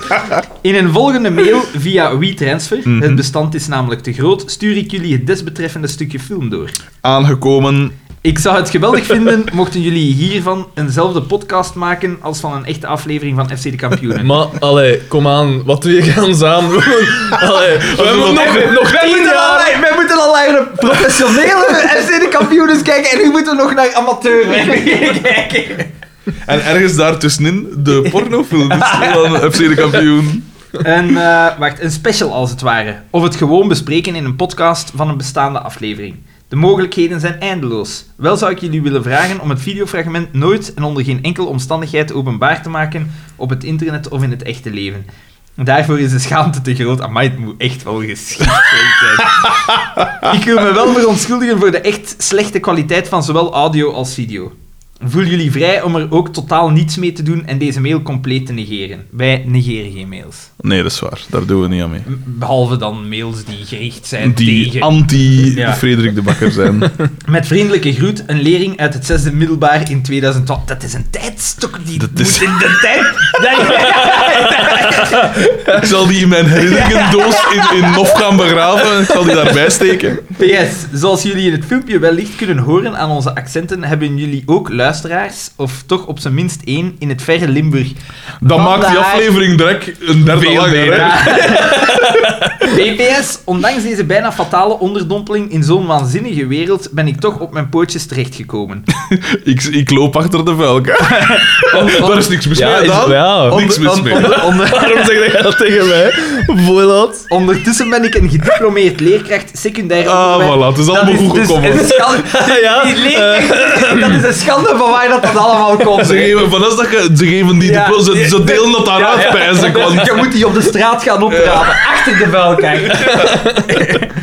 B: In een volgende mail via WeTransfer, het bestand is namelijk te groot, stuur ik jullie het desbetreffende stukje film door.
A: Aangekomen.
B: Ik zou het geweldig vinden mochten jullie hiervan eenzelfde podcast maken als van een echte aflevering van FC de Kampioenen.
C: Maar, allee, kom aan. Wat doe je ons aan? Allee, we hebben nog, nog tien jaar.
B: Wij moeten al naar de professionele FC de kampioenen kijken en nu moeten we nog naar amateuren kijken.
A: En ergens daartussenin de pornofilm van FC de kampioen.
B: Een, eh, wacht, een special als het ware. Of het gewoon bespreken in een podcast van een bestaande aflevering. De mogelijkheden zijn eindeloos. Wel zou ik jullie willen vragen om het videofragment nooit en onder geen enkele omstandigheid openbaar te maken op het internet of in het echte leven. Daarvoor is de schaamte te groot. Amai, het moet echt wel geschikt zijn. Ik wil me wel verontschuldigen voor de echt slechte kwaliteit van zowel audio als video. Voel jullie vrij om er ook totaal niets mee te doen en deze mail compleet te negeren. Wij negeren geen mails.
A: Nee, dat is waar. Daar doen we niet aan mee.
B: M- Behalve dan mails die gericht zijn
A: Die
B: tegen... Ja.
A: anti-Frederik de Bakker zijn.
B: Met vriendelijke groet, een lering uit het zesde middelbaar in 2012. Dat is een tijdstok die
A: Dat
B: moet
A: is-
B: in de tijd...
A: Ik zal die in mijn herinneringendoos in, in Nof gaan begraven. Ik zal die daarbij steken.
B: PS, zoals jullie in het filmpje wellicht kunnen horen aan onze accenten, hebben jullie ook luisteraars, of toch op zijn minst één, in het verre Limburg.
A: Dan maakt die
B: Vandaag
A: aflevering direct een derde
B: veel
A: langer.
B: meer,
A: hè.
B: ja. PPS, ondanks deze bijna fatale onderdompeling in zo'n waanzinnige wereld, ben ik toch op mijn pootjes terechtgekomen.
A: Ik, ik loop achter de velk. Oh, Daar is niks mis mee
C: Ja, is-
A: gedaan.
C: ja.
A: Niks mis mee.
B: onder- onder-
C: Waarom zeg jij dat tegen mij? Voorlaat.
B: ondertussen ben ik een gediplomeerd leerkracht secundair
A: Ah,
B: onderwijs.
A: voilà. Het is allemaal goed
B: dus
A: gekomen.
B: een schande,
C: Ja,
B: die
C: eh,
B: leerkracht, dat is een schande van waar dat, dat allemaal komt.
A: Ze
B: hè.
A: geven, van als dat je, ze geven die
B: Ja.
A: de, ze, ze delen dat daaruit,
B: Ja, ja.
A: pijs ik, want-
B: Je moet die op de straat gaan oprapen, achter de vuilkijker.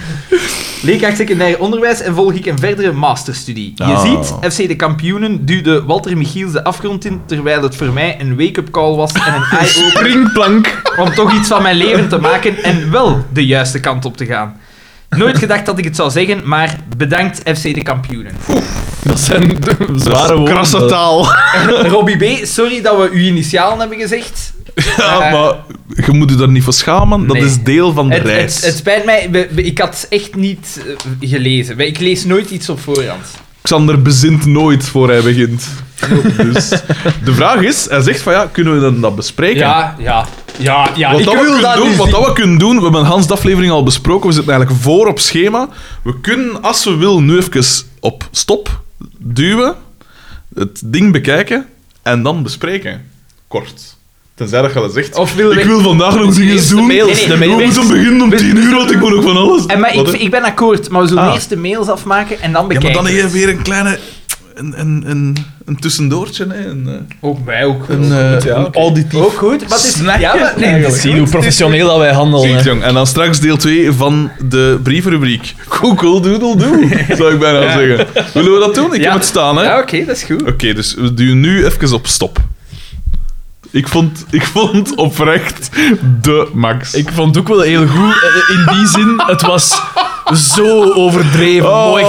B: Leerkracht secundair onderwijs en volg ik een verdere masterstudie. Je
A: Ah.
B: ziet, FC de kampioenen duwde Walter Michiels de afgrond in, terwijl het voor mij een wake-up call was en een eye-opener
C: Springplank.
B: om toch iets van mijn leven te maken en wel de juiste kant op te gaan. Nooit gedacht dat ik het zou zeggen, maar bedankt FC de kampioenen.
C: Dat zijn zware woorden.
A: Krasse taal.
B: Robbie B, sorry dat we uw initialen hebben gezegd.
A: Ja,
B: Eh,
A: maar je moet je daar niet voor schamen. Dat
B: Nee.
A: is deel van de
B: Het,
A: reis.
B: het, het spijt mij, we- we- ik had echt niet eh, gelezen. Ik lees nooit iets op voorhand.
A: Xander bezint nooit voor hij begint. Dus de vraag is, hij zegt van ja, kunnen we dan dat bespreken?
B: Ja, ja, ja, ja.
A: Wat,
B: Ah, ik
A: dat we,
B: wil
A: kunnen
B: dat dus
A: doen,
B: niet
A: wat
B: zien.
A: dat we kunnen doen, we hebben een Hans de aflevering al besproken, we zitten eigenlijk voor op schema. We kunnen, als we willen, nu even op stop duwen, het ding bekijken en dan bespreken. Kort. Tenzij dat je dat zegt.
B: Of willen
A: ik
B: we-
A: wil vandaag nog dingen
C: eerste
A: doen.
C: mails,
B: Nee, nee, de
A: We
B: mails.
A: moeten beginnen om
B: We-
A: 10 uur, want ik moet ook van alles.
B: En, maar ik,
A: Wat, hè?
B: ik ben akkoord, maar we zullen
A: Ah.
B: eerst de mails afmaken en dan
A: Ja, maar
B: bekijken.
A: dan
B: we
A: heb je
B: het.
A: weer een kleine... Een, een, een, een tussendoortje, hè. Een, eh,
B: Ook Oh, wij, ook
A: een,
B: goed.
A: eh,
C: ja,
A: een
C: oké.
A: auditief...
B: Ook goed, maar het is... Ja, maar, nee, het is
C: Zie hoe
B: goed.
C: professioneel dat wij handelen.
A: Ziet,
C: hè.
A: jong. En dan straks deel 2 van de brievenrubriek. Google Doodle Doo, zou ik bijna
B: Ja.
A: zeggen. Willen we dat doen? Ik
B: Ja.
A: heb het staan, hè?
B: Ja,
A: Oké,
B: oké, dat is goed.
A: dus we duwen nu even op stop. Ik vond, ik vond oprecht de max.
C: Ik vond het ook wel heel goed eh, in die zin. Het was zo overdreven.
A: Oh.
C: mooi,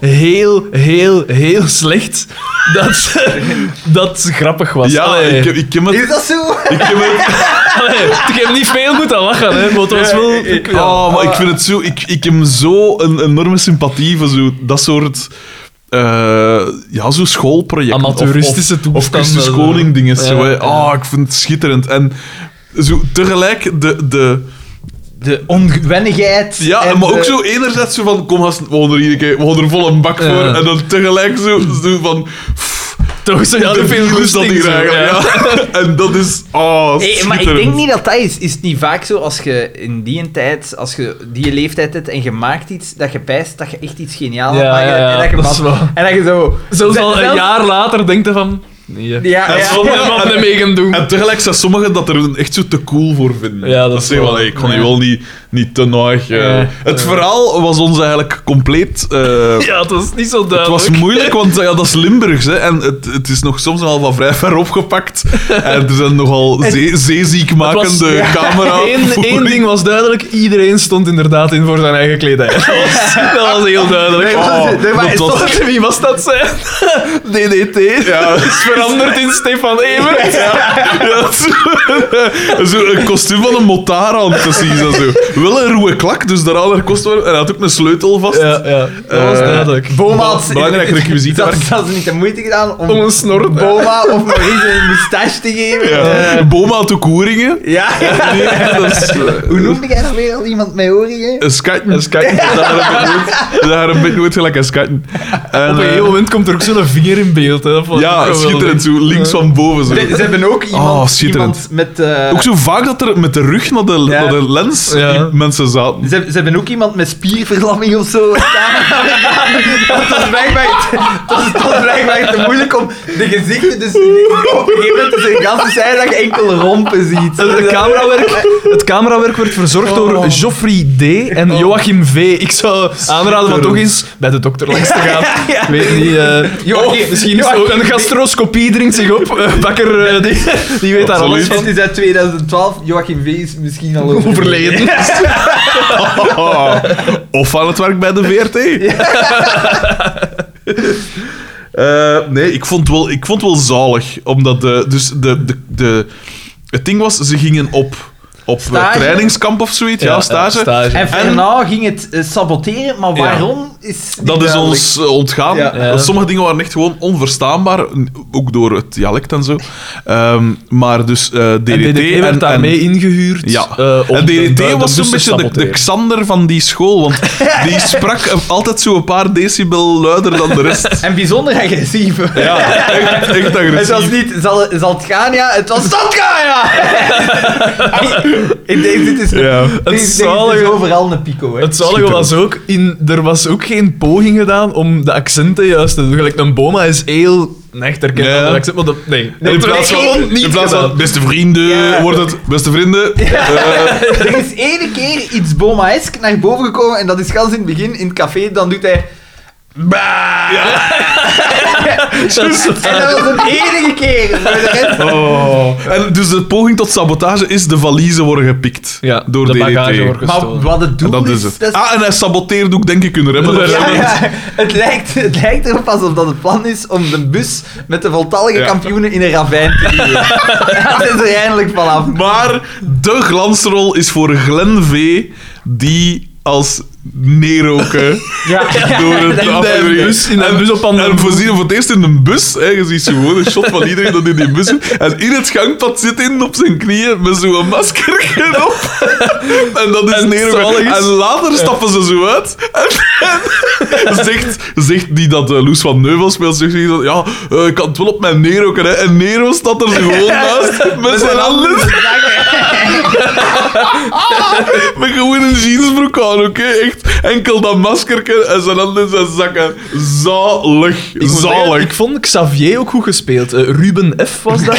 C: echt heel, heel, heel slecht. Dat dat grappig was.
A: ja,
C: Allee,
A: Ah, ik, heb- ik heb het...
B: Is dat zo?
A: Ik heb het
C: allee, ik heb niet veel moeten lachen, hè, maar het was wel... ik- ja.
A: oh,
B: Ah.
A: maar ik vind het zo... Ik, ik heb zo een enorme sympathie voor zo, dat soort... eh, ja, zo schoolprojecten. Of- of-
C: Amateuristische
A: Of
C: toestanden.
A: Christus Koning dingen.
C: Ja,
A: zo, hè.
C: ja.
A: Ah, ik vind het schitterend. En zo, tegelijk de... de
B: De ongewennigheid.
A: ja,
B: en
A: maar
B: de-
A: ook zo enerzijds zo van... Kom, gasten, we houden er, iedere keer- we houden er vol een bak voor.
C: Ja.
A: En dan tegelijk zo, zo van... pff,
C: Toch, ze hadden
A: de
C: veel
A: virus
C: goesting,
A: dat hier
C: zo,
A: eigenlijk, ja. En dat is... Oh,
B: Hey, maar ik
A: schitterend.
B: denk niet dat dat is. Is het niet vaak zo als je in die tijd, als je die leeftijd hebt en je maakt iets, dat je pijst dat je echt iets geniaals
C: Ja,
B: maakt
C: ja, ja,
B: en dat je
C: dat is
B: pas-
C: wel-
B: en dat je zo.
C: Zelfs
B: Zelf-
C: al een
B: zelfs-
C: jaar later denkt hij van... Nee, hè.
B: Ja,
A: Dat is
B: ja.
A: wel-
C: Zonder wat ermee gaan doen.
A: En tegelijk zijn sommigen dat er een echt zo te cool voor vinden.
C: Ja, dat is
A: zeggen wel,
C: wel-
A: hey, ik kon
C: ja.
A: die wel niet, niet te naag. eh.
C: Ja,
A: het verhaal was ons eigenlijk compleet... eh,
C: Ja, het was niet zo
A: Het
C: duidelijk.
A: was moeilijk, want eh, ja, dat is Limburgs. Hè, en het, het is nog soms nogal van vrij ver opgepakt. En er zijn nogal zee- zeeziekmakende
C: Het was-
A: camera.
C: Eén, één ding was duidelijk, iedereen stond inderdaad in voor zijn eigen kledij. Dat was, dat was heel duidelijk.
A: Oh,
B: nee, maar
A: dat
B: is
A: was-
B: toch-
C: Wie was dat, zijn? DDT.
A: Ja.
C: Is veranderd in Stefan Evert.
A: Ja, dat is- zo een kostuum van een motar aan, precies. En zo. Wel een roe klak, dus daar had er kost wel- En hij had ook een sleutel vast.
C: Ja, ja. Dat was
A: Eh,
C: duidelijk.
B: Boma had-
A: Belangrijk requisiet
B: Dat
A: werk.
B: hadden ze niet de moeite gedaan om,
C: Om een snor.
A: eh,
B: Boma of Maurice een moustache te geven.
A: Ja. Boma had ook hoeringen.
B: Ja.
A: Nee, dat is, eh,
B: Hoe noemde jij dat weer al iemand met oren?
A: Een skaten.
C: En
A: Een
C: kijk,
A: beetje nooit gelijk een skaten. En,
C: op een
A: eh,
C: gegeven moment komt er ook zo'n vinger in beeld. Hè. Dat vond ik ook
A: ja,
C: wel
A: schitterend. Zo, links van boven. Zo.
B: Ze, ze hebben ook
A: Oh,
B: iemand,
A: schitterend.
B: iemand met. eh,
A: Ook zo vaak dat er met de rug naar de,
B: Ja.
A: naar de lens
C: Ja.
A: die mensen zaten.
B: Ze, ze hebben ook iemand met spierverlamming of zo. dat is blijkbaar dat is- dat is blijkbaar te moeilijk om de gezichten. Dus op een gegeven moment is er een ganse zij dat je enkel rompen ziet.
C: Het camerawerk, het camerawerk werd verzorgd door Geoffrey D. en Joachim V. Ik zou aanraden om toch eens bij de dokter langs te gaan. Ik weet niet. eh,
B: Joachim-
C: oh, misschien is
B: Joachim
C: ook een
B: D.
C: gastroscopie dringt zich op. Eh, bakker, eh, die, die weet daar alles
A: Absoluut.
C: van.
B: Het is uit 2012. Joachim V is misschien al overleden.
C: Overleden.
A: Of aan het werk bij de VRT. Eh, nee, ik vond, wel, ik vond wel zalig. Omdat de, dus de, de, de, het ding was, ze gingen op, op eh,
B: Stage.
A: trainingskamp of zoiets. Ja, stage.
B: En Fernand ging het eh, saboteren, maar
A: Ja.
B: waarom? is niet
A: Dat is
B: duidelijk.
A: ons eh, ontgaan.
B: Ja.
C: Ja.
A: Sommige dingen waren echt gewoon onverstaanbaar, n- ook door het dialect en zo. Ehm, maar dus eh, DDT...
C: En DDT werd
A: en-
C: daarmee
A: en-
C: ingehuurd.
A: Ja.
C: eh, om
A: en
C: de
A: DDT
C: bu- de
A: was zo'n
C: bussen
A: beetje
C: te
A: de, de
C: saboteren.
A: Xander van die school, want die sprak eh, altijd zo een paar decibel luider dan de rest.
B: En bijzonder agressief.
A: Ja, echt, echt
B: Het was
A: agressief.
B: niet, zal, zal het gaan, ja? Het was, dat gaan, ja! Ik denk, dit is,
A: Ja.
B: dit is- dit is
C: zalige-
B: overal een pico, hè.
C: Het zalige was ook, in, er was ook geen poging gedaan om de accenten juist te doen. Gelijk een boma is heel echt herkend
A: Ja.
C: aan de accent, maar dat, nee.
B: Nee,
C: dat
B: in
C: werd
B: plaats van-
C: gewoon niet
A: In plaats van
C: gedaan.
A: beste vrienden
B: Ja.
A: wordt het beste vrienden. Eh,
B: Er is ene keer iets Boma-esk naar boven gekomen en dat is gans in het begin in het café. Dan doet hij. Bah!
C: Dat is-
B: En dat was een enige keer. Voor de rest-
A: oh. En dus de poging tot sabotage is de valiezen worden gepikt
C: Ja,
A: door
C: de
A: DDT.
C: bagage wordt
B: Maar
C: gestolen.
B: wat het doel
A: dat is het.
B: dat is-
A: Ah, en hij saboteert ook, denk ik, hun remmen.
C: De
A: of zo.
B: Ja,
C: remmen.
B: ja, het, lijkt, het lijkt erop alsof dat het plan is om de bus met de voltallige
A: Ja.
B: kampioenen in een ravijn te duwen. dat is er eindelijk vanaf.
A: Maar de glansrol is voor Glenn V, die als neerroken
B: Ja,
A: door
B: dat-
A: het
C: de
A: aflevering
C: bus, in de
A: En-
C: bus op
A: En,
C: andere-
A: we zien hem voor het eerst in een bus. Hè. Je ziet zo gewoon een shot van iedereen dat in die bus zit. En in het gangpad zit hij op zijn knieën met zo'n masker op. en dat is
C: En
A: neerroken.
C: zalig is-
A: En later stappen ze zo uit. En, en zegt, zegt die dat eh, Loes van Neuvel speelt, zegt hij dat ja, eh, ik kan het wel op mijn neerroken. Hè. En Nero staat er gewoon naast met zijn handen. Met gewoon een jeansbroek aan, oké? Echt enkel dat maskerken en zijn handen in zijn zakken. Zalig.
C: Ik moet zeggen,
A: Zalig.
C: Ik vond Xavier ook goed gespeeld. Eh, Ruben F. was dat.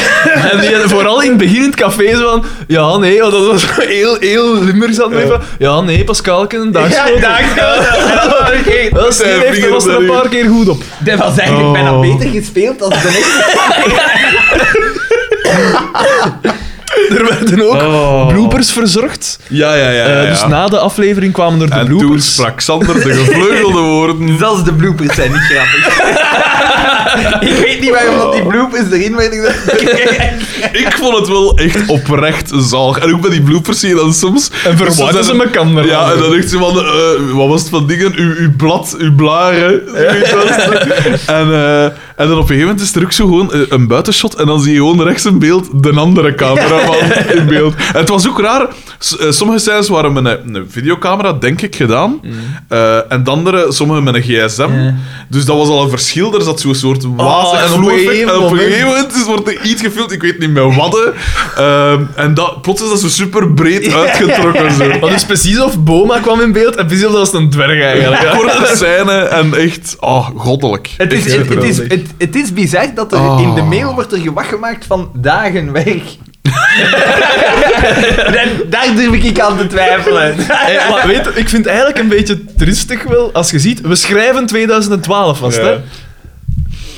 C: en die had vooral in het begin in het café zo van... Ja, nee, oh, dat was heel, heel Limburgs aan het doen. Ja, nee, Pascalken, een dagschotel.
B: dankjewel.
C: Dat is
A: Zijn
C: die heeft, daar was er een
A: vingers
C: paar keer goed op.
B: Dat was eigenlijk
A: Oh.
B: bijna beter gespeeld dan de echte.
C: Er werden ook
A: Oh.
C: bloopers verzorgd.
A: Ja, ja, ja.
C: Eh,
A: ja, ja.
C: Dus na de aflevering kwamen er de
A: en toen
C: bloopers.
A: sprak Sander de gevleugelde woorden.
B: Zelfs de bloopers zijn niet grappig. ik weet niet waarom dat die bloopers erin werden gezet.
A: Ik vond het wel echt oprecht zalig. En ook bij die bloopers zie je dan soms...
C: En verwarden
A: soms
C: ze
A: zijn er-
C: mijn camera.
A: Ja, en dan echt zo van... eh, wat was het van dingen? Uw, uw blad, uw blaren. zoiets was het. en, eh, en dan op een gegeven moment is er ook zo gewoon eh, een buitenshot. En dan zie je gewoon rechts in beeld de andere cameraman in beeld. En het was ook raar. S- eh, sommige scènes waren met een, een videocamera, denk ik, gedaan.
C: Mm.
A: Eh, en de andere, sommige met een gsm. Dus dat was al een verschil. Er zat zo'n soort wazig
C: Oh, en op een
A: vloeieffect.
C: gegeven
A: En op een
C: moment-
A: gegeven moment is- wordt er iets gefilmd, ik weet niet meer wat. Ehm, en dat, plots is dat zo super breed uitgetrokken. Zo.
C: Want het is precies of Boma kwam in beeld en precies of dat was een dwerg eigenlijk. Ja.
A: Korte scène en echt, ah, goddelijk.
B: Het is,
A: Echt
B: het, het is,
A: geweldig. Oh.
B: het, het is bizar dat er in de mail wordt er gewacht gemaakt van dagen werk. En daar durf ik aan te twijfelen.
C: Eh, maar weet, je, ik vind het eigenlijk een beetje tristig wel, als je ziet, we schrijven 2012 vast,
A: Ja.
C: hè.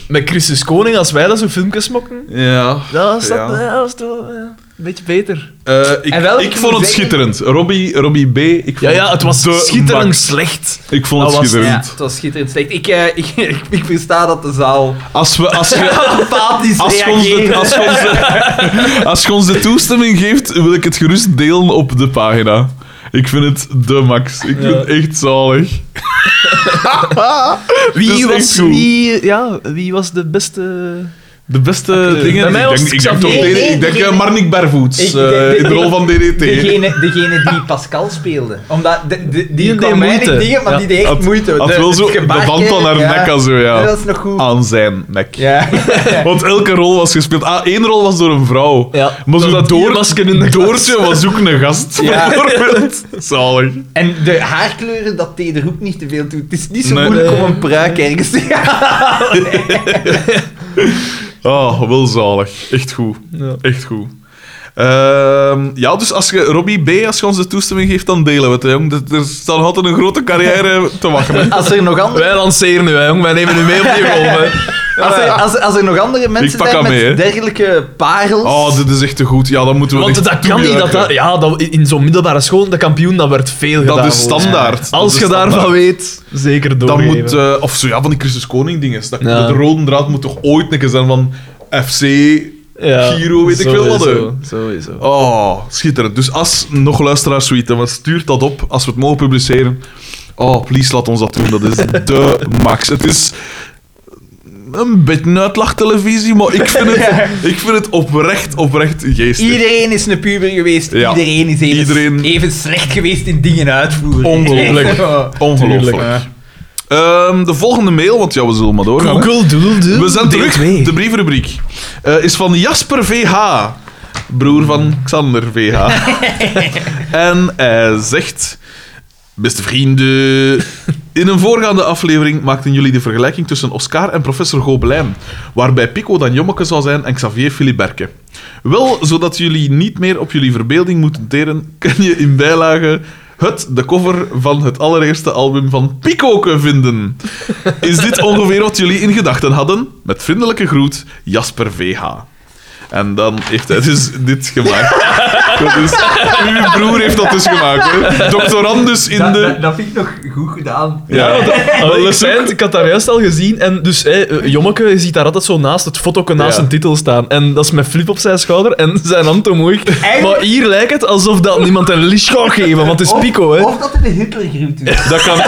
C: Met Christus Koning, als wij dat zo filmpjes mokken,
A: Ja.
C: dat was, dat,
A: Ja.
C: dat was toch eh, een beetje beter.
A: Eh,
B: En
A: ik,
B: wel,
A: ik
B: ik
A: vond
B: moet
A: het
B: zeggen-
A: schitterend. Robbie, Robbie B. Ik vond
C: Ja, ja, het was
A: de
C: schitterend
A: max.
C: slecht.
A: Ik vond
C: Dat
A: het
C: was-
B: Ja,
A: schitterend.
B: het was schitterend slecht. Ik, eh, ik, ik, ik versta dat de zaal
A: Als we... Als we
B: apathisch
A: Als je, ons de,
B: reageert.
A: als, je ons de- als je ons de toestemming geeft, wil ik het gerust delen op de pagina. Ik vind het de max. Ik vind het echt zalig. Dat is
C: Wie
A: echt
C: was,
A: goed.
C: wie, ja, wie was de beste...
A: De beste dingen...
C: Bij mij
A: ik
C: was
A: denk, ik denk,
C: Xavier.
A: toch
B: Nee,
A: DD
B: nee,
A: ik denk
B: degene-
A: eh, Marnik Bervoets
B: Ik-
A: eh,
B: de-
A: in de rol van DDT.
B: Degene, degene die Pascal speelde. Omdat de, de- die,
C: Die
B: kwam
C: deed
B: weinig
C: moeite.
B: dingen, maar
C: Ja.
B: die deed echt
A: Had-
B: moeite.
A: had
B: De-
A: wel zo
B: het
A: de
B: gebakken,
A: band aan haar nek en zo, ja. Ah.
B: Dat is nog goed.
A: Aan zijn nek.
B: Ja.
A: Want elke rol was gespeeld. Ah, één rol was door een vrouw.
C: Ja.
A: Maar zo
C: Door
A: dat
C: dat
A: door,
C: diermasker in de klas.
A: Doortje was ook een gast,
B: Ja.
A: bijvoorbeeld. Zalig.
B: En de haarkleuren, dat deed er ook niet te veel toe. Het is niet zo
A: Nee.
B: moeilijk om een pruik ergens te
A: Ah, wel zalig. Echt goed.
C: Ja.
A: Echt goed. Ehm, ja, dus als je Robbie B, als je ons de toestemming geeft, dan delen we het. Hè, jong. Dat- Er staat nog altijd een grote carrière te wachten.
B: Als er nog andere,
C: Wij lanceren nu, hè, jong. Wij nemen nu mee op die golf, hè.
B: als er, als, als er nog andere mensen
A: pak
B: zijn
A: haar
B: met
A: mee, hè.
B: dergelijke parels...
A: Oh, dit is echt te goed. Ja, dan moeten we
C: Want
A: echt
C: dat kan niet. Dat,
A: toejuichen.
C: dat, ja, dat, in zo'n middelbare school, de kampioen, dat werd veel
A: Dat
C: gedaan.
A: is
C: volgens mij.
A: standaard. Dat
C: Als
A: is
C: je
A: standaard.
C: daarvan weet, zeker
A: Dat
C: doorgeven.
A: moet, eh, of zo ja, van die Christus Koning dingen. Dat,
C: Ja.
A: De rode draad moet toch ooit een keer zijn van FC,
C: Ja,
A: eh, Giro, weet ik veel wat. hè.
C: sowieso, Sowieso.
A: Oh, schitterend. Dus als nog luisteraars zoiets hebben, stuur dat op als we het mogen publiceren. Oh, please laat ons dat doen. Dat is de max. Het is een beetje uitlachtelevisie, maar ik vind het, ik vind het oprecht, oprecht geestig.
B: Iedereen is een puber geweest.
A: Ja.
B: Iedereen is even,
A: Iedereen-
B: even slecht geweest in dingen uitvoeren.
A: Ongelooflijk.
B: Echt, ja.
A: Ongelooflijk.
C: Tuurlijk,
A: Ehm, de volgende mail, want ja, we zullen maar doorgaan. hè.
C: Google Doodle
A: We zijn terug. De brievenrubriek eh, is van Jasper VH. Broer van Xander VH. en hij zegt... Beste vrienden... In een voorgaande aflevering maakten jullie de vergelijking tussen Oscar en professor Gobelijn, waarbij Pico dan Jommeke zou zijn en Xavier Filiberke. Wel, zodat jullie niet meer op jullie verbeelding moeten teren, kun je in bijlage het, de cover van het allereerste album van Picoke vinden. Is dit ongeveer wat jullie in gedachten hadden? Met vriendelijke groet, Jasper VH. En dan heeft hij dus dit gemaakt. Dat is, uw broer heeft dat dus gemaakt. Hè? Doctorandus in
B: Dat,
A: de...
B: dat, dat vind ik nog goed gedaan.
A: Ja, dat, dat
C: ik,
A: is
C: zei het, ik had daar juist al gezien. En dus hey, eh, Jommeke je ziet daar altijd zo naast het fotoken naast
A: Ja.
C: zijn titel staan. En dat is met flip op zijn schouder en zijn hand omhoog. Maar hier lijkt het alsof dat niemand een licht gaat geven, want het is Pico, hè.
B: Of dat het een Hitlergroet is.
A: Dat kan.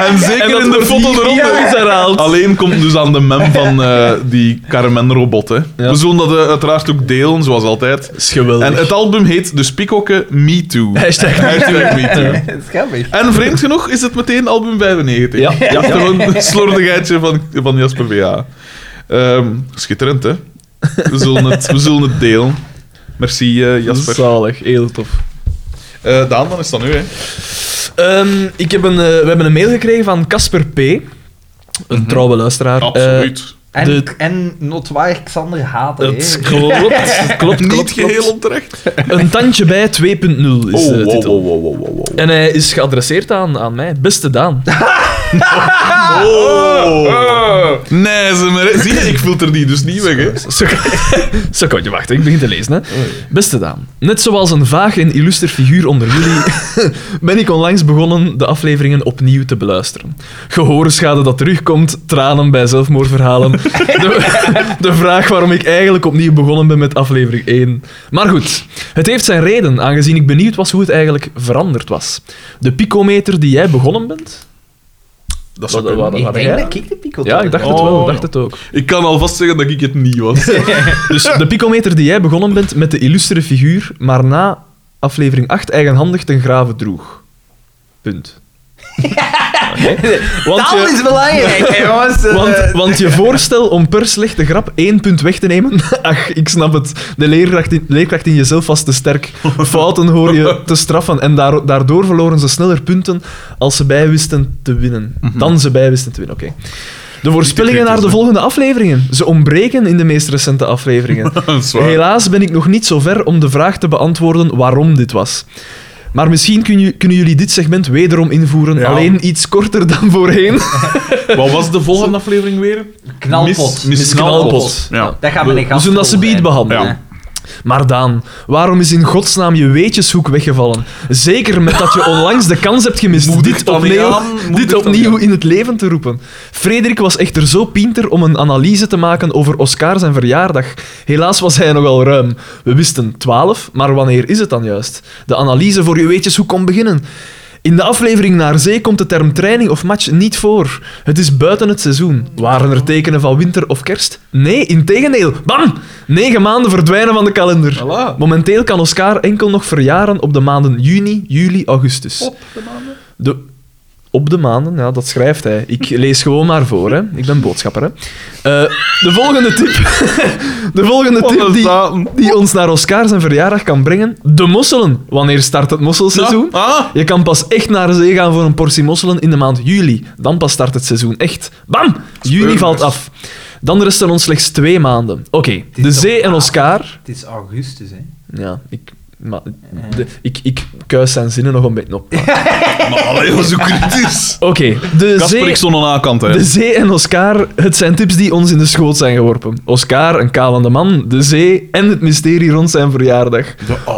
C: En
A: zeker in de foto eronder.
C: is herhaald.
A: Alleen komt dus aan de mem van eh, die Carmen-robot. hè.
C: Ja.
A: We zullen dat eh, uiteraard ook delen, zoals altijd.
C: is geweldig.
A: En het album heet dus Picoke Me Too.
C: Hashtag
A: Hashtag Me Too.
B: Schappig.
A: En vreemd genoeg is het meteen album 95.
C: Ja.
A: ja. Gewoon een slordigheidje van, van Jasper V.A. Ehm, schitterend, hè? We zullen het, we zullen het delen. Merci, eh, Jasper.
C: Zalig, heel tof.
A: Eh, Daan, dan is dat nu, hè?
C: Ehm, ik heb een, eh, we hebben een mail gekregen van Casper P. Een trouwe luisteraar.
A: Mhm. Absoluut.
B: En,
C: De-
B: en notwaar Xander haatte.
C: Eh, het klopt, het klopt, klopt,
A: Niet
C: klopt.
A: geheel onterecht.
C: Een tandje bij 2.0 is de
A: oh, wow,
C: titel.
A: wow, wow, wow, wow.
C: En hij is geadresseerd aan, aan mij. Beste Daan.
A: Oh. Nee, ze maar. Zie je, ik filter die dus niet weg, hè?
C: Zo, zo kan je wachten, ik begin te lezen. Hè. Beste Daan, net zoals een vaag en illuster figuur onder jullie ben ik onlangs begonnen de afleveringen opnieuw te beluisteren. Gehorenschade dat terugkomt, tranen bij zelfmoordverhalen. De, de vraag waarom ik eigenlijk opnieuw begonnen ben met aflevering 1. Maar goed, het heeft zijn reden, aangezien ik benieuwd was hoe het eigenlijk veranderd was. De picometer die jij begonnen bent...
A: Dat
C: zou kunnen.
A: waar.
B: Ik
C: Waar
B: denk
C: jij?
B: dat ik de pikkel
C: Ja, ik dacht het wel,
A: Oh.
C: ik dacht het ook.
A: Ik kan alvast zeggen dat ik het niet was.
C: Dus de picometer die jij begonnen bent met de illustere figuur, maar na aflevering 8 eigenhandig ten graven droeg. Punt. Oké. Want
B: Taal
C: je,
B: is belangrijk, hè, jongens. Eh,
C: want, want je voorstel om per slechte grap één punt weg te nemen, ach, ik snap het. De leerkracht in, leerkracht in jezelf was te sterk. Fouten hoor je te straffen en daar- daardoor verloren ze sneller punten als ze bij wisten te winnen.
A: Mhm.
C: Dan ze bij wisten te winnen, oké. De voorspellingen naar de
A: kritisch, hè.
C: volgende afleveringen. Ze ontbreken in de meest recente afleveringen.
A: Dat is waar.
C: Helaas ben ik nog niet zo ver om de vraag te beantwoorden waarom dit was. Maar misschien kun je- kunnen jullie dit segment wederom invoeren,
A: Ja.
C: alleen iets korter dan voorheen.
A: Wat was de volgende aflevering weer?
B: knalpot.
A: Mis- mis knalpot.
C: knalpot.
A: Ja.
B: Dat gaan we niet
C: We zullen dat ze
B: afrollen,
C: beat
B: hè.
C: behandelen.
A: Ja.
C: Maar Daan, waarom is in godsnaam je weetjeshoek weggevallen? Zeker met dat je onlangs de kans hebt gemist
A: Moedig
C: dit
A: dat niet
C: opnieuw,
A: aan, moedig
C: dit
A: dat
C: opnieuw
A: niet
C: in het leven te roepen. Frederik was echter zo pinter om een analyse te maken over Oscar zijn verjaardag. Helaas was hij nogal ruim. We wisten 12, maar wanneer is het dan juist? De analyse voor je weetjeshoek kon beginnen. In de aflevering Naar Zee komt de term training of match niet voor. Het is buiten het seizoen. Waren er tekenen van winter of kerst? Nee, integendeel. Bam! Negen maanden verdwijnen van de kalender.
A: Voilà.
C: Momenteel kan Oscar enkel nog verjaren op de maanden juni, juli, augustus. Op de maanden? op de maanden, ja, dat schrijft hij. Ik lees gewoon maar voor, hè. Ik ben boodschapper, hè. Eh, de volgende tip... de volgende
A: Wat
C: tip
A: een
C: die,
A: zaten.
C: die ons naar Oscar zijn verjaardag kan brengen. De mosselen. Wanneer start het mosselseizoen?
A: Ah,
C: Je kan pas echt naar zee gaan voor een portie mosselen in de maand juli. Dan pas start het seizoen echt. Bam! Juni
A: Speurders.
C: valt af. Dan resten ons slechts twee maanden. Oké,
B: is
C: de
B: toch Ah.
C: zee en
B: laat?
C: Oscar.
B: Het is augustus, hè.
C: Ja, ik, maar, de- ik, ik kuis zijn zinnen nog een beetje op. maar-
A: maar allee, was zo kritisch.
C: Oké, de,
A: Kasper,
C: zee,
A: ik stond aan de kant, hè.
C: de zee en Oscar, het zijn tips die ons in de schoot zijn geworpen. Oscar, een kalende man, de zee en het mysterie rond zijn verjaardag.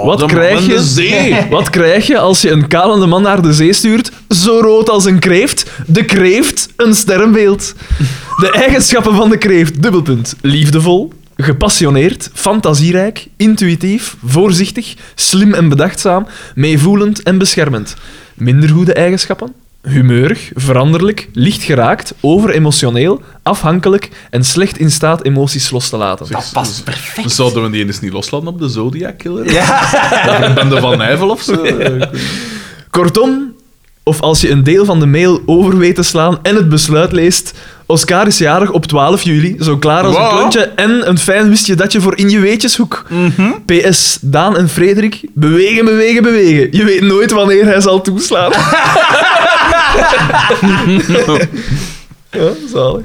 C: Wat
A: De
C: krijg
A: man
C: je?
A: en De zee.
C: Wat krijg je als je een kalende man naar de zee stuurt, zo rood als een kreeft? De kreeft, een sterrenbeeld. De eigenschappen van de kreeft, dubbelpunt. Liefdevol, gepassioneerd, fantasierijk, intuïtief, voorzichtig, slim en bedachtzaam, meevoelend en beschermend. Minder goede eigenschappen? humeurig, veranderlijk, licht geraakt, overemotioneel, afhankelijk en slecht in staat emoties los te laten.
A: Zeg,
B: Dat past
A: z-
B: perfect.
A: Zouden we die eens niet loslaten op de Zodiac Killer?
B: Ja.
A: Of Ben de Van Nijvel of zo?
C: Kortom, of als je een deel van de mail over weet te slaan en het besluit leest, Oscar is jarig op 12 juli, zo klaar als
A: Wow.
C: een klontje en een fijn wist je dat je voor in je weetjeshoek. PS, Daan en Frederik, bewegen, bewegen, bewegen. Je weet nooit wanneer hij zal toeslaan. ja, zalig.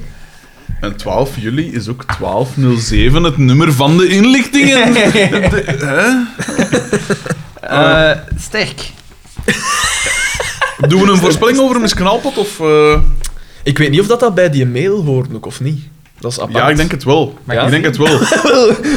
A: En 12 juli is ook 1207 het nummer van de inlichtingen. De- hè?
B: Eh, sterk.
A: Doen we een voorspelling over Miss Knalpot? Of, eh,
C: Ik weet niet of dat, dat bij die mail hoort ook of niet. Dat is apart.
A: Ja, ik denk het wel.
B: Maar
A: Ik
C: ja.
A: denk het wel.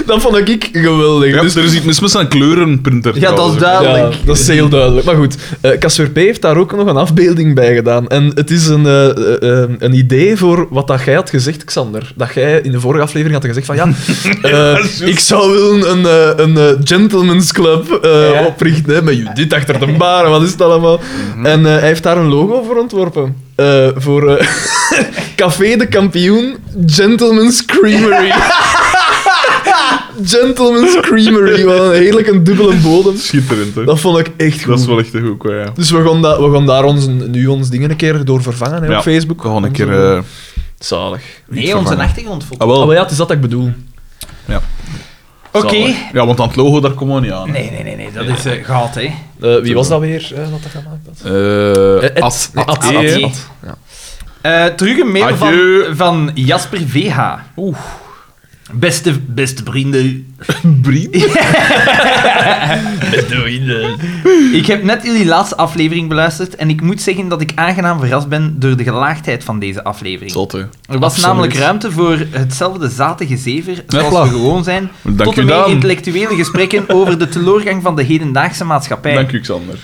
C: Dat vond ik geweldig.
A: Ja,
C: Dus-
A: er is iets mis met zijn kleurenprinter.
B: Ja, dat
A: trouwens.
B: is duidelijk.
C: Ja, dat is heel duidelijk. Maar goed, eh Casper P. heeft daar ook nog een afbeelding bij gedaan. En het is een, eh, eh, eh, een idee voor wat dat jij had gezegd, Xander. Dat jij in de vorige aflevering had gezegd van ja, eh, ik zou willen een, eh, een eh, gentleman's club eh,
B: Ja. Mhm.
C: oprichten hè, met Judith achter de bar en wat is het allemaal. En eh, hij heeft daar een logo voor ontworpen. Eh, voor eh, Café de Kampioen Gentleman's Creamery. Gentleman's Creamery, wat een heerlijke dubbele bodem.
A: Schitterend, hè?
C: Dat vond ik echt goed.
A: Dat is wel echt een goed ja.
C: Dus we gaan, da- we gaan daar ons, nu ons dingen een keer door vervangen hè,
A: Ja,
C: op Facebook.
A: Gewoon een
C: Onze-
A: keer... eh,
C: Zalig.
B: Nee,
A: Niet
B: onze
A: vervangen.
B: achtergrond volgt.
A: ah,
C: Oh.
A: wel.
C: maar ja, het is dat dat ik bedoel.
B: Oké.
C: Zalig.
A: Ja, want aan het logo, daar komen we niet aan.
B: Nee, nee, nee, nee, dat is eh gehad, hè.
C: Eh, wie was dat weer eh, dat dat gemaakt had?
A: Eh,
C: Eh, Ed.
A: Ad.
C: Nee, Ad.
A: Ad.
B: Ad.
A: Eh,
B: Ad. Eh, terug een mail van,
A: Adieu.
B: van Jasper VH.
A: Oeh.
B: Beste, beste vrienden.
A: Brie?
B: Ik heb net jullie laatste aflevering beluisterd en ik moet zeggen dat ik aangenaam verrast ben door de gelaagdheid van deze aflevering.
A: Zot, hè.
B: Er was
C: Absoluut.
B: namelijk ruimte voor hetzelfde zatige zever, zoals
A: Hopla.
B: we gewoon zijn,
A: Dank
B: tot
A: u,
B: en meer
A: Daan.
B: intellectuele gesprekken over de teleurgang van de hedendaagse maatschappij.
A: Dank u, Xander.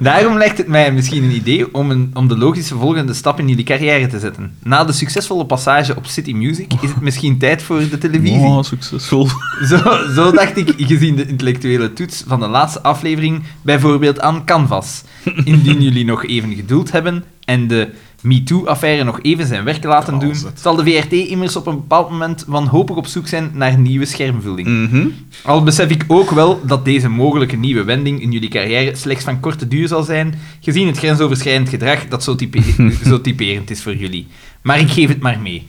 B: Daarom lijkt het mij misschien een idee om, een, om de logische volgende stap in jullie carrière te zetten. Na de succesvolle passage op City Music is het misschien tijd voor de televisie.
A: Oh, succesvol.
B: Zo, zo dacht ik, gezien de intellectuele toets van de laatste aflevering, bijvoorbeeld aan Canvas. Indien jullie nog even geduld hebben en de MeToo-affaire nog even zijn werk laten
A: Ja,
B: doen,
A: zet.
B: zal de VRT immers op een bepaald moment wanhopig op zoek zijn naar nieuwe schermvulling.
A: Mhm.
B: Al besef ik ook wel dat deze mogelijke nieuwe wending in jullie carrière slechts van korte duur zal zijn, gezien het grensoverschrijdend gedrag dat zo, type- zo typerend is voor jullie. Maar ik geef het maar mee.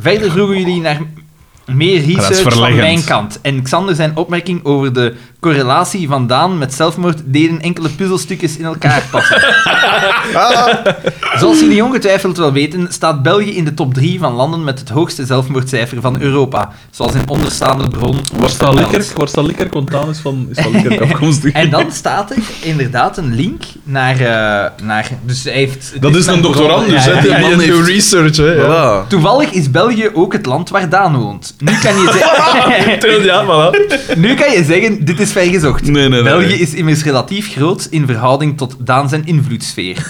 B: Verder vroegen jullie naar meer research van
A: verleggend.
B: mijn kant. En Xander zijn opmerking over de correlatie van Daan met zelfmoord deden enkele puzzelstukjes in elkaar passen. Zoals jullie ongetwijfeld wel weten, staat België in de top 3 van landen met het hoogste zelfmoordcijfer van Europa. Zoals in onderstaande bron
A: Waar staat
B: vermeld.
A: Likkerk? Waar staat Likkerk? Want Daan is van... Is van Likkerk afkomstig.
B: En dan staat er inderdaad een link naar... eh, naar dus hij heeft, het
A: Dat is een
B: een
A: doctorandus,
B: bron-
A: hè,
B: ja, ja,
A: die
B: ja.
A: man
C: je
A: heeft-
C: research, hè. Ja,
A: Voilà.
B: Toevallig is België ook het land waar Daan woont. Nu kan je zeggen,
C: ja voilà.
B: nu kan je zeggen dit is vergezocht.
A: Nee, nee, nee.
B: België is immers relatief groot in verhouding tot Daan zijn invloedssfeer.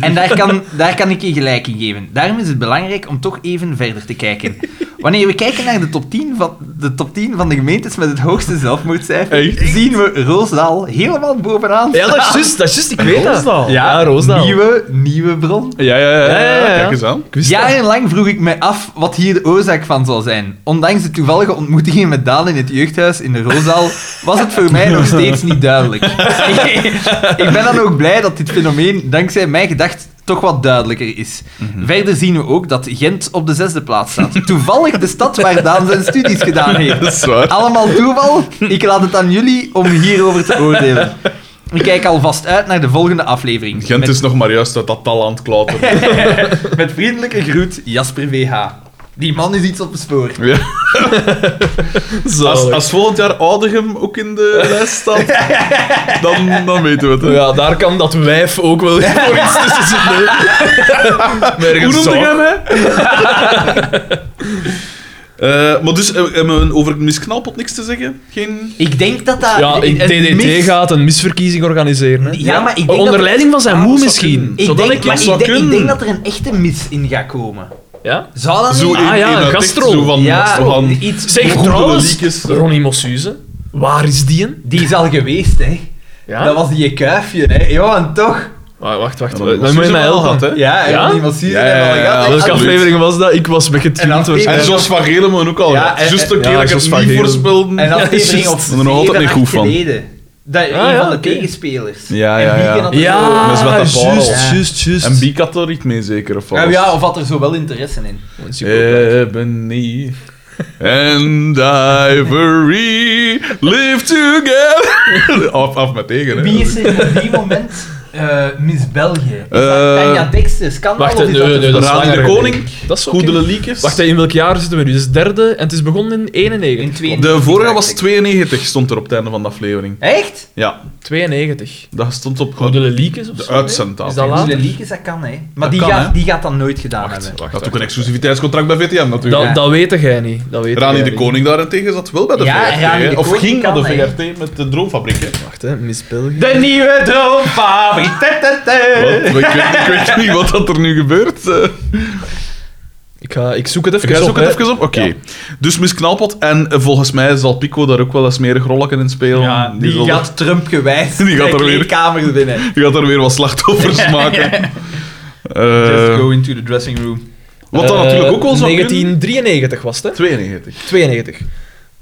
B: En daar kan, daar kan ik je gelijk in geven. Daarom is het belangrijk om toch even verder te kijken. Wanneer we kijken naar de top 10 van de, top 10 van de gemeentes met het hoogste zelfmoordcijfer,
A: Echt?
B: zien we Roosdaal helemaal bovenaan.
C: Ja, dat is juist, dat is juist, ik weet dat.
B: Oh,
A: Roosdaal.
C: Ja, Roosdaal.
B: Nieuwe, nieuwe bron.
A: Ja, ja, ja, ja,
C: Ja, Dus ja, ja.
A: Kijk eens aan.
C: Ik wist dat.
B: Jarenlang vroeg ik mij af wat hier de oorzaak van zou zijn. Ondanks de toevallige ontmoetingen met Daan in het jeugdhuis in de Roosaal was het voor mij nog steeds niet duidelijk. ik ben dan ook blij dat dit fenomeen dankzij mijn gedacht toch wat duidelijker is. Verder zien we ook dat Gent op de zesde plaats staat. Toevallig de stad waar Daan zijn studies gedaan heeft.
A: Dat is waar.
B: Allemaal toeval. Ik laat het aan jullie om hierover te oordelen. Ik kijk alvast uit naar de volgende aflevering.
A: Gent
B: Met-
A: is nog maar juist uit dat talent klauteren.
B: met vriendelijke groet, Jasper VH. Die man is iets op het spoor.
A: Ja. Als,
C: Zalig.
A: Dus als volgend jaar Oudegem ook in de lijst staat, dan, dan weten we het. hè.
C: Ja, daar kan dat wijf ook wel voor iets tussen zitten. hè.
A: Hoe noemde
C: Zalig.
A: jij mij? Eh, maar dus, eh, hebben we over Miss Knalpot niks te zeggen? Geen...
B: Ik denk dat dat...
C: Ja,
B: een-
C: in
B: een
C: TDT
B: mis-
C: gaat een misverkiezing organiseren. Hè?
B: Ja, maar ik denk
C: Onder
B: dat-
C: leiding van zijn
B: Ah,
C: moe
B: dat zou
C: misschien.
A: kunnen.
B: Ik
C: Zodat
B: denk,
C: ik-
B: maar
A: dat
B: ik,
A: zou
B: denk, ik
A: kunnen.
B: denk dat er een echte mis in gaat komen.
C: Ja?
B: Zou dat
A: Zo
B: niet?
A: in,
C: Ah, ja,
A: in
C: een
A: dat
C: gastro.
A: tekst, zo van,
B: ja,
A: zo van-
B: iets...
C: Zeg
A: Goedele
C: trouwens,
A: liedjes.
C: Ronnie Mossuze, waar is die?
B: Die is al geweest, hè.
C: Ja?
B: Dat was die kuifje, hè. Ja, en toch...
C: Wa- Wacht, wacht.
A: Ja,
C: Dan
A: dat was
C: moet je mij
A: sowieso wel
C: helpen.
A: gehad, hè?
B: Ja, en
C: Ja?
B: dan iemand zien.
A: Ja,
B: en dan
A: ja, ja,
B: gaat-
A: dat
C: Welke
A: Absoluut.
C: aflevering was dat? Ik was
B: En dan
C: begetuned
A: En
B: Ja.
C: waarschijnlijk.
A: Jos van Gelemon ook al.
B: Ja,
A: Ja,
B: en-
A: Juist een
C: ja,
A: keer dat ik
C: Jos
A: het
C: van
A: niet
C: Gelemon.
A: voorspelde.
B: En aflevering
C: juist.
B: op
A: Ik ben er nog altijd
B: zeven,
A: niet
B: acht
A: goed van. Ah,
B: geleden. Dat een
C: ja,
B: van de
C: oké.
B: tegenspelers.
A: Ja, ja,
B: En
A: ja.
B: Bieke had er
C: Ja,
A: Met Zwarte
C: juist,
A: Parel.
B: Ah, Ja.
C: juist, juist.
A: En Biek had er niet mee, zeker. Of
B: zo- Ja, ja, of had er zo wel interesse in.
A: Eh, Ebony and Ivory live together. af, af met tegen, hè.
B: Wie is er op die moment eh, Miss België? Is dat
A: Eh,
B: Tanja Dexter? Kan
C: Wacht,
B: dat? of
C: nee,
B: is dat
C: nee,
B: te
C: nee, dat is
A: Raad in de
C: langer
A: Koning,
C: geleden. Dat is oké.
A: Goede Leliekes.
C: Wacht, in welk jaar zitten we nu? Dus het derde, en het is begonnen in
B: vroeg? In
C: 91.
B: twee-
A: De vorige was 92, stond er op het einde van de aflevering.
B: Echt?
A: Ja,
C: 92.
A: dat stond op
C: Goede Leliekes of
A: de
C: zo?
A: uitzendtafel.
C: Is dat
B: Goede
C: later?
B: leakers, dat kan, hè. Maar die,
A: kan,
B: gaat,
A: hè.
B: die gaat dat nooit gedaan hebben.
A: Dat had ook een exclusiviteitscontract bij VTM natuurlijk.
C: Dat, dat weet jij niet. Dat weet
A: Rani
C: jij
A: de
C: niet.
A: Koning daarentegen zat wel bij de
B: Ja,
A: VRT.
B: Rani
A: hè.
B: de
A: of
B: Koning
A: ging naar de
B: kan, hè.
A: VRT met de Droomfabriek. Hè.
C: Wacht, hè. Miss België.
B: De nieuwe
A: Wat?
B: droomfabriek.
A: Maar Ik, weet, ik weet niet wat dat er nu gebeurt. Eh,
C: Ik, ga, ik zoek het even
A: Jij
C: op.
A: zoekt het
C: hè.
A: even op? Oké.
C: Ja.
A: Dus Miss Knalpot en eh, volgens mij zal Pico daar ook wel een smerig rolletje in spelen.
B: Ja, die,
A: zal-
B: gaat Trump gewijs
A: Die gaat
B: de
A: er weer-
B: kleedkamer binnen.
A: die gaat daar weer wat slachtoffers maken. Eh,
B: Just go into the dressing room.
A: wat dan
C: Eh,
A: natuurlijk ook wel zo
C: 1993 was het, hè?
A: 92.
C: 92.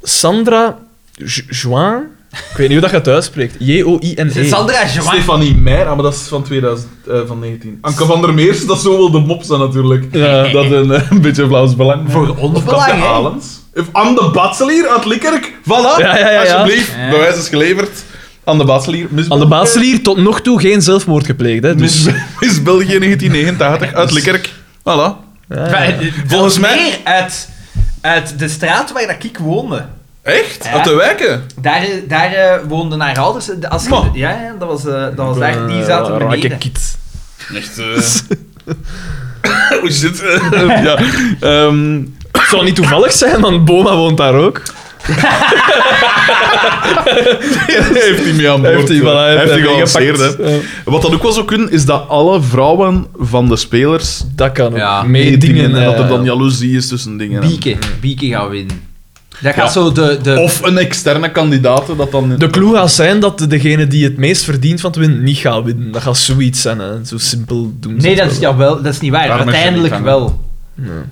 C: Sandra Jo- Joan? Ik weet niet hoe dat je het uitspreekt.
B: Zit
C: J-O-I-N-E.
B: Sandra Joan?
A: Stefanie Meira, maar dat is van 2019. Anke van der Meers, dat is zo wel de mop zijn natuurlijk.
C: Ja.
A: Dat een, eh, een beetje Vlaams belang.
B: Voor ons
A: Of
B: belang,
A: Katja
B: hè.
A: Alens. Of Anne de Batselier uit Likkerk. Voilà,
C: Ja, ja, ja, ja.
A: alsjeblieft.
B: Ja.
A: Bewijs is geleverd. Anne de Batselier. Miss
C: Aan de
A: België.
C: baaslier tot nog toe geen zelfmoord gepleegd, hè? Dus,
A: Miss, Miss België 1989 uit Likkerk. Voilà.
C: ja, ja.
B: Enfin, eh,
A: Volgens
B: dat is
A: mij-
B: meer uit, uit de straat waar dat ik woonde.
A: Echt?
B: Ja.
A: Uit de wijken?
B: Daar, daar eh, woonden haar ouders. De- Als je-
A: Maar.
B: ja, ja, dat was, eh, dat was
C: Ik
B: daar.
C: ben,
B: Die
C: eh,
B: zaten
C: rake
B: beneden.
C: kiet.
A: Echt. Hoe zit Ja. ehm,
C: Het zou niet toevallig zijn, want Boma woont daar ook.
A: heeft hij mee aan boord. eh.
C: Heeft hij, voilà, hij
A: heeft
C: heeft Eh,
A: hij
C: hem
A: gelanceerd,
C: meegepakt.
A: hè. Wat dat ook wel zou kunnen, is dat alle vrouwen van de spelers
C: Dat kan ook.
B: Ja.
C: Meedingen.
A: en dat er
C: eh,
A: dan jaloezie is tussen dingen.
B: Bieke. Bieke gaat winnen. Dat gaat
A: Ja.
B: zo de... de
A: Of een externe kandidaat dat dan...
C: De clue gaat zijn dat degene die het meest verdient van te winnen, niet gaat winnen. Dat gaat zoiets zijn, hè. Zo simpel doen ze
B: nee,
C: het
B: dat is,
C: wel.
B: jawel, dat is niet waar.
A: Daarom is ze
B: Uiteindelijk
A: niet
B: wel.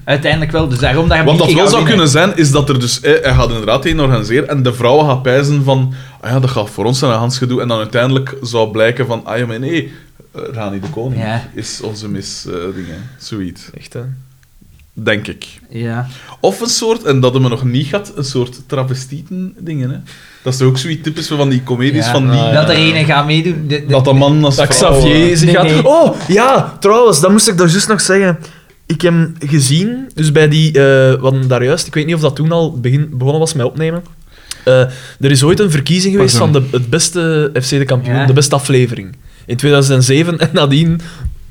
B: Uiteindelijk wel. Dus daarom dat je
A: Wat dat wel
B: Bieke gaat
A: zou
B: winnen.
A: kunnen zijn, is dat er dus... eh, hij gaat inderdaad één organiseren en de vrouwen gaat pijzen van... Ah ja, dat gaat voor ons zijn een handgedoe. En dan uiteindelijk zou blijken van... Ah ja, maar nee, eh, Rani de Koning
B: Ja.
A: is onze mis eh, dingen. Zoiets.
C: Echt, hè.
A: Denk ik.
B: Ja.
A: Of een soort, en dat hebben we nog niet gehad, een soort travestieten dingen. Hè? Dat is toch ook zoiets typisch van die comedies
B: Ja.
A: van die...
C: Ah, ja.
B: Dat er ene gaat meedoen. De- de-
A: Dat de man als
C: Dat
A: vrouw, eh,
C: Xavier zich
B: Nee,
C: gaat...
B: nee.
C: Oh, ja, trouwens, dat moest ik daar juist nog zeggen. Ik heb hem gezien, dus bij die... eh wat daar juist, ik weet niet of dat toen al begin, begonnen was met opnemen. Eh, er is ooit een verkiezing geweest van de, het beste FC de kampioen,
B: Ja.
C: de beste aflevering. In 2007 en nadien,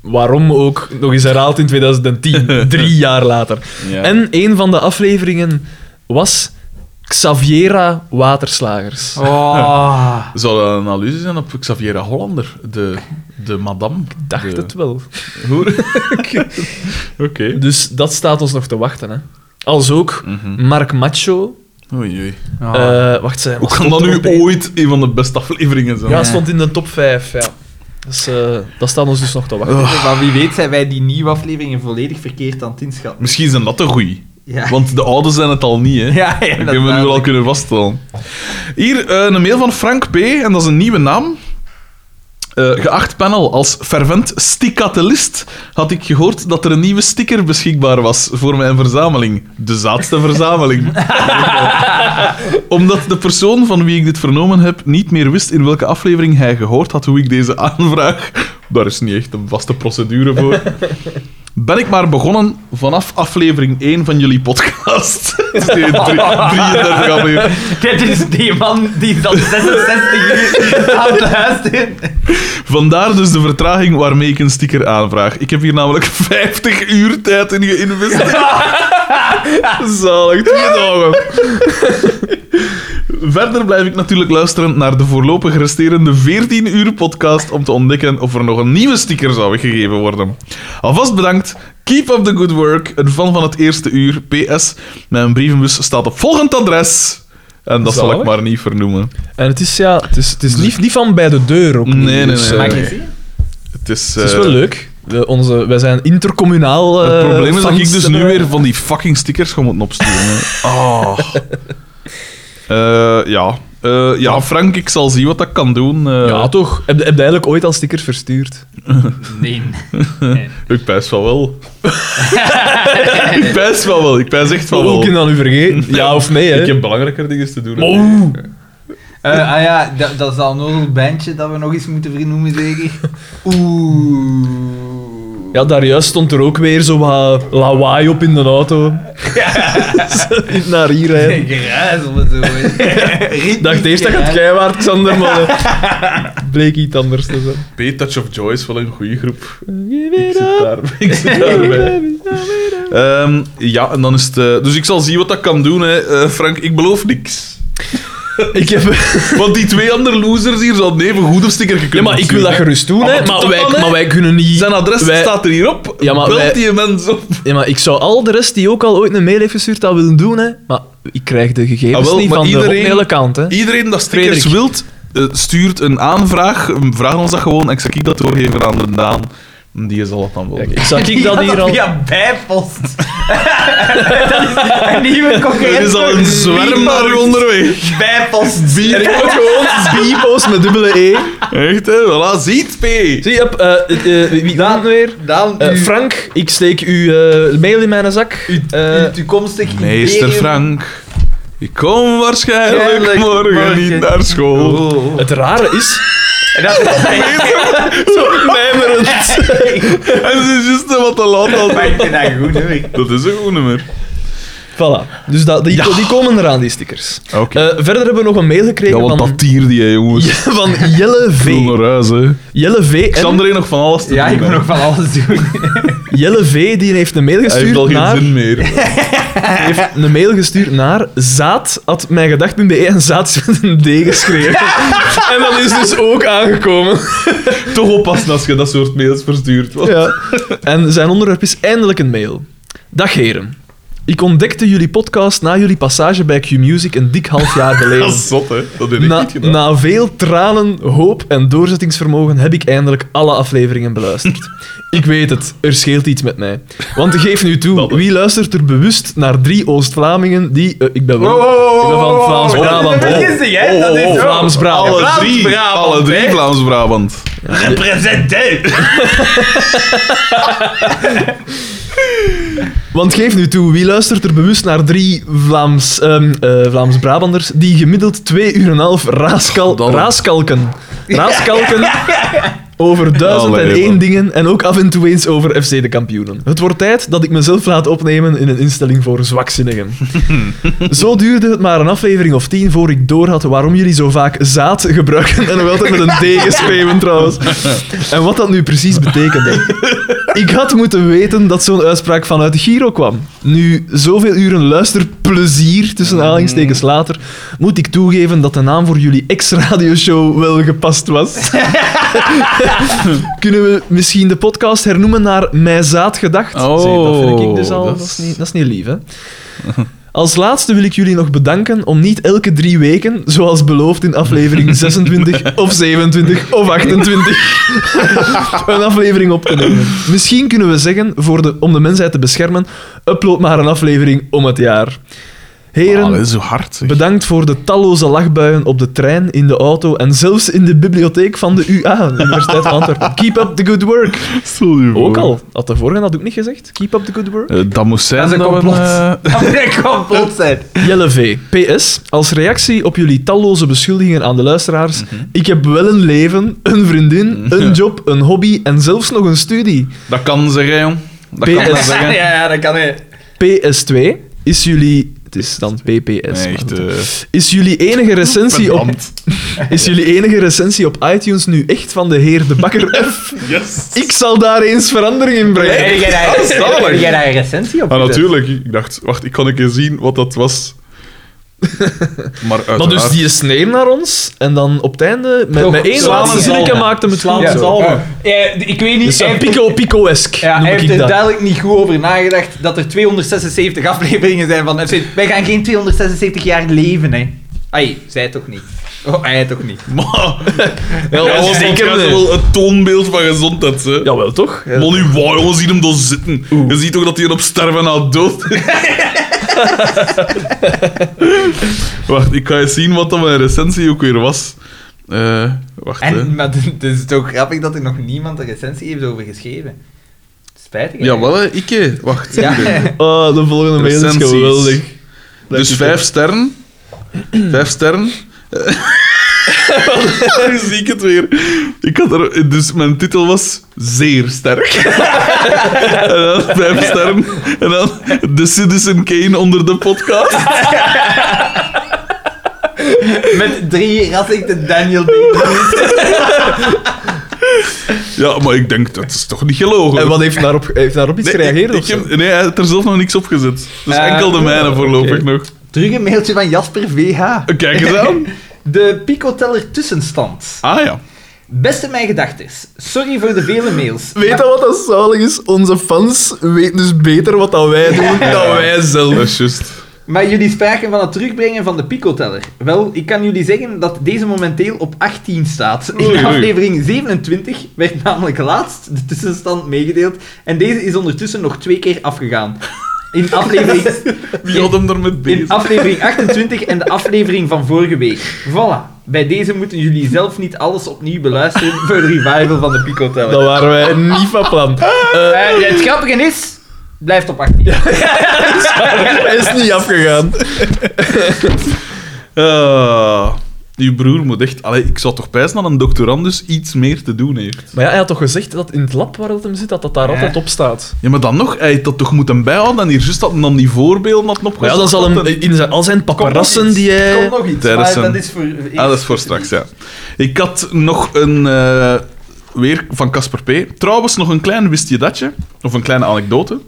C: waarom ook, nog eens herhaald in 2010. drie jaar later.
A: ja.
C: En een van de afleveringen was Xaviera Waterslagers.
B: Oh.
A: Zou dat een allusie zijn op Xaviera Hollander, de, de madame?
C: Ik dacht
A: de
C: het wel.
A: hoer? Oké.
C: Dus dat staat ons nog te wachten. Hè. Als ook
A: Mhm.
C: Mark Macho.
A: Oei, oei.
B: Oh.
C: eh, wacht, zij
A: Hoe
C: was
A: kan dat
C: top
A: nu
C: Europees.
A: ooit een van de beste afleveringen zijn?
C: Ja, stond in de top 5. Ja. Dus, eh, dat staat ons dus nog te wachten.
A: oh.
B: Maar wie weet zijn wij die nieuwe afleveringen volledig verkeerd aan het inschatten.
A: Misschien zijn dat de goeie.
B: Ja.
A: Want de oude zijn het al niet, hè?
B: Ja, ja,
A: dat
B: dat
A: hebben we nu
B: duidelijk.
A: al kunnen vaststellen. Hier eh, een mail van Frank P. En dat is een nieuwe naam. Eh, geacht panel, als fervent sticatelist had ik gehoord dat er een nieuwe sticker beschikbaar was voor mijn verzameling. De zaadste verzameling. Omdat de persoon van wie ik dit vernomen heb niet meer wist in welke aflevering hij gehoord had hoe ik deze aanvraag... Daar is niet echt een vaste procedure voor. Ben ik maar begonnen vanaf aflevering 1 van jullie podcast. Dus die drie- 33 aflevering.
B: Dit is die man die dan 66 uur aan het luisteren.
A: Vandaar dus de vertraging waarmee ik een sticker aanvraag. Ik heb hier namelijk 50 uur tijd in geïnvesteerd.
C: Zalig, twee dagen.
A: Verder blijf ik natuurlijk luisteren naar de voorlopig resterende 14 uur podcast om te ontdekken of er nog een nieuwe sticker zou weggegeven worden. Alvast bedankt. Keep up the good work. Een fan van het eerste uur. PS. Mijn brievenbus staat op volgend adres. En dat zal ik
C: Zalig.
A: maar niet vernoemen.
C: En het is, ja, het is, het is niet, niet van bij de deur ook.
A: Nee, nee, nee.
C: Dus, eh,
A: Mag ik
B: Mag je
A: het
B: zien?
A: Het is,
C: Het is
A: eh,
C: wel leuk. De, onze, wij zijn intercommunaal. eh,
A: het probleem is dat ik
C: fans
A: dus
C: en,
A: nu
C: eh,
A: weer van die fucking stickers ga moeten opsturen. hè. Ah. Eh, ja. Eh, ja, Frank, ik zal zien wat dat kan doen. Eh,
C: Ja, toch? Heb, heb je eigenlijk ooit al stickers verstuurd?
B: Nee.
A: Ik pijs van wel. ik pijs van wel. Ik pijs echt van
C: Hoe
A: wel.
C: kun je dat nu vergeten? Ja of nee, hè? Oh.
A: Ik heb belangrijker dingen te doen. hè.
C: Oeh.
B: Eh, ah ja, dat, dat is dat onnozel bandje dat we nog eens moeten vernoemen, zeker? Oeh.
C: Ja, daar juist stond er ook weer zo wat lawaai op in de auto. Naar hier rijden.
B: Geruizel en zo. hè.
C: Ik dacht eerst dat het jij waard, Xander, maar eh, bleek iets anders te zijn.
A: Pay Touch of Joy is wel een goede groep. Ik zit daar, ik zit daarbij. Ehm, ja, en dan is het... eh, dus ik zal zien wat dat kan doen, hè. Eh, Frank. Ik beloof niks.
C: Ik heb...
A: Want die twee andere losers hier zouden even goed een sticker kunnen
C: Ja, maar ik wil dat
A: opsturen,
C: gerust doen,
A: Ah,
C: hè.
A: maar
C: Maar
A: doe dat
C: wij,
A: dan, hè.
C: maar wij kunnen niet...
A: Zijn adres
C: wij-
A: staat er hierop.
C: Ja, maar
A: Bel
C: wij-
A: die mens op.
C: Ja, maar ik zou al de rest die ook al ooit een mail heeft gestuurd dat willen doen, hè. Maar ik krijg de gegevens
A: Ah, wel,
C: niet
A: maar
C: van de
A: iedereen-
C: hele kant, hè.
A: Iedereen dat stickers
C: Frederik.
A: wilt, eh, stuurt een aanvraag. Vraag ons dat gewoon. En ik zal ik dat doorgeven aan de Daan. Die zal het dan wel
C: Kijk,
A: doen.
C: ik zag ik dat hier al...
B: Ja, bijpost. dat is een nieuwe concurrent.
A: Er is al een zwerm daar onderweg.
B: Bijpost.
C: En ik word gewoon B-post met dubbele E.
A: Echt, hè? Voilà, ziet, P.
C: Zie, je, eh, eh, eh, wie dan weer?
B: Dan
C: Eh,
B: uw-
C: Frank, ik steek uw eh, mail in mijn zak. Eh,
B: uw toekomstig
A: Meester
B: imperium.
A: Frank, ik kom waarschijnlijk
B: Waarschijnlijk
A: morgen,
B: morgen.
A: niet naar school.
B: Oh.
C: het rare is...
B: En dat is
C: Mijmerend.
A: En het is juist wat te laat al.
B: Maar ik vind dat goed, hoor.
A: Dat is een goed nummer.
C: Voilà. Dus dat, die, die komen eraan, die stickers.
A: Oké.
C: Eh, verder hebben we nog een mail gekregen
A: ja, want
B: Eh,
C: van,
A: dat tier die, hè, jongens. Ja.
C: van Jelle V.
A: naar huis, hè.
C: Jelle V. en-
A: Xander heeft nog van alles te
B: Ja,
A: doen.
B: ik moet
A: hè.
B: nog van alles doen.
C: Jelle V. die heeft een mail
A: Hij heeft al
C: gestuurd
A: geen
C: naar...
A: zin meer.
C: heeft een mail gestuurd naar zaad.mijngedacht.be en zaad is met een D geschreven. en dat is dus ook aangekomen.
A: Toch oppassen als je dat soort mails verstuurt. want-
C: Ja. En zijn onderwerp is eindelijk een mail. Dag heren. Ik ontdekte jullie podcast na jullie passage bij Q-Music een dik half jaar
A: Dat
C: geleden.
A: is zot, hè. Dat heb ik
C: Na,
A: niet gedaan.
C: na veel tranen, hoop en doorzettingsvermogen heb ik eindelijk alle afleveringen beluisterd. ik weet het, er scheelt iets met mij. Want geef nu
A: Dat
C: toe,
A: is-
C: wie luistert er bewust naar drie Oost-Vlamingen die... eh, ik ben wel...
B: oh,
C: Ik ben van Vlaams-Brabant.
B: Dat is een vergissing, hè? Dat is zo.
C: Vlaams-Brabant.
A: Oh, Alle
B: Vlaams-Brabant,
A: drie, alle drie
B: hè.
A: Vlaams-Brabant.
B: Representant.
C: Want geef nu toe, wie luistert er bewust naar drie Vlaams, ehm, eh, Vlaams-Brabanders die gemiddeld twee uur en een half raaskal,
A: Dan.
C: raaskalken? Raaskalken over duizend en
A: Allee, man.
C: één dingen en ook af en toe eens over FC de kampioenen. Het wordt tijd dat ik mezelf laat opnemen in een instelling voor zwakzinnigen. Zo duurde het maar een aflevering of tien voor ik doorhad waarom jullie zo vaak zaad gebruiken en nog altijd met een D geschreven trouwens. En wat dat nu precies betekende. Ik had moeten weten dat zo'n uitspraak vanuit de Giro kwam. Nu, zoveel uren luisterplezier, tussen aanhalingstekens later, moet ik toegeven dat de naam voor jullie ex-radioshow wel gepast was. Kunnen we misschien de podcast hernoemen naar Mij Zaad Gedacht?
A: Oh,
C: Zee, dat vind ik dus al...
A: dat
C: Dat
A: is-
C: is niet, dat is niet lief, hè? Als laatste wil ik jullie nog bedanken om niet elke drie weken, zoals beloofd in aflevering 26 of 27 of 28, een aflevering op te nemen. Misschien kunnen we zeggen, voor de, om de mensheid te beschermen, upload maar een aflevering om het jaar. Heren,
A: Ah, dat is zo hard, zeg.
C: Bedankt voor de talloze lachbuien op de trein, in de auto en zelfs in de bibliotheek van de UA, de Universiteit van Antwerpen. Keep up the good work.
A: Stel je voor.
C: Ook al, had de vorige dat ook niet gezegd. Keep up the good work.
A: Eh, dat moest zijn
B: Dat is een
A: we
B: complot.
A: eh,
B: Dat moet ik gewoon plot zijn.
C: Jelle V. PS. Als reactie op jullie talloze beschuldigingen aan de luisteraars.
A: Mhm.
C: Ik heb wel een leven, een vriendin, een job, een hobby en zelfs nog een studie.
A: dat kan zeggen, jong. Dat
C: PS.
A: kan dat
B: Ja,
A: zeggen.
B: ja, dat kan niet.
C: PS2. Is jullie... Het is dan PPS.
A: Nee,
C: maar
A: echt,
C: goed.
A: eh,
C: Is jullie enige recensie op...
A: Verdampt.
C: Is jullie enige recensie op iTunes nu echt van de heer De Bakker F?
A: Yes.
C: Ik zal daar eens verandering in brengen.
B: Heb jij daar-
A: Ah, zalig.
B: heb jij daar een recensie op?
A: Ah,
B: gezet?
A: natuurlijk. Ik dacht, wacht, ik kan een keer zien wat dat was. Maar uiteraard...
C: Maar dus die sneem naar ons en dan op het einde met,
B: Toch,
C: met één
B: slaan
C: laatste
B: en
C: zinnetje
B: zalven.
C: maakte hem het
B: Ja,
C: goed. zo.
B: ja. Eh, ik weet niet.
C: Dus
B: hij
C: een
B: heeft er-
C: pico pico-esk
B: ja,
C: noem
B: hij
C: ik,
B: heeft er
C: dat.
B: duidelijk niet goed over nagedacht dat er 276 afleveringen zijn van FC. Wij gaan geen 276 jaar leven, hè. Ai, zij toch niet. Oh, hij toch niet.
A: Maar,
C: Ja,
A: dat was
C: zeker,
A: zeker
C: nee.
A: wel het toonbeeld van gezondheid, hè.
C: Jawel, toch? Ja.
A: Molly, wow, jongen, zie hem daar zitten. Je ziet toch dat hij op sterven na dood is. wacht, ik ga eens zien wat dat mijn recensie ook weer was. Eh, wacht, hè.
B: En, maar het is toch grappig dat er nog niemand een recensie heeft over geschreven. Spijtig. hè?
A: Jawel, hè, ik. hè. Wacht.
B: Ja.
A: hier, hè.
C: Oh, de volgende mail is
A: Recensies.
C: geweldig.
A: Dus
C: ik
A: vijf sterren. Vijf sterren. Nu zie ik het weer. Ik had er, dus mijn titel was Zeer Sterk. en dan vijf sterren. En dan The Citizen Kane onder de podcast.
B: Met drie rassicte Daniel Day-Lewis.
A: Ja, maar ik denk, dat is toch niet gelogen?
C: En wat heeft daarop, heeft daarop iets
A: Nee,
C: gereageerd?
A: ik-
C: of
A: ik heb-
C: zo?
A: nee, hij heeft er zelf nog niks op gezet. Dus
B: Ah,
A: enkel de mijne voorlopig
C: oké.
A: nog.
B: Terug een mailtje van Jasper VH.
A: Kijk eens aan.
B: De Picoteller tussenstand.
A: Ah ja.
B: Beste mijn gedachtes, sorry voor de vele mails.
C: Weet je wat dat zalig is? Onze fans weten dus beter wat dat wij doen dan wij zelf.
A: Dat is juist.
B: Maar jullie spraken van het terugbrengen van de picoteller. Wel, ik kan jullie zeggen dat deze momenteel op 18 staat. In
A: Oei, oei.
B: aflevering 27 werd namelijk laatst de tussenstand meegedeeld. En deze is ondertussen nog twee keer afgegaan. In aflevering,
A: Wie had hem daarmee
B: in
A: bezig?
B: aflevering 28 en de aflevering van vorige week. Voilà. Bij deze moeten jullie zelf niet alles opnieuw beluisteren voor de revival van de picoteller.
C: Dat waren wij niet van plan. Eh,
B: Eh, het grappige is, blijft op 18.
C: hij is niet afgegaan.
A: Ah, uw broer moet echt... Allee, ik zou toch pijs dat een doctorandus iets meer te doen heeft.
C: Maar ja, hij had toch gezegd dat in het lab waar dat hem zit, dat dat daar
B: Ja.
C: altijd op staat.
A: Ja, maar dan nog, hij had dat toch moeten bijhouden en hier juist dat dan die voorbeelden had
C: Maar
A: opgezet.
C: ja, dan zal hem
A: had en-
C: in zijn, al zijn paparassen die
B: Komt
C: hij...
B: nog iets,
A: Daar is
B: maar dat
A: een-
B: is voor...
A: Ah, dat is voor straks, ja. Ik had nog een... eh, weer van Casper P. Trouwens, nog een klein wist je datje. Of een kleine anekdote.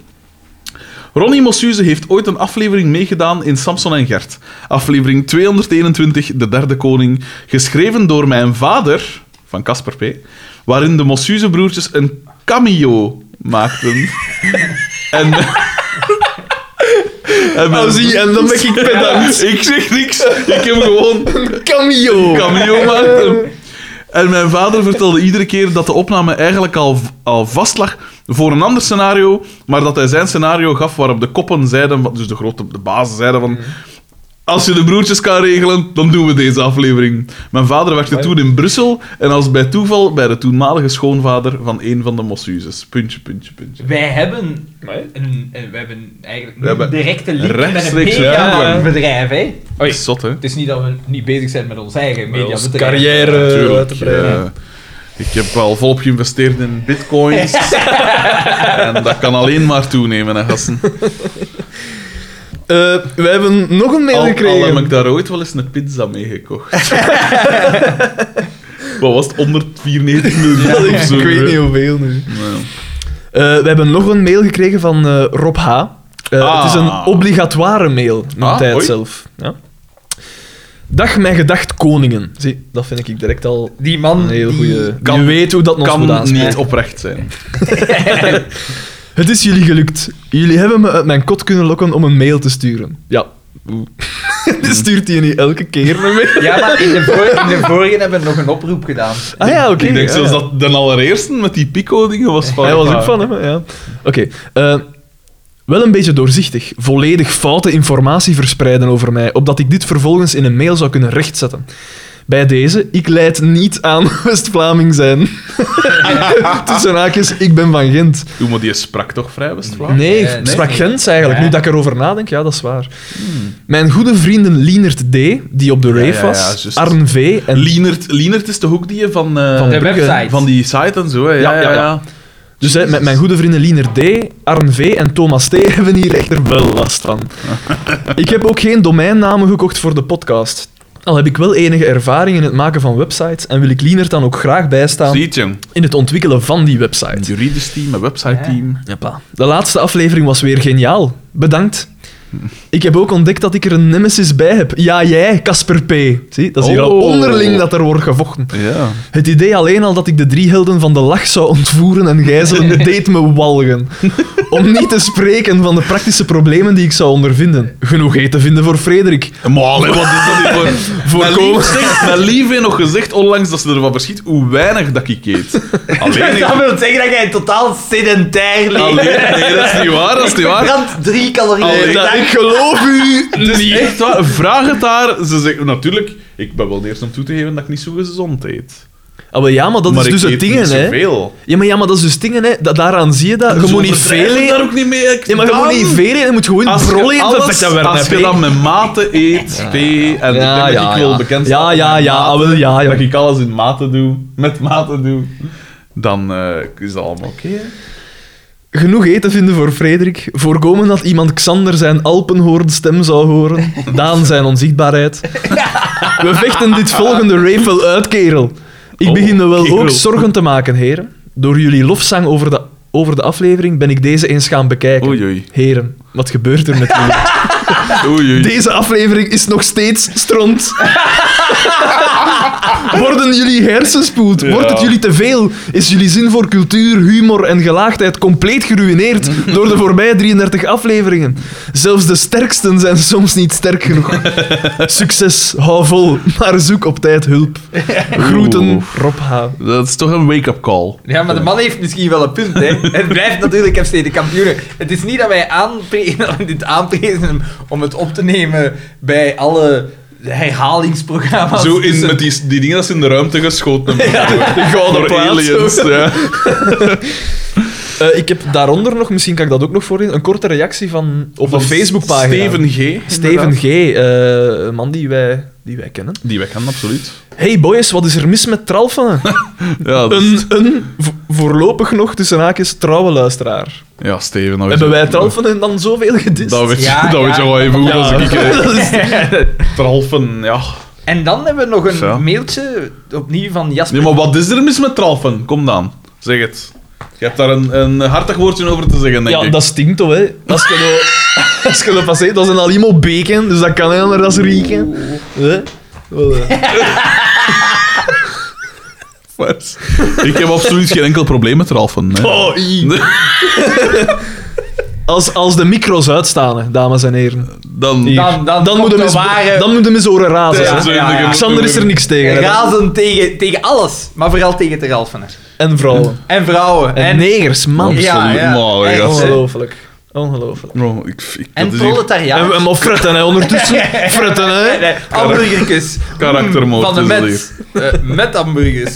A: Ronnie Mossuze heeft ooit een aflevering meegedaan in Samson en Gert. Aflevering 221, De Derde Koning. Geschreven door mijn vader, van Casper P. Waarin de Mossuze broertjes een cameo maakten. en... en mijn-
C: Nou, zie, en dan ben ik pedant.
A: Ik zeg niks. Ik heb gewoon
C: Cameo!
A: cameo maakte. En mijn vader vertelde iedere keer dat de opname eigenlijk al, al vast lag voor een ander scenario, maar dat hij zijn scenario gaf waarop de koppen zeiden, van- dus de grote de bazen zeiden van... Als je de broertjes kan regelen, dan doen we deze aflevering. Mijn vader werkte toen in Brussel en als bij toeval bij de toenmalige schoonvader van een van de Mossuzes. Puntje, puntje, puntje.
B: Wij hebben, een, eh, we hebben eigenlijk
A: We hebben
B: een directe link met een
A: rechtstreeks raakvlak.
B: mediabedrijf. Hè?
A: Zot, hè?
B: Het is niet dat we niet bezig zijn met ons eigen
C: Ons
B: mediabedrijf.
C: carrière uit
A: Tuurlijk.
C: te breiden.
A: eh, ik heb al volop geïnvesteerd in bitcoins. en dat kan alleen maar toenemen, hè, gasten.
C: Eh, wij hebben nog een mail
A: Al, al
C: gekregen.
A: heb ik daar ooit wel eens een pizza mee gekocht. Wat was het? 194 miljoen of zo?
C: ik weet
A: hè?
C: niet hoeveel nu.
A: Nou,
C: Eh, we hebben nog een mail gekregen van eh, Rob H. Eh,
A: Ah.
C: Het is een obligatoire mail, noemt
A: Ah,
C: hij het
A: oei.
C: zelf. Ja. Dag, mijn gedacht koningen. Zie, dat vind ik direct al
B: Die man
C: een heel
B: die-
C: goede.
A: Kan-
C: Je weet hoe dat ons moet
A: Kan
C: aanspreken.
A: niet oprecht zijn.
C: Het is jullie gelukt. Jullie hebben me uit mijn kot kunnen lokken om een mail te sturen. Ja. Oeh. Dit stuurt hij niet elke keer een mail.
B: Ja, maar in de, vor- in de vorige hebben we nog een oproep gedaan.
C: Ah ja, oké.
A: ik denk
C: ja,
A: zelfs
C: ja.
A: dat de allereerste met die pico-dingen was van...
C: Hij was ook van hem, hè, ja. Oké. eh, wel een beetje doorzichtig. Volledig foute informatie verspreiden over mij, opdat ik dit vervolgens in een mail zou kunnen rechtzetten. Bij deze, ik leid niet aan West-Vlaming zijn. Tussen haakjes, ik ben van Gent.
A: Doe maar, die sprak toch vrij west
C: Nee, ik
B: Eh, nee.
C: sprak Gens eigenlijk.
B: Ja.
C: Nu dat ik erover nadenk, ja, dat is waar. Mijn goede vrienden Lienert D, die op de rave
A: Hmm. ja, ja,
C: was,
A: juist.
C: Arn V en
A: Lienert, Lienert is toch ook die van... eh,
C: Van
B: De
C: Brugge,
B: website.
A: van die site en zo, hè?
C: Ja, ja, ja. Dus hè, met mijn goede vrienden Liener D, Arn V en Thomas T hebben hier echter wel last van. ik heb ook geen domeinnamen gekocht voor de podcast. Al heb ik wel enige ervaring in het maken van websites en wil ik Lienert dan ook graag bijstaan
A: Ziet je?
C: in het ontwikkelen van die
A: Een
C: website.
A: juridisch team, een website team.
C: Jeppa. De laatste aflevering was weer geniaal. Bedankt. Ik heb ook ontdekt dat ik er een nemesis bij heb. Ja, jij, Casper P. Zie, dat is hier al
A: Oh.
C: onderling dat er wordt gevochten.
A: Ja.
C: Het idee alleen al dat ik de drie helden van de lach zou ontvoeren en gijzelen deed me walgen. Om niet te spreken van de praktische problemen die ik zou ondervinden. Genoeg eten vinden voor Frederik.
A: Maar allee, wat is dat hier voor... Mijn
C: Voorkomen.
A: lief, zegt, mijn lief heeft nog gezegd, onlangs dat ze ervan verschiet, hoe weinig dat ik eet. Alleen,
B: Dat wil zeggen dat jij totaal sedentair
A: alleen,
B: leeft.
A: nee, dat is niet waar, dat is niet waar. Oh,
B: Brand drie calorieën per
A: Allee,
B: dag.
C: Ik geloof u!
A: Dus echt waar, vraag het haar. Ze zegt, natuurlijk, ik ben wel de eerste om toe te geven dat ik niet zo gezond eet.
C: Ah, maar ja, maar dat
A: maar
C: is dus
A: ik
C: het
A: eet
C: ding,
A: niet
C: hè.
A: zoveel.
C: Ja maar, ja, maar dat is dus het ding, hè. Da- daaraan zie je dat. Je
A: Ze
C: moet niet
A: overdrijven
C: veel
A: daar
C: eten.
A: ook niet mee. Ik-
C: Nee, maar je moet
A: dan-
C: niet veel eten. Je moet gewoon
A: Als
C: brol
A: je,
C: eten.
A: alles, als je dat met mate eet, P, en ik denk dat ik wil bekend
C: Ja,
A: staan
C: ja,
A: met
C: ja.
A: mate,
C: ah, wel, ja, ja.
A: dat ik alles in mate doe, met mate doe, dan eh, is dat allemaal oké. hè.
C: Genoeg eten vinden voor Frederik. Voorkomen dat iemand Xander zijn Alpenhoornstem zou horen. Daan zijn onzichtbaarheid. We vechten dit volgende rave wel uit, kerel. Ik
A: Oh,
C: begin me wel
A: kerel.
C: ook zorgen te maken, heren. Door jullie lofzang over de, over de aflevering ben ik deze eens gaan bekijken.
A: Oei, oei.
C: Heren, wat gebeurt er met jullie?
A: Oei, oei.
C: Deze aflevering is nog steeds stront. Worden jullie hersenspoeld?
A: Ja.
C: Wordt het jullie te veel? Is jullie zin voor cultuur, humor en gelaagdheid compleet geruineerd door de voorbije 33 afleveringen? Zelfs de sterksten zijn soms niet sterk genoeg. Succes, hou vol, maar zoek op tijd hulp. Groeten,
A: Oeh.
C: Rob H.
A: Dat is toch een wake-up call.
B: Ja, maar de man heeft misschien wel een punt, hè. Het blijft natuurlijk FC de kampioenen. Het is niet dat wij aanpre- dit aanprezen om het op te nemen bij alle
C: Ah,
B: herhalingsprogramma's. Dus
A: Zo in,
B: Tussen-
A: met die, die dingen dat ze in de ruimte geschoten hebben. Door
C: plaat,
A: aliens.
C: zo.
A: Ja.
C: Eh, ik heb daaronder nog, misschien kan ik dat ook nog voorlezen, een korte reactie van, op
A: Van
C: de Facebookpagina.
A: Steven G.
C: Steven G., eh, een man die wij, die wij kennen.
A: Die weg kan, absoluut.
C: Hey boys, wat is er mis met Tralfen?
A: Ja, dat
C: een,
A: is-
C: een vo- voorlopig nog tussen haakjes trouwe luisteraar.
A: ja Steven. dat Oh, is-
C: Hebben wij Tralfen dan zoveel gedist?
A: Dat weet je,
B: Ja,
A: dat weet je
B: ja.
A: wel even goed
C: Ja.
A: als ik... eh,
C: Dat is-
A: Tralfen, ja.
B: En dan hebben we nog een
A: Zo.
B: mailtje opnieuw van Jasper.
A: Nee, maar wat is er mis met tralfen? Kom dan, zeg het. Je hebt daar een, een hartig woordje over te zeggen, denk
C: ja,
A: ik.
C: dat stinkt toch, hè? Als je nou, als je nou passeert, dat zijn al iemand beken, dus dat kan niet anders dan rieken. Hè? Wel, eh.
A: Wat? Ik heb absoluut geen enkel probleem met tralfen. hè.
C: Oh, ie.
A: Nee,
C: Als, als de micro's uitstaan, hè, dames en heren.
A: Dan...
C: Hier.
B: Dan- dan komt
C: moet hem
B: de
C: eens,
B: ware-
C: dan moet hem eens horen razen.
A: Ja,
C: hè.
A: zo in
B: ja,
A: de
B: ja.
A: gemoed-
C: Sander is er niks tegen. hè.
B: Razen tegen, tegen alles, maar vooral tegen de Ralfener.
C: En vrouwen.
B: En vrouwen.
C: En,
B: En,
C: negers, man.
A: Absoluut.
B: Ja, ja.
A: Maar,
B: Echt,
A: gast.
B: hè.
C: Ongelooflijk. Ongelooflijk.
A: Oh, ik, ik,
B: en
A: dat is hier
C: En, en
B: proletariaat.
C: maar fretten, hè, ondertussen. Fretten, hè.
B: Nee, hamburgertjes.
A: karaktermoord.
B: Van de
A: is dat
B: mens. Eh, met hamburgers.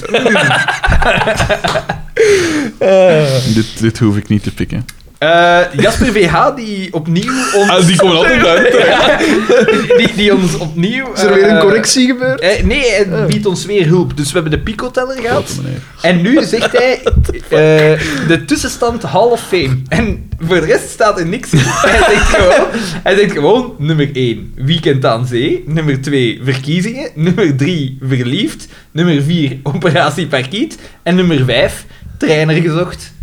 A: hier. Dit, dit hoef ik niet te pikken.
B: Eh, Jasper VH die opnieuw ons...
A: Ah, die komen altijd uit. hè.
B: die, die ons opnieuw...
C: Is er weer een
B: eh,
C: correctie Ah. gebeurd?
B: eh, nee, hij biedt ons weer hulp. Dus we hebben de picoteller
A: Grote
B: gehad.
A: meneer.
B: En nu zegt hij eh, de tussenstand Hall of Fame. En voor de rest staat er niks in. Hij zegt gewoon, hij zegt gewoon nummer 1, Weekend aan Zee. Nummer 2, Verkiezingen. Nummer 3, Verliefd. Nummer 4, Operatie Parkiet. En nummer 5, Trainer Gezocht.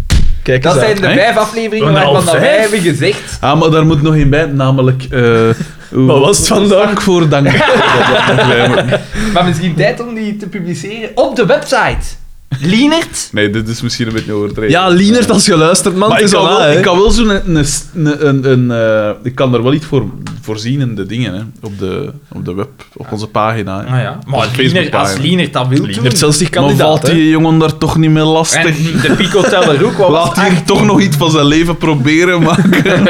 C: Kijk
B: Dat zijn
C: eens
B: de
A: hè?
B: vijf afleveringen
C: Een half
B: waarvan dat wij
C: vijf?
B: hebben gezegd...
A: Ah, maar daar moet nog één bij, namelijk... eh,
C: Wat was het vandaag?
A: Dank voor dank. Dat moet bij moeten.
B: Maar misschien tijd om die te publiceren op de website. Lienert.
A: nee, dit is misschien een beetje overdreven.
C: Ja, Lienert, als je luistert, man,
A: Maar
C: het
A: ik
C: is
A: kan,
C: al
A: wel,
C: aan, hè.
A: ik kan wel zo'n... Een, een, een, een, eh, ik kan er wel iets voor voorzien in de dingen, hè. Op de, op de web, op onze pagina. hè.
B: Ah, Maar
A: Op de
B: Lienert, als
A: Facebookpagina.
B: Lienert dat wil
C: Je
B: doen...
C: hebt zelfs die
A: Maar
C: kandidaat,
A: valt
C: hè.
A: die jongen daar toch niet mee
B: En
A: lastig?
B: de picoteller ook wel.
A: Laat hij toch nog iets van zijn leven proberen maken.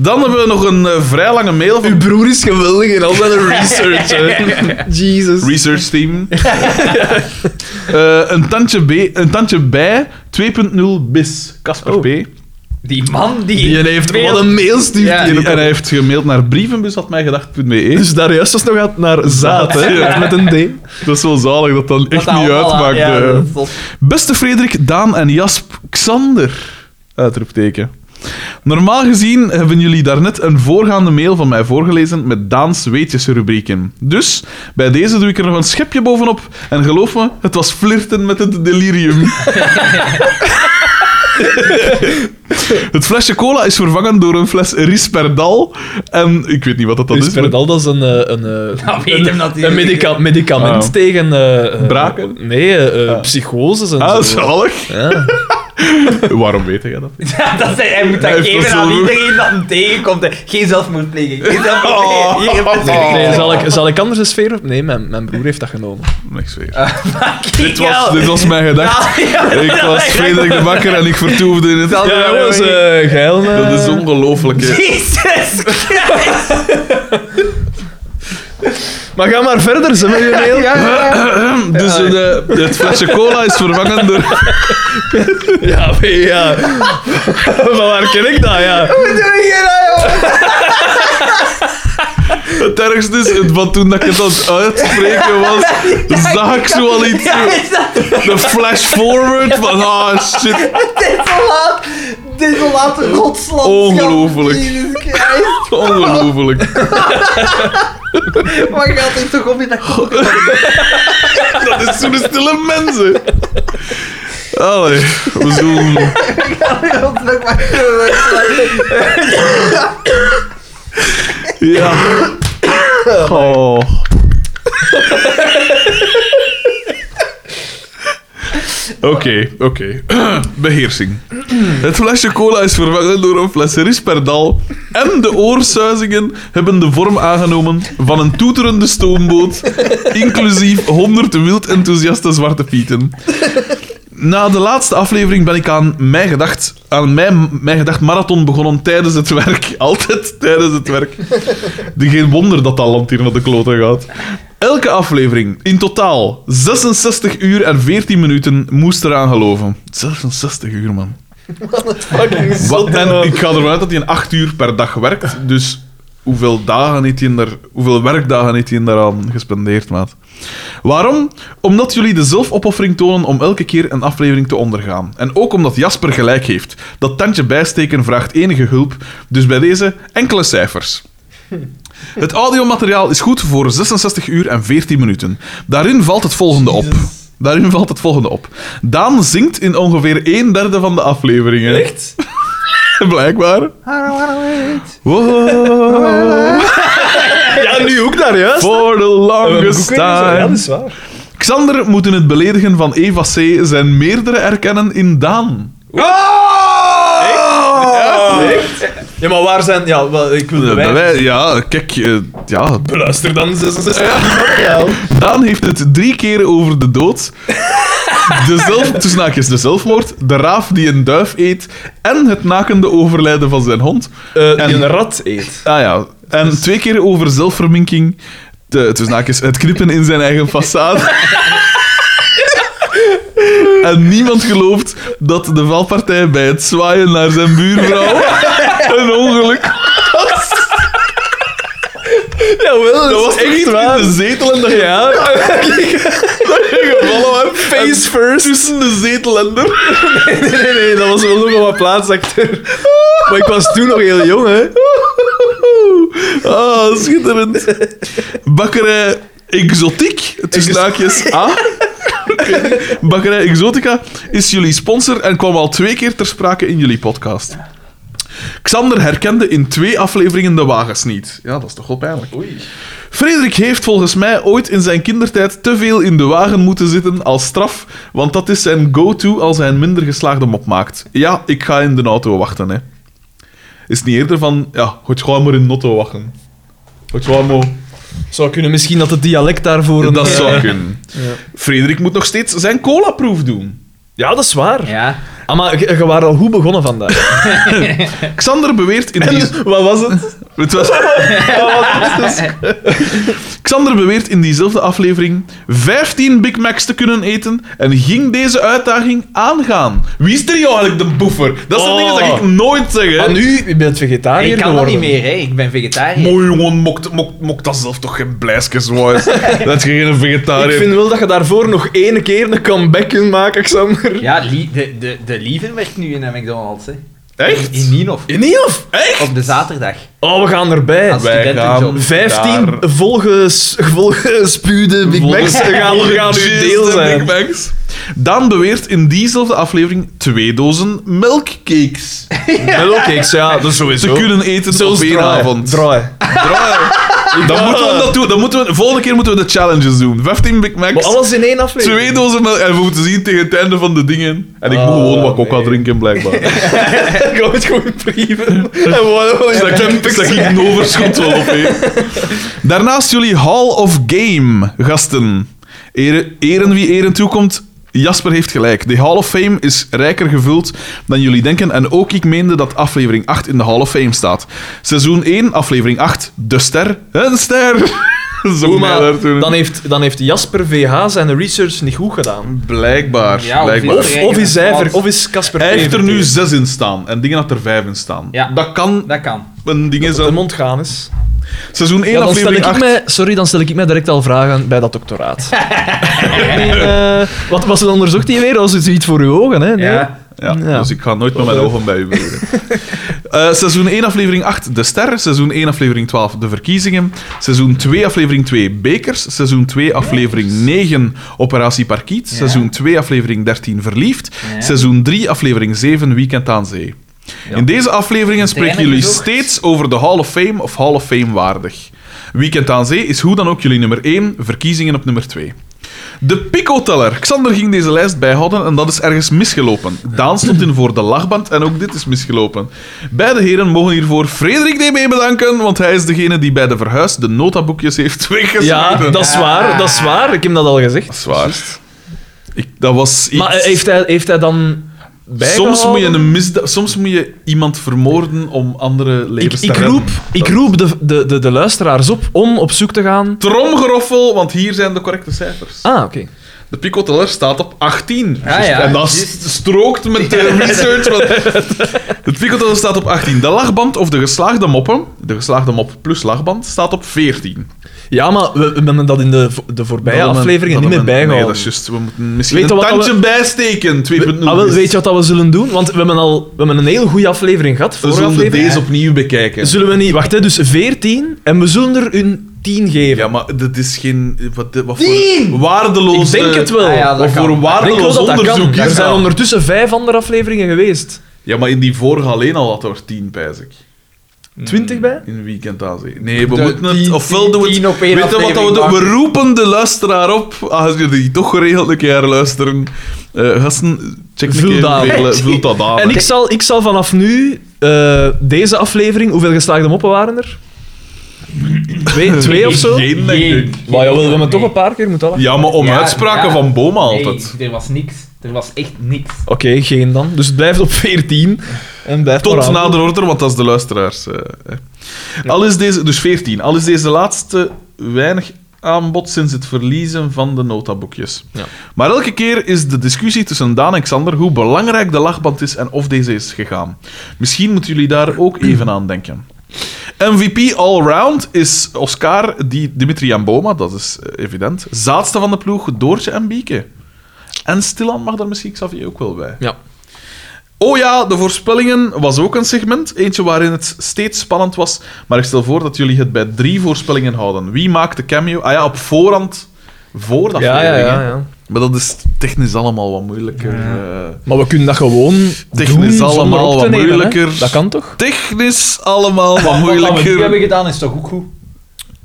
A: Dan hebben we nog een eh, vrij lange mail
C: Uw
A: van
C: broer is geweldig in al zijn research, hè. Jesus.
A: Research Team. Eh, een, tandje B, een tandje bij 2.0 bis, Casper
C: Oh.
A: P.
B: Die man die...
C: Die heeft
B: veel-
C: wat een mail stuurt.
B: Ja.
C: die.
A: En hij heeft gemaild naar brievenbus.mijgedacht.be.
C: Dus daar juist was nog aan naar zaad, hè. Met een D.
A: Dat is wel zalig dat dan echt
B: dat
A: niet
B: allemaal-
A: uitmaakt.
B: ja,
A: eh.
B: dat is zot.
A: Beste Frederik, Daan en Jasp, Xander. Uitroepteken. Normaal gezien hebben jullie daarnet een voorgaande mail van mij voorgelezen met Daans weetjesrubrieken. Dus bij deze doe ik er nog een schepje bovenop en geloof me, het was flirten met het delirium. Het flesje cola is vervangen door een fles Risperdal. En ik weet niet wat dat, dat is. maar-
C: Risperdal, Dus dat is een, eh, een, eh,
B: Dat weet hem
C: een,
B: natuurlijk.
C: een medica- medicament
A: Ah.
C: tegen... eh, eh,
A: Braken?
C: Nee, eh, eh, psychoses en
A: Ah,
C: zo.
A: zalig.
C: Ja.
A: Waarom weet jij dat?
B: Ja, dat zijn, hij moet
A: Hij
B: dat
A: heeft
B: geven
A: dat zo
B: aan
A: goed.
B: iedereen dat hem tegenkomt. hè. Geen zelfmoordpleging. Geen zelfmoordpleging. Hier, heb je
A: Oh.
B: het.
C: Nee, zal, ik, zal ik anders een sfeer op? Nee, mijn, mijn broer heeft dat genomen.
A: Niks weer.
B: Fucking
A: dit, was,
B: hell.
A: dit was mijn gedachte.
B: Ja, ja,
A: Ik
B: dat
A: was
B: echt-
A: Frederik de Bakker en ik vertoefde in het...
B: Dat-
C: Ja, dat was eh, geil, man.
A: Dat is ongelooflijk. hè.
B: Jezus Christus.
C: Maar ga maar verder, ze met je mail. Ja,
A: Dus eh, de- het flesje cola is vervangen door...
C: ja. maar ja. Van waar ken ik dat, ja?
B: Hoe doe je dat, joh?
A: Het ergste is, het, want toen dat ik het aan het uitspreken was, zag ik zo al iets.
B: Ja, is dat
A: De flash forward van, ah shit,
B: desolaat? Desolate rotsland.
A: Ongelooflijk.
B: Jezus Christus.
A: ongelooflijk.
B: Maar gaat dit toch op in dat koken?
A: Dat is zo'n stille mensen. Allee, we zullen... Ja. Oh. Oké, oké. Beheersing. Het flesje cola is vervangen door een fles Risperdal. En de oorsuizingen hebben de vorm aangenomen van een toeterende stoomboot, inclusief 100 wild enthousiaste zwarte pieten. Na de laatste aflevering ben ik aan mijn gedacht, aan mijn, mijn gedacht marathon begonnen tijdens het werk. Altijd tijdens het werk. De- Geen wonder dat dat land hier naar de kloten gaat. Elke aflevering, in totaal 66 uur en 14 minuten, moest eraan geloven. 66 uur, man.
C: Fucking
A: Wa-
C: zot,
A: en
C: man.
A: ik ga ervan uit dat hij een 8 uur per dag werkt. Dus hoeveel dagen heeft hij daar, hoeveel werkdagen heeft hij daaraan gespendeerd, maat? Waarom? Omdat jullie de zelfopoffering tonen om elke keer een aflevering te ondergaan. En ook omdat Jasper gelijk heeft. Dat tandje bijsteken vraagt enige hulp. Dus bij deze enkele cijfers. Het audiomateriaal is goed voor 66 uur en 14 minuten. Daarin valt het volgende op. Daarin valt het volgende op. Daan zingt in ongeveer een derde van de afleveringen.
C: Echt?
A: Blijkbaar.
C: Ja, nu ook daar, juist.
A: For the longest
C: Ja, dus- dat
A: time.
C: is waar.
A: Xander moet in het beledigen van Eva C. zijn meerdere erkennen in Daan.
C: Oh! Ja, echt? Ja, maar waar zijn... Ja, wel, ik wil
A: Eh,
C: bewijzen.
A: bewij- Ja, kijk, eh, ja.
C: Luister dan, 66 ja.
A: Daan heeft het drie keer over de dood. De zelf, tussen haakjes de zelfmoord, de raaf die een duif eet en het nakende overlijden van zijn hond.
C: Eh,
A: En-
C: die een rat eet.
A: Ah ja, en
C: Dus-
A: twee keer over zelfverminking, de, tussen haakjes het knippen in zijn eigen façade. En niemand gelooft dat de valpartij bij het zwaaien naar zijn buurvrouw een ongeluk was.
C: Jawel,
A: Dat was toch
C: echt
A: iets
C: waar.
A: in de zetel en dat je
C: Ja.
A: gevallen was.
C: Face first.
A: Tussen de zetel en de...
C: Nee, nee, nee, dat was wel nog wel wat plaats achter. Maar ik was toen nog heel jong, hè.
A: Ah, schitterend. Bakkerij Exotiek, tussen haakjes A. Bakkerij Exotica is jullie sponsor en kwam al twee keer ter sprake in jullie podcast. Xander herkende in twee afleveringen de wagens niet. Ja, dat is toch wel pijnlijk. Frederik heeft volgens mij ooit in zijn kindertijd te veel in de wagen moeten zitten als straf, want dat is zijn go-to als hij een minder geslaagde mop maakt. Ja, ik ga in de auto wachten, hè. Is het niet eerder van, ja, goed, ga maar in de auto wachten. Goed, ga maar...
C: Zou kunnen misschien dat het dialect daarvoor... een-
A: Dat
C: eh,
A: zou kunnen. Frederik moet nog steeds zijn colaproef doen.
C: Ja, dat is waar.
B: Ja.
C: Ah, maar je, je waren al goed begonnen vandaag.
A: Xander beweert in die...
C: Dus wat was het?
A: Het was... Xander beweert in diezelfde aflevering 15 Big Macs te kunnen eten en ging deze uitdaging aangaan. Wie is er hier eigenlijk de boefer? Dat zijn
C: Oh.
A: dingen dat ik nooit zeg, hè.
C: Maar Ah, nu, je bent vegetariër
B: Ik kan dat niet
C: geworden.
B: meer, hè. Ik ben vegetariër.
A: Mooi jongen, mokt, mokt, mokt dat zelf toch geen blijsjes, was. Dat je geen vegetariër...
C: Ik vind wel dat je daarvoor nog één keer een comeback kunt maken, Xander.
B: Ja, Lie- de, de, de Lieven werkt nu in een McDonald's, hè.
A: Echt?
B: In Ninof.
C: In ieder geval.
B: Op de zaterdag.
C: Oh, we gaan erbij.
B: Als-
A: Wij
B: studentenjob.
A: gaan
C: 15
A: daar-
C: volges, volgespuwde Big Macs gaan, gaan
A: Cheers,
C: uw deel
A: de
C: zijn.
A: Big Macs. Daan beweert in diezelfde aflevering twee dozen melkcakes
C: Mellowcakes, ja, dat is
A: te
C: sowieso.
A: kunnen eten op één avond.
C: Draai.
A: Dan moeten we dat doen. Dan moeten we, volgende keer moeten we de challenges doen. 15 Big Macs,
C: Maar alles in één aflevering.
A: twee dozen melk. En we moeten zien tegen het einde van de dingen. En ik moet
C: Oh,
A: gewoon wat
C: nee.
A: coca drinken, blijkbaar.
C: Ik wou het gewoon brieven. En wat
A: Dus dat ik, dat ik een overschot wel op heb. Daarnaast jullie Hall of Game gasten. Eren, eren wie eren toekomt. Jasper heeft gelijk. De Hall of Fame is rijker gevuld dan jullie denken. En ook ik meende dat aflevering 8 in de Hall of Fame staat. Seizoen 1, aflevering 8. De ster. Een ster. Zo maar daartoe.
C: dan, heeft, dan heeft Jasper VH zijn research niet goed gedaan.
A: Blijkbaar.
B: Ja,
A: blijkbaar.
B: of-
C: Of is hij ver, of is Casper
A: Hij heeft er
C: Pever
A: nu
C: tegen.
A: 6 in staan. En dingen had er 5 in staan.
B: Ja.
A: Dat kan
B: Dat kan.
A: een ding
C: de
A: zijn.
C: mond gaan is.
A: Seizoen 1,
C: Ja, dan stel
A: aflevering
C: ik
A: 8.
C: mij, sorry, dan stel ik mij direct al vragen bij dat doctoraat. Nee, eh, wat was het onderzocht hier weer? Was het iets voor uw ogen? Hè? Nee.
B: Ja.
A: Ja,
C: Ja.
A: dus ik ga nooit met mijn ogen bij u beweren. Eh, seizoen 1, aflevering 8, De Ster. Seizoen 1, aflevering 12, De Verkiezingen. Seizoen 2, aflevering 2, Bekers. Seizoen 2, aflevering 9, Operatie Parkiet. Seizoen 2, aflevering 13, Verliefd.
B: Ja.
A: Seizoen 3, aflevering 7, Weekend aan Zee. In deze afleveringen spreken
B: Deinige
A: jullie
B: zocht.
A: steeds over de Hall of Fame of Hall of Fame waardig. Weekend aan Zee is hoe dan ook jullie nummer 1, verkiezingen op nummer 2. De picoteller. Xander ging deze lijst bijhouden en dat is ergens misgelopen. Daan stond in voor de lachband en ook dit is misgelopen. Beide heren mogen hiervoor Frederik DB bedanken, want hij is degene die bij de verhuis de notaboekjes heeft weggesmeten.
C: Ja, dat is waar, dat is waar. Ik heb dat al gezegd.
A: Dat is waar. Ik, dat was iets...
C: Maar eh, heeft hij, heeft hij dan
A: soms, moet je
C: bijgehouden?
A: een misda- soms moet je iemand vermoorden om andere
C: Ik,
A: levens te
C: ik
A: redden.
C: roep, ik roep de, de, de, de luisteraars op om op zoek te gaan...
A: Tromgeroffel, want hier zijn de correcte cijfers.
C: Ah, oké.
A: De picoteller staat op 18.
B: Ah, ja,
A: en dat
B: juist.
A: strookt met de research. want de picoteller staat op 18. De lachband of de geslaagde moppen, de geslaagde mop plus lachband, staat op 14.
C: Ja, maar we, we hebben dat in de, vo- de voorbije
A: Dat
C: afleveringen
A: hebben-
C: niet meer
A: dat hebben-
C: bijgehouden.
A: Nee, dat is juist. We moeten misschien
C: Weet je
A: een
C: wat dat
A: tandje bijsteken. 2.0.
C: Ah, wel, weet je wat dat we zullen doen? Want we hebben, al, we hebben een heel goede aflevering gehad.
A: we
C: Vorige
A: zullen
C: aflevering.
A: deze opnieuw bekijken.
C: Zullen we niet... Wacht, hè, dus 14. En we zullen er een 10 geven.
A: Ja, maar dat is geen... Wat, wat voor
B: Tien!
A: waardeloos...
C: Ik denk het wel.
B: Ah, ja, dat
A: Of voor een
B: kan.
C: Ik denk wel
A: waardeloos
C: dat dat
A: onderzoek.
C: kan.
A: is
C: Er zijn
A: dat.
C: ondertussen vijf andere afleveringen geweest.
A: Ja, maar in die vorige alleen al had er 10, pijs ik.
C: 20 bij?
A: In weekend aan zee. Nee, we
B: De
A: moeten het.
B: tien-
A: Ofwel doen we het.
B: tien op één
A: Weet je wat dat we
B: aflevering
A: doen? We
B: maken.
A: roepen de luisteraar op. Als jullie toch geregeld een keer luisteren. Eh, gasten, check een
C: Vul
A: keer.
C: dat aan.
A: hoeveel, eh, Vul dat aan.
C: En
A: hè.
C: ik zal, ik zal vanaf nu eh, deze aflevering... Hoeveel geslaagde moppen waren er? Twee, twee of zo?
A: Geen, denk ik.
C: Maar jawel, we hebben toch een paar keer moeten lachen.
A: Ja, maar om
B: Ja,
A: uitspraken
B: ja.
A: van Boma
B: Nee,
A: altijd.
B: er was niks. Er was echt niks.
C: Oké, geen dan. Dus het blijft op 14. En blijft maar
A: Tot
C: aan.
A: nader order, want dat is de luisteraars. eh, eh. Al is deze, dus 14. Al is deze laatste weinig aanbod sinds het verliezen van de notaboekjes.
C: Ja.
A: Maar elke keer is de discussie tussen Daan en Xander hoe belangrijk de lachband is en of deze is gegaan. Misschien moeten jullie daar ook even aan denken. MVP allround is Oscar die Dimitri en Boma, dat is eh, evident. Zaadste van de ploeg, Doortje en Bieke. En stilaan mag daar misschien Xavier ook wel bij.
C: Ja.
A: Oh ja, de voorspellingen was ook een segment. Eentje waarin het steeds spannend was. Maar ik stel voor dat jullie het bij drie voorspellingen houden. Wie maakt de cameo? Ah ja, op voorhand. Voor dat
C: Ja, ja,
A: aflevering,
C: ja,
A: hè.
C: ja.
A: Maar dat is technisch allemaal wat moeilijker. eh.
C: Maar we kunnen dat gewoon
A: Technisch
C: doen
A: allemaal
C: zonder op te
A: wat
C: nemen, hè.
A: moeilijker.
C: Dat kan toch?
A: Technisch allemaal wat
B: Wat we nu hebben
A: moeilijker.
B: gedaan is toch ook goed?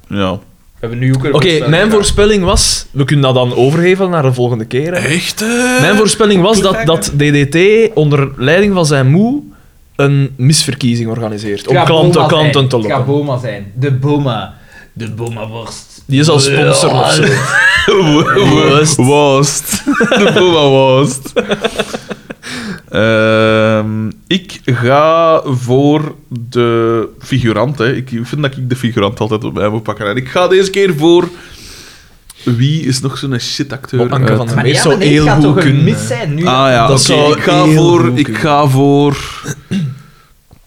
A: Ja.
B: We hebben nu ook een
C: Oké,
B: voorspelling
C: mijn
B: gedaan.
C: voorspelling was... We kunnen dat dan overgeven naar de volgende keer. hè.
A: Echt, hè?
C: Mijn voorspelling was dat, dat DDT onder leiding van zijn moe een misverkiezing organiseert. Om
B: Het gaat
C: klanten,
B: Boma zijn.
C: klanten te
B: Het gaat
C: lokken.
B: Boma zijn. De Boma. De Boma-worst.
C: Die is al sponsor of zo.
A: Worst.
C: Worst.
A: Worst. De Boba worst. Ehm, ik ga voor de figurant. Hè. Ik vind dat ik de figurant altijd op mij moet pakken. En ik ga deze keer voor... Wie is nog zo'n shitacteur?
C: Oh, Anke
A: uit-
C: van den
B: Maar
C: Meers
B: ja,
C: zou
B: maar nee, het
C: heel
B: gaat
C: goed
B: toch
C: kunnen.
B: een mis zijn nu?
A: Ah ja,
C: Dat
A: oké.
C: zou
A: Ik ga
C: heel
A: voor...
C: goed
A: Ik
C: kunnen.
A: ga voor...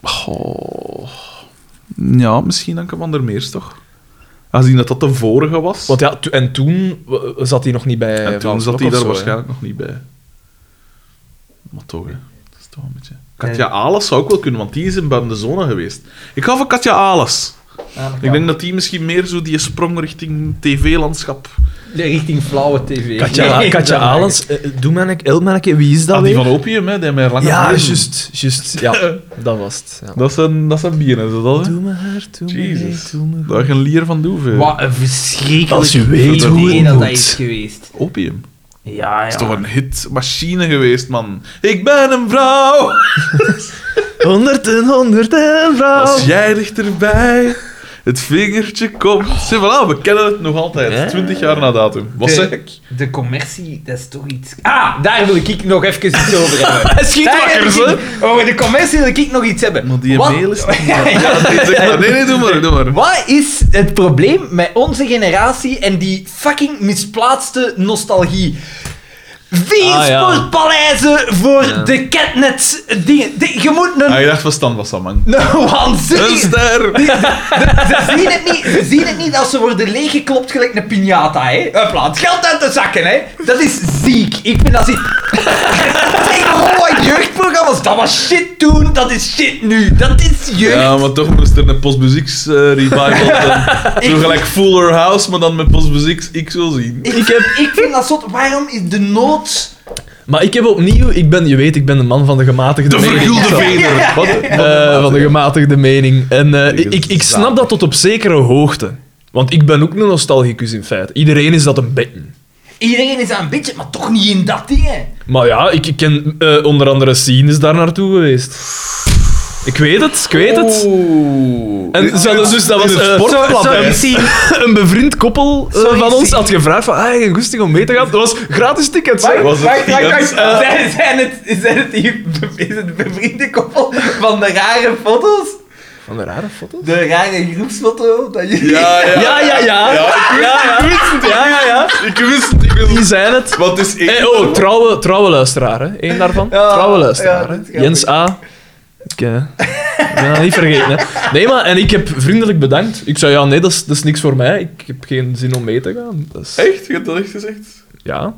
A: Goh. Ja, misschien Anke van der Meers, toch? Aangezien dat dat de vorige was.
C: Want ja, to- en toen w- zat hij nog niet bij
A: En toen
C: Frans
A: zat
C: Blok
A: hij
C: of
A: daar
C: zo, hè.
A: waarschijnlijk nog niet bij. Maar toch, hè. Dat is toch een beetje... Katja Alas zou ook wel kunnen, want die is in Bande Zone geweest. Ik ga voor Katja Alas.
B: Ah, dat
A: Ik
B: kan.
A: denk dat die misschien meer zo die sprong richting tv-landschap
B: richting flauwe tv.
C: Katja,
B: Nee,
C: Katja
B: dat mag
C: Alens, eh, doe mij een- help mij een keer, wie is dat
A: Ah,
C: weer?
A: die van Ah. opium, hè, die mij lang
C: ja, juist, juist. Ja, dat was het. Ja.
A: Dat zijn, dat zijn bienen, is dat al?
C: Doe me haar, doe me
A: Jezus.
C: doe me
A: Daar gaan lier van doeven.
B: Wat een verschrikkelijk
C: Als je weet
B: idee
C: hoe het
B: dat
C: moet.
B: dat is geweest.
A: Opium.
B: Ja, ja.
A: Dat is toch een hitmachine geweest, man. Ik ben een vrouw.
C: Honderd en honderd en vrouw.
A: Als jij dichterbij het vingertje komt. Zie, voilà, we kennen het nog
C: Oh. Ja.
A: altijd. 20 jaar na datum. Wat
B: De-
A: zeg ik?
B: De commercie, dat is toch iets... Ah, daar wil ik nog even iets over hebben.
C: Hij schiet
B: Daar
C: wakker,
B: wil
C: hè?
B: ik- Over de commercie wil ik nog iets hebben.
A: Maar die
B: Wat-
A: mail is niet- Nee, zeg maar. Nee, nee, doe maar, doe maar.
B: Wat is het probleem met onze generatie en die fucking misplaatste nostalgie? Vier
C: Ah, ja.
B: sportpaleizen voor
C: Ja.
B: de catnet dingen. De- je moet een,
A: Ah, je dacht van Stan was dat, man.
B: een
C: Dus
A: Een
B: waanzinnige...
A: ster!
B: Ze zien, het niet, ze zien het niet als ze worden leeggeklopt gelijk een piñata, hè. Hopla, het geld uit de zakken, hè. Dat is ziek. Ik vind dat ziek. Zeg, oh, jeugdprogramma's, dat was shit toen, dat is shit nu. Dat is jeugd.
A: Ja, maar toch moest er een postmuzieks eh, revival zijn. Zo gelijk Fuller House, maar dan met postmuzieks ik wil zien.
B: Ik, ik vind dat zot. Waarom is de nood...
C: Maar ik heb opnieuw, ik ben, je weet, ik ben de man van de gematigde
A: De
C: mening.
A: vergulde
B: Ja.
A: veder. Wat?
C: Eh, van de gematigde mening. En eh,
A: Tegen
C: ik, ik
A: zaad.
C: snap dat tot op zekere hoogte. Want ik ben ook een nostalgicus in feite. Iedereen is dat een beetje.
B: Iedereen is aan een beetje, maar toch niet in dat ding, hè.
C: Maar ja, ik, ik ken eh, onder andere Sien is daar naartoe geweest. Ik weet het, ik weet het.
A: Oeh.
C: En zelfs dus, dat was
A: Oh. In het
C: eh,
A: sportplan,
C: zo-
A: hè.
C: zo- een bevriend koppel eh,
B: Sorry,
C: van ons
B: Sien.
C: had gevraagd van, ah, geen goesting om mee te gaan. Dat was gratis tickets. hè.
A: Was het
B: Wacht, wacht, wacht.
A: Jens? Eh.
B: Zijn, zijn het, zijn het die, is het bevriende koppel van de rare foto's?
C: Van de rare foto's.
B: De rare groepsfoto dat jullie...
A: Ja, ja.
C: Ja, ja, ja.
A: Ja, ik wist
C: ja. Ja, ja, ja.
A: Ik wist het, ik wist
C: Die
A: het.
C: zijn het.
A: Wat is één?
C: Eh, oh, trouwe, trouwe luisteraar, hè. Eén daarvan.
B: Ja,
C: trouwe
B: ja,
C: luisteraar,
B: dat
C: hè.
B: gaat
C: Jens A. Ik eh, ben dat niet vergeten, hè. Nee, maar, en ik heb vriendelijk bedankt. Ik zei, ja, nee, dat is, dat is niks voor mij. Ik heb geen zin om mee te gaan. Dat is,
A: Echt? Je hebt dat echt gezegd?
C: Ja.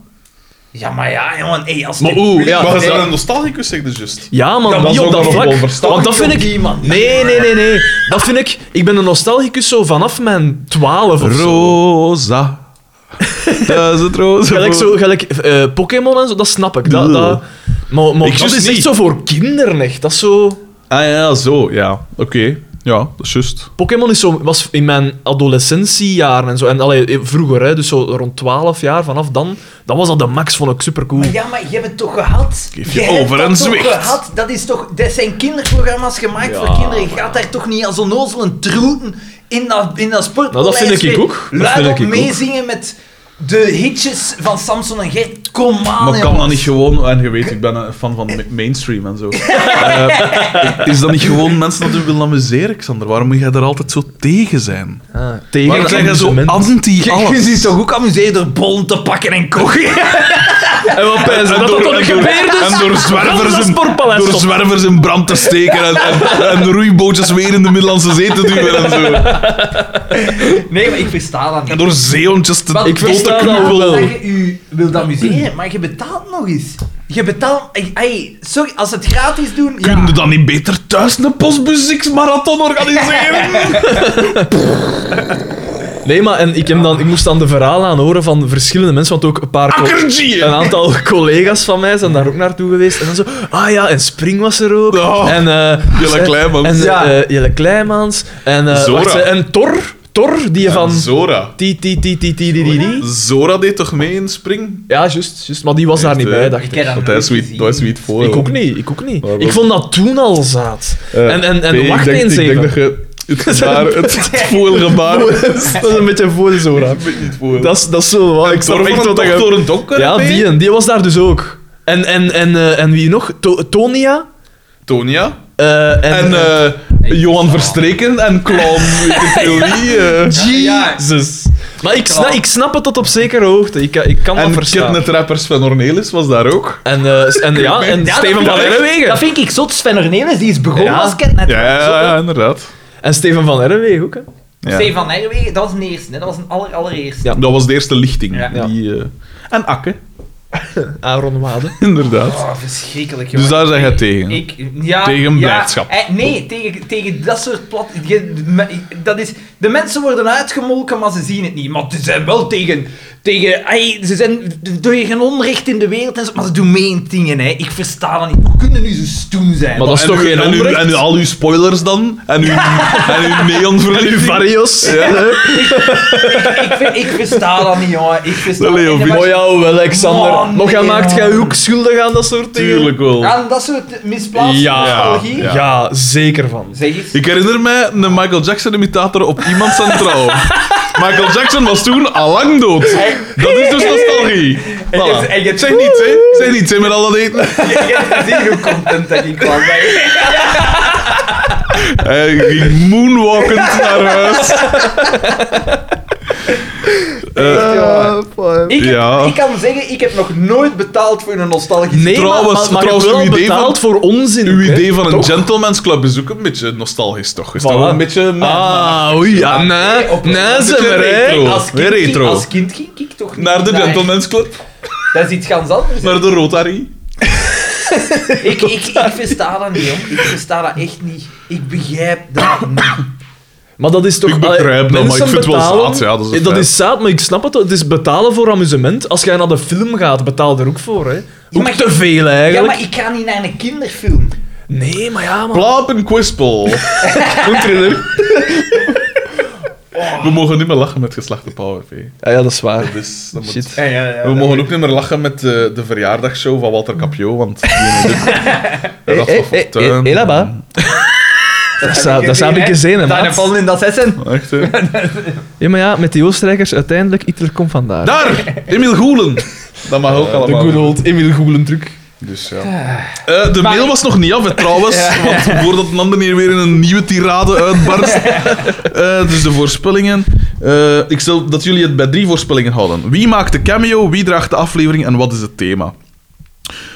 B: Ja, maar ja, jongen, hey, als
C: Maar
B: dit-
C: oeh, ja.
A: maar
C: dat-
A: is dat een nostalgicus, zeg dus juist.
C: Ja, maar
A: Dat
C: niet
A: was
C: op
A: ook
C: dat
A: nog wel
C: vlak.
A: verstandig,
C: Want dat vind ik...
B: joh, die man.
C: Nee, nee, nee, nee. Dat vind ik... Ik ben een nostalgicus zo vanaf mijn twaalf of zo.
A: Rosa. Duizend rozen.
C: Gelijk,
A: voor-
C: zo, gelijk eh, Pokémon en zo, dat snap ik. Dat, dat, maar maar
A: Ik
C: dat
A: dus
C: is echt
A: niet.
C: zo voor kinderen, echt. Dat is zo...
A: Ah ja, zo, ja. Oké. Ja, dat is juist.
C: Pokémon is zo, was in mijn adolescentiejaren en zo. En allee, eh, vroeger, hè, dus zo rond 12 jaar, vanaf dan, dan was dat de max, vond ik supercool.
B: Maar ja, maar je hebt het toch gehad?
A: Geef je
B: hebt
A: over
B: dat
A: een
B: toch
A: zwicht.
B: gehad? Dat, is toch, dat zijn kinderprogramma's gemaakt voor
C: Ja,
B: kinderen. Je gaat daar toch niet als onnozel een troeten in dat, in dat sport.
C: Nou, dat vind ik ook. Dat
B: Luid
C: vind
B: op
C: ik ook.
B: meezingen met de hitjes van Samson en Gert. Kom aan,
A: Maar kan
B: jongens.
A: dat niet gewoon, en je weet, ik ben een fan van ma- mainstream en zo. Eh, is dat niet gewoon mensen dat u willen amuseren, Xander? Waarom moet jij er altijd zo tegen zijn?
C: Ah,
A: Waarom
C: tegen
A: zijn jij zo
C: amusement.
A: anti
B: Kijk, je
A: alles?
B: ziet toch ook amuseren door bollen te pakken en koken?
C: En wat pijzen, dat dat
A: door-
C: dan
A: en
C: gebeurde?
A: door- en door zwervers
C: Dat
A: in-
C: sportpaleis
A: Door
C: toch?
A: zwervers in brand te steken en, en, en roeibootjes weer in de Middellandse Zee te duwen en zo.
B: Nee, maar ik versta dat niet.
A: En door zeehondjes te
B: Wat-
A: dood te
C: versta dat
A: knuppelen.
C: wel.
B: Dat je u wilt amuseren, maar je betaalt nog eens. Je betaalt... Ey, ey, sorry, als ze het gratis doen... ja.
A: Kun je dan niet beter thuis een postmuziekmarathon organiseren?
C: Nee, maar en ik, heb dan, ik moest dan de verhalen aan horen van verschillende mensen, want ook een paar... co-
A: Akkergie!
C: Een aantal collega's van mij zijn daar ook naartoe geweest. En dan zo, ah ja, en Spring was er ook.
A: Oh,
C: en, eh,
A: Jelle
C: en-
A: Kleimans.
C: En, eh,
B: Ja.
C: Jelle Kleimans. En, eh,
A: Zora.
C: wacht, eh, en Tor, Tor, die van...
A: Eh, Zora.
C: Ti, ti, ti, ti, ti, ti, ti, ti.
A: Zora deed toch mee in Spring?
C: Ja, juist, juist. Maar die was daar
A: Echt,
C: niet
A: hè?
C: bij, dacht ik.
B: Ik heb dat
A: Want hij
B: nooit
A: is sweet,
B: gezien.
A: dat is sweet voor.
C: Ik ook niet, ik ook niet.
A: Maar wel-
C: Ik vond dat toen al zaad.
A: Eh,
C: en en, en
A: nee,
C: wacht
A: ik denk,
C: eens
A: Ik denk
C: even.
A: dat je het gebaar, het, het voelgebaar...
C: dat is een beetje voor de Zora.
A: Ik weet niet voor.
C: Dat is, dat is zo... wat- Ik snap echt wat dat je-
A: een donker.
C: Ja, die, en, die was daar dus ook. En, en, en, eh, en wie nog? To- Tonia?
A: Tonia.
C: eh, en,
A: En eh, Johan Verstreken en Clown. Weet ik veel wie. eh.
B: Ja,
C: Jezus. Maar ik, sna- ik snap het tot op zekere hoogte. Ik, eh, ik kan dat
A: En
C: verstaan.
A: Kidnetrappers van Ornelis was daar ook.
C: En, eh, en, ja, en
B: Ja,
C: Steven
B: dat-
C: van
B: dat-
C: Erwegen.
B: Dat vind ik zot. Sven Ornelis, die is begonnen
C: Ja.
B: als catnet.
A: Ja, ja, ja, inderdaad.
C: En Steven van Erwegen ook, hè.
A: Ja.
B: Stefan Herwegen, dat was een eerste. Hè? Dat was een aller, allereerste.
C: Ja.
A: Dat was de eerste lichting.
B: Ja.
A: Die, eh, En Akke.
C: Aaron Wade.
A: Inderdaad.
B: Oh, verschrikkelijk,
A: Dus
B: jongen.
A: daar zijn jij
B: Ik-
A: tegen?
B: Ik, ja,
A: Tegen
B: ja,
A: blijdschap.
B: eh, nee, tegen, tegen dat soort plat... je- me- dat is, de mensen worden uitgemolken, maar ze zien het niet. Maar ze zijn wel tegen... tegen ai, ze zijn tegen onrecht in de wereld, en zo, maar ze doen meen dingen. Hè. Ik versta dat niet. Hoe kunnen nu zo stoem zijn?
C: Maar dat is
A: En
C: toch
A: uw-
C: geen
A: en uw-
C: onrecht?
A: En uw- al uw spoilers dan? En uw, en uw
C: En uw
A: neonverlichting?
C: Varios.
B: ik, ver- ik versta dat niet, jongen. Ik versta
A: Dat Leo
B: en-
A: Vick.
B: maar-
C: Oh ja, wel, Alexander.
B: Man,
C: maar jij
B: nee,
C: maakt
B: man.
C: jij ook schuldig aan dat soort dingen?
A: Tuurlijk wel.
B: Aan dat soort misplaatste
C: Ja.
B: nostalgie?
C: Ja. zeker van.
B: Zeg eens.
A: Ik herinner mij een Michael Jackson-imitator op iemand zijn trouw. Michael Jackson was toen allang dood. Dat is dus nostalgie.
B: En je-
A: Voilà.
B: en je-
A: Zeg niets, hè. Zeg niets, hè, met al dat eten.
B: Ik heb gezien hoe content dat ik kwam. hè.
A: Hij ging moonwalkend naar huis. Eh,
B: Echt, jongen. Ik, heb-
A: Ja.
B: ik kan zeggen, ik heb nog nooit betaald voor een nostalgische
C: Nee,
A: Trouwens-
C: maar, maar, maar
A: trouwens,
C: je hebt
A: uw
C: wel
A: idee van-
C: betaald voor onzin.
A: Uw
C: ook, hè?
A: idee van een
C: Toch?
A: gentleman's club is ook een beetje nostalgisch, toch? Is dat
C: Voilà.
A: wel een beetje...
C: Ah, oei, ja, nee.
B: Nee, op-
C: Nee,
A: op-
C: ze maar, hè.
A: retro.
B: Als kind,
A: Weer
B: ging-
A: retro.
B: als kind ging ik toch niet
A: Naar de gentleman's club.
B: Dat is iets ganz anders.
A: Naar de Rotary.
B: Ik, ik, ik versta dat niet, jong. Ik versta dat echt niet. Ik begrijp dat niet.
C: Maar dat is toch...
A: Ik begrijp
C: allee,
A: dat, maar ik
C: mensen
A: vind het wel
C: betalen-
A: zaad, ja, dat is een
C: Eh, dat
A: feit.
C: is zaad, maar ik snap het. Het is betalen voor amusement. Als jij naar de film gaat, betaal er ook voor, hè. Ook
B: maar-
C: te veel,
B: Ja,
C: eigenlijk.
B: maar ik ga niet naar een kinderfilm.
C: Nee, maar ja, man.
A: Plaap en Quispel.
C: Goed, thriller.
A: We mogen niet meer lachen met geslachte PowerP.
C: Ah, Ja, ja, dat is waar.
A: Dat is, Dus dat moet-
C: Shit.
A: We mogen ook niet meer lachen met eh, de, de verjaardagsshow van Walter Capio, want... die en dit- Ja, dat is
C: Eh, Hé,
A: wel
C: hé, hé,
A: fortuin.
C: hé, eh, Elaba. Dat zou- dat zou ik eens zien, hè,
B: Daar
C: maat.
B: vallen in dat zessen.
A: Echt, hè?
C: Ja, maar ja, met die Oostenrijkers uiteindelijk, Hitler komt vandaar.
A: Daar! Emiel Goelen! Eh, Dat mag ook allemaal.
C: old Emil Goelen truc.
A: Dus ja. Eh, de
B: Maar-
A: mail was nog niet af, hè, trouwens.
B: Ja.
A: Want voordat een ander hier weer in een nieuwe tirade uitbarst. Eh, dus de voorspellingen. Eh, ik stel dat jullie het bij drie voorspellingen houden. Wie maakt de cameo, wie draagt de aflevering en wat is het thema?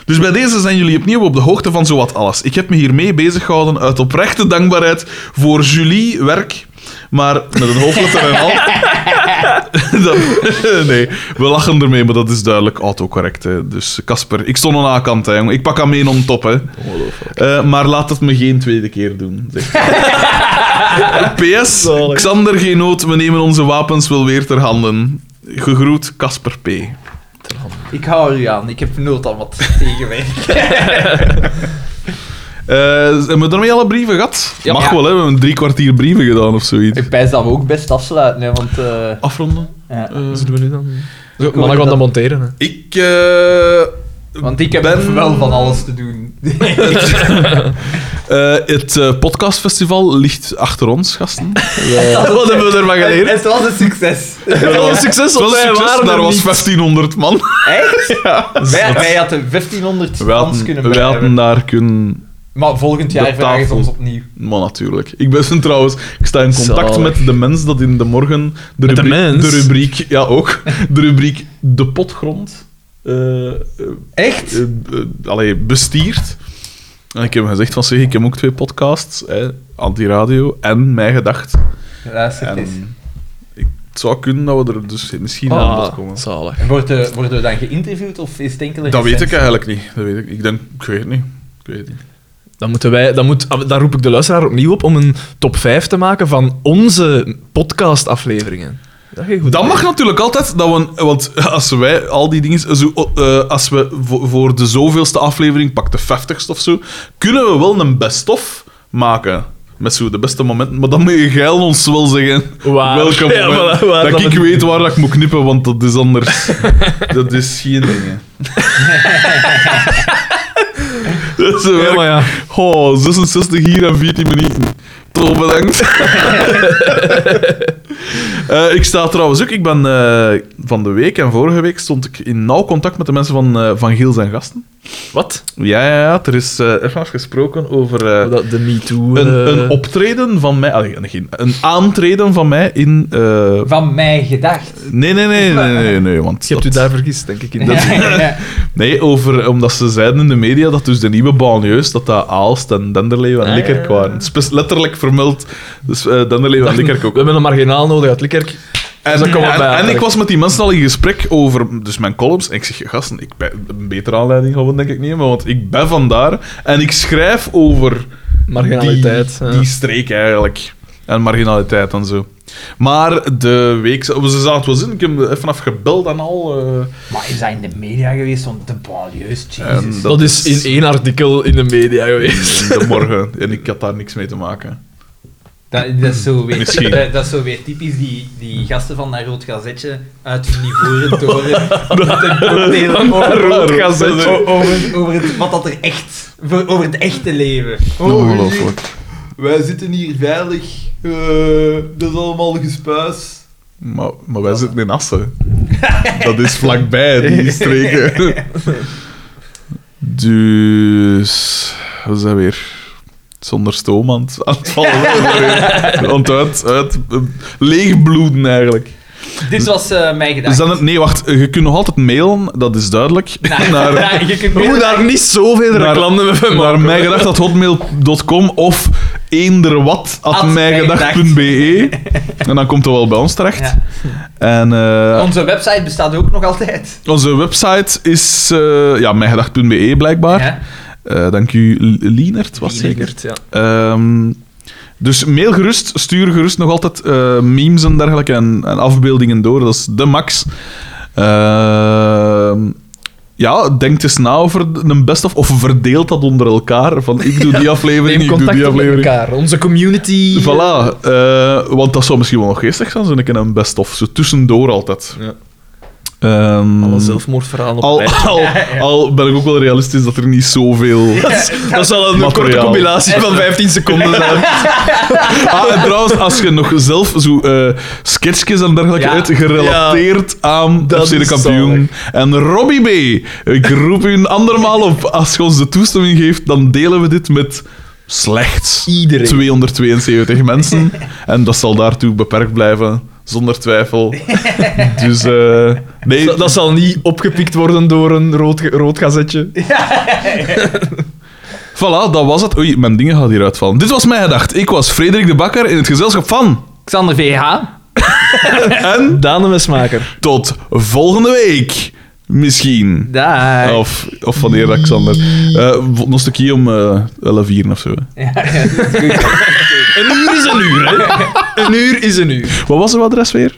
A: Dus bij deze zijn jullie opnieuw op de hoogte van zowat alles. Ik heb me hiermee bezig gehouden uit oprechte dankbaarheid voor Julie werk. Maar met een hoofdletter en al. Dat- nee, we lachen ermee, maar dat is duidelijk autocorrect. Hè. Dus Casper, ik stond aan de A-kant, hè, jongen. Ik pak hem één om top, hè. Eh, maar laat het me geen tweede keer doen. zegt hij. PS,
C: Zalig.
A: Xander, geen nood, we nemen onze wapens wel weer ter handen. Gegroet, Casper P. Eh,
B: Ik hou er aan. Ik heb nooit aan wat tegenwerken.
A: Eh, hebben we daarmee alle brieven gehad?
B: Ja.
A: Mag
B: Ja.
A: wel, hè? we hebben drie kwartier brieven gedaan of zoiets.
B: Ik pijs dat we ook best afsluiten, hè, want... eh,
A: Afronden?
B: ja.
A: Eh,
C: Dat doen we nu dan.
B: Goed,
C: Maar dan gaan
B: dat-
C: we dat monteren. Hè.
A: ik... eh,
B: Want ik heb
A: Ben-
B: wel van alles te doen.
A: Eh, het eh, podcastfestival ligt achter ons, gasten.
C: Wat hebben we ervan geleerd?
B: Het was een succes.
C: Dat was een succes,
A: Het was
C: want
A: een
C: wij
A: succes,
C: waren
A: daar
C: er
A: was
C: niet.
A: 1500 man.
B: Echt? Wij, wij hadden 1500
A: We
B: fans
A: hadden,
B: kunnen
A: we
B: blijven.
A: hadden daar kunnen...
B: Maar volgend jaar
A: de
B: vragen ze
A: tafel.
B: ons opnieuw.
A: Maar natuurlijk. Ik ben trouwens... Ik sta in contact
C: Zalig.
A: met de mens dat in de morgen... De,
C: Met de mens?
A: rubriek... Ja, ook. De rubriek De Potgrond eh, eh,
B: Echt?
A: eh, eh, allee, bestiert. En ik heb hem gezegd van, zeg, ik heb ook twee podcasts. Hè, Antiradio en Mij Gedacht.
B: Luister eens.
A: En ik, het zou kunnen dat we er dus misschien aan bod
C: Ah,
A: komen.
C: zalig.
B: En Worden worden we dan geïnterviewd of is het enkele
A: Dat weet ik
B: recensie?
A: eigenlijk niet. Dat weet ik. ik denk, ik weet het niet. Ik weet het niet.
C: Dan moeten wij, dan moet, ah, daar roep ik de luisteraar opnieuw op om een top 5 te maken van onze podcastafleveringen. Dat, ging goed.
A: Dat mag natuurlijk altijd. Dat we, want als wij al die dingen. Zo, eh, als we voor, voor de zoveelste aflevering, pak de 50ste of zo, kunnen we wel een best-of maken. Met zo de beste momenten. Maar dan moet je geil ons wel zeggen.
C: Waar.
A: Welke
C: Ja,
A: moment.
C: voilà, waar
A: dat
C: dat
A: ik
C: we-
A: weet waar dat ik moet knippen, want dat is anders. dat is geen dingen. dat is
C: Ja,
A: wel
C: maar ja.
A: Oh, 66 hier en 14 minuten. Toch bedankt. Eh, ik sta trouwens ook, ik ben eh, van de week en vorige week stond ik in nauw contact met de mensen van, eh, van Giel zijn gasten.
C: Wat?
A: Ja, ja, ja. Er is eh ervan gesproken over eh,
C: Dat, de MeToo...
A: een,
C: eh,
A: een optreden van mij, allee, geen- een aantreden van mij in. eh,
B: Van mij gedacht.
A: nee, nee, nee, nee, nee, nee, want
C: Je hebt u
A: dat-
C: daar vergist, denk ik. In dat...
B: Ja.
A: Nee, over, omdat ze zeiden in de media dat dus de nieuwe banlieues, dat dat Aalst en Denderleeuw en
C: Ah.
A: Likkerk waren. Het is best letterlijk vermeld. Dus eh Denderleeuw en Likkerk
C: We
A: ook.
C: hebben een marginaal nodig uit Likkerk.
A: En,
C: dat kan wel
A: en-
C: bij,
A: en ik
C: eigenlijk.
A: was met die mensen al in gesprek over dus mijn columns. En ik zeg, gasten, ik ben, een betere aanleiding gewoon denk ik niet, maar want ik ben vandaar en ik schrijf over
C: Marginaliteit.
A: die,
C: ja.
A: die streek eigenlijk. En marginaliteit en zo. Maar de week... Ze zaten wel zin. Ik heb even afgebeld en al. eh,
B: Maar is dat in de media geweest? Want de balieus,
A: en
B: jezus.
C: Dat is in één artikel in de media geweest.
A: in de morgen. En ik had daar niks mee te maken.
B: Dat, dat, is zo weer,
A: Misschien.
B: dat, dat is zo weer typisch die, die gasten van dat rood gazetje uit hun ivoren toren. met een cocktail over,
C: rood gazetje.
A: Oh,
B: o- over, over het, wat dat er echt, voor- over het echte leven.
A: Ongelooflijk.
B: Wij zitten hier veilig. eh, dat is allemaal gespuis.
A: Maar, maar wij zitten in Assen. Dat is vlakbij, die streken. Dus... We zijn weer zonder stoom aan het, aan het vallen. Want uit, uit, ehm, leegbloeden eigenlijk.
B: Dit was eh mijn
A: Dus
B: gedachte.
A: dan, nee, wacht. Je kunt nog altijd mailen, dat is duidelijk. naar
B: Ja, Nou, je kunt
C: We
B: meer-
C: moeten daar niet zoveel
A: Naar-
C: reclame mee maken.
A: naar mijgedacht.hotmail.com of eenderwat.mijgedacht.be. E. En dan komt het wel bij ons terecht.
B: Ja.
A: En eh,
B: Onze website bestaat ook nog altijd.
A: onze website is eh ja, mijgedacht.be
C: Ah.
A: blijkbaar.
B: Ja.
A: Eh, dank u, L- Lienert, was zeker.
C: Zeker, ja.
A: Ehm, dus mail gerust, stuur gerust nog altijd eh, memes en dergelijke en, en afbeeldingen door. Dat is de max. Ehm, ja, denk eens na over de- een best-of of verdeel dat onder elkaar. Van ik doe die aflevering,
C: Neem
A: ik doe
C: contact
A: die
C: op met
A: aflevering.
C: elkaar. Onze community.
A: Voilà, eh, want dat zou misschien wel nog geestig zijn, zo'n keer een best-of. Zo tussendoor altijd.
C: Ja.
A: Ehm,
C: Alle zelfmoordverhalen op
A: al,
C: rij.
A: al, al ben ik ook wel realistisch dat er niet zoveel...
C: Dat zal een korte
A: Materiaal.
C: compilatie van 15 seconden zijn.
A: Ah, en trouwens, als je nog zelf zo eh sketchjes en dergelijke
B: Ja.
A: uit, gerelateerd aan
C: Dat
A: FC de
C: is
A: kampioen. En Robbie B, ik roep u een andermaal op. Als je ons de toestemming geeft, dan delen we dit met slechts
C: Iedereen.
A: 272 mensen. En dat zal daartoe beperkt blijven, zonder twijfel. Dus eh, nee,
C: Dat, dat zal niet opgepikt worden door een rood, ge- rood gazetje.
A: voilà, dat was het. Oei, mijn dingen gaan hier uitvallen. Dit was mijn gedacht. Ik was Frederik de Bakker in het gezelschap van.
B: Xander VH.
A: En
C: Daan de Mesmaker.
A: tot volgende week. Misschien.
B: Daar.
A: Of, of wanneer, Alexander. Eh nog een stukje om eh 11 uur of zo. hè.
C: Een uur is een uur, hè. Een uur is een uur.
A: Wat was uw adres weer?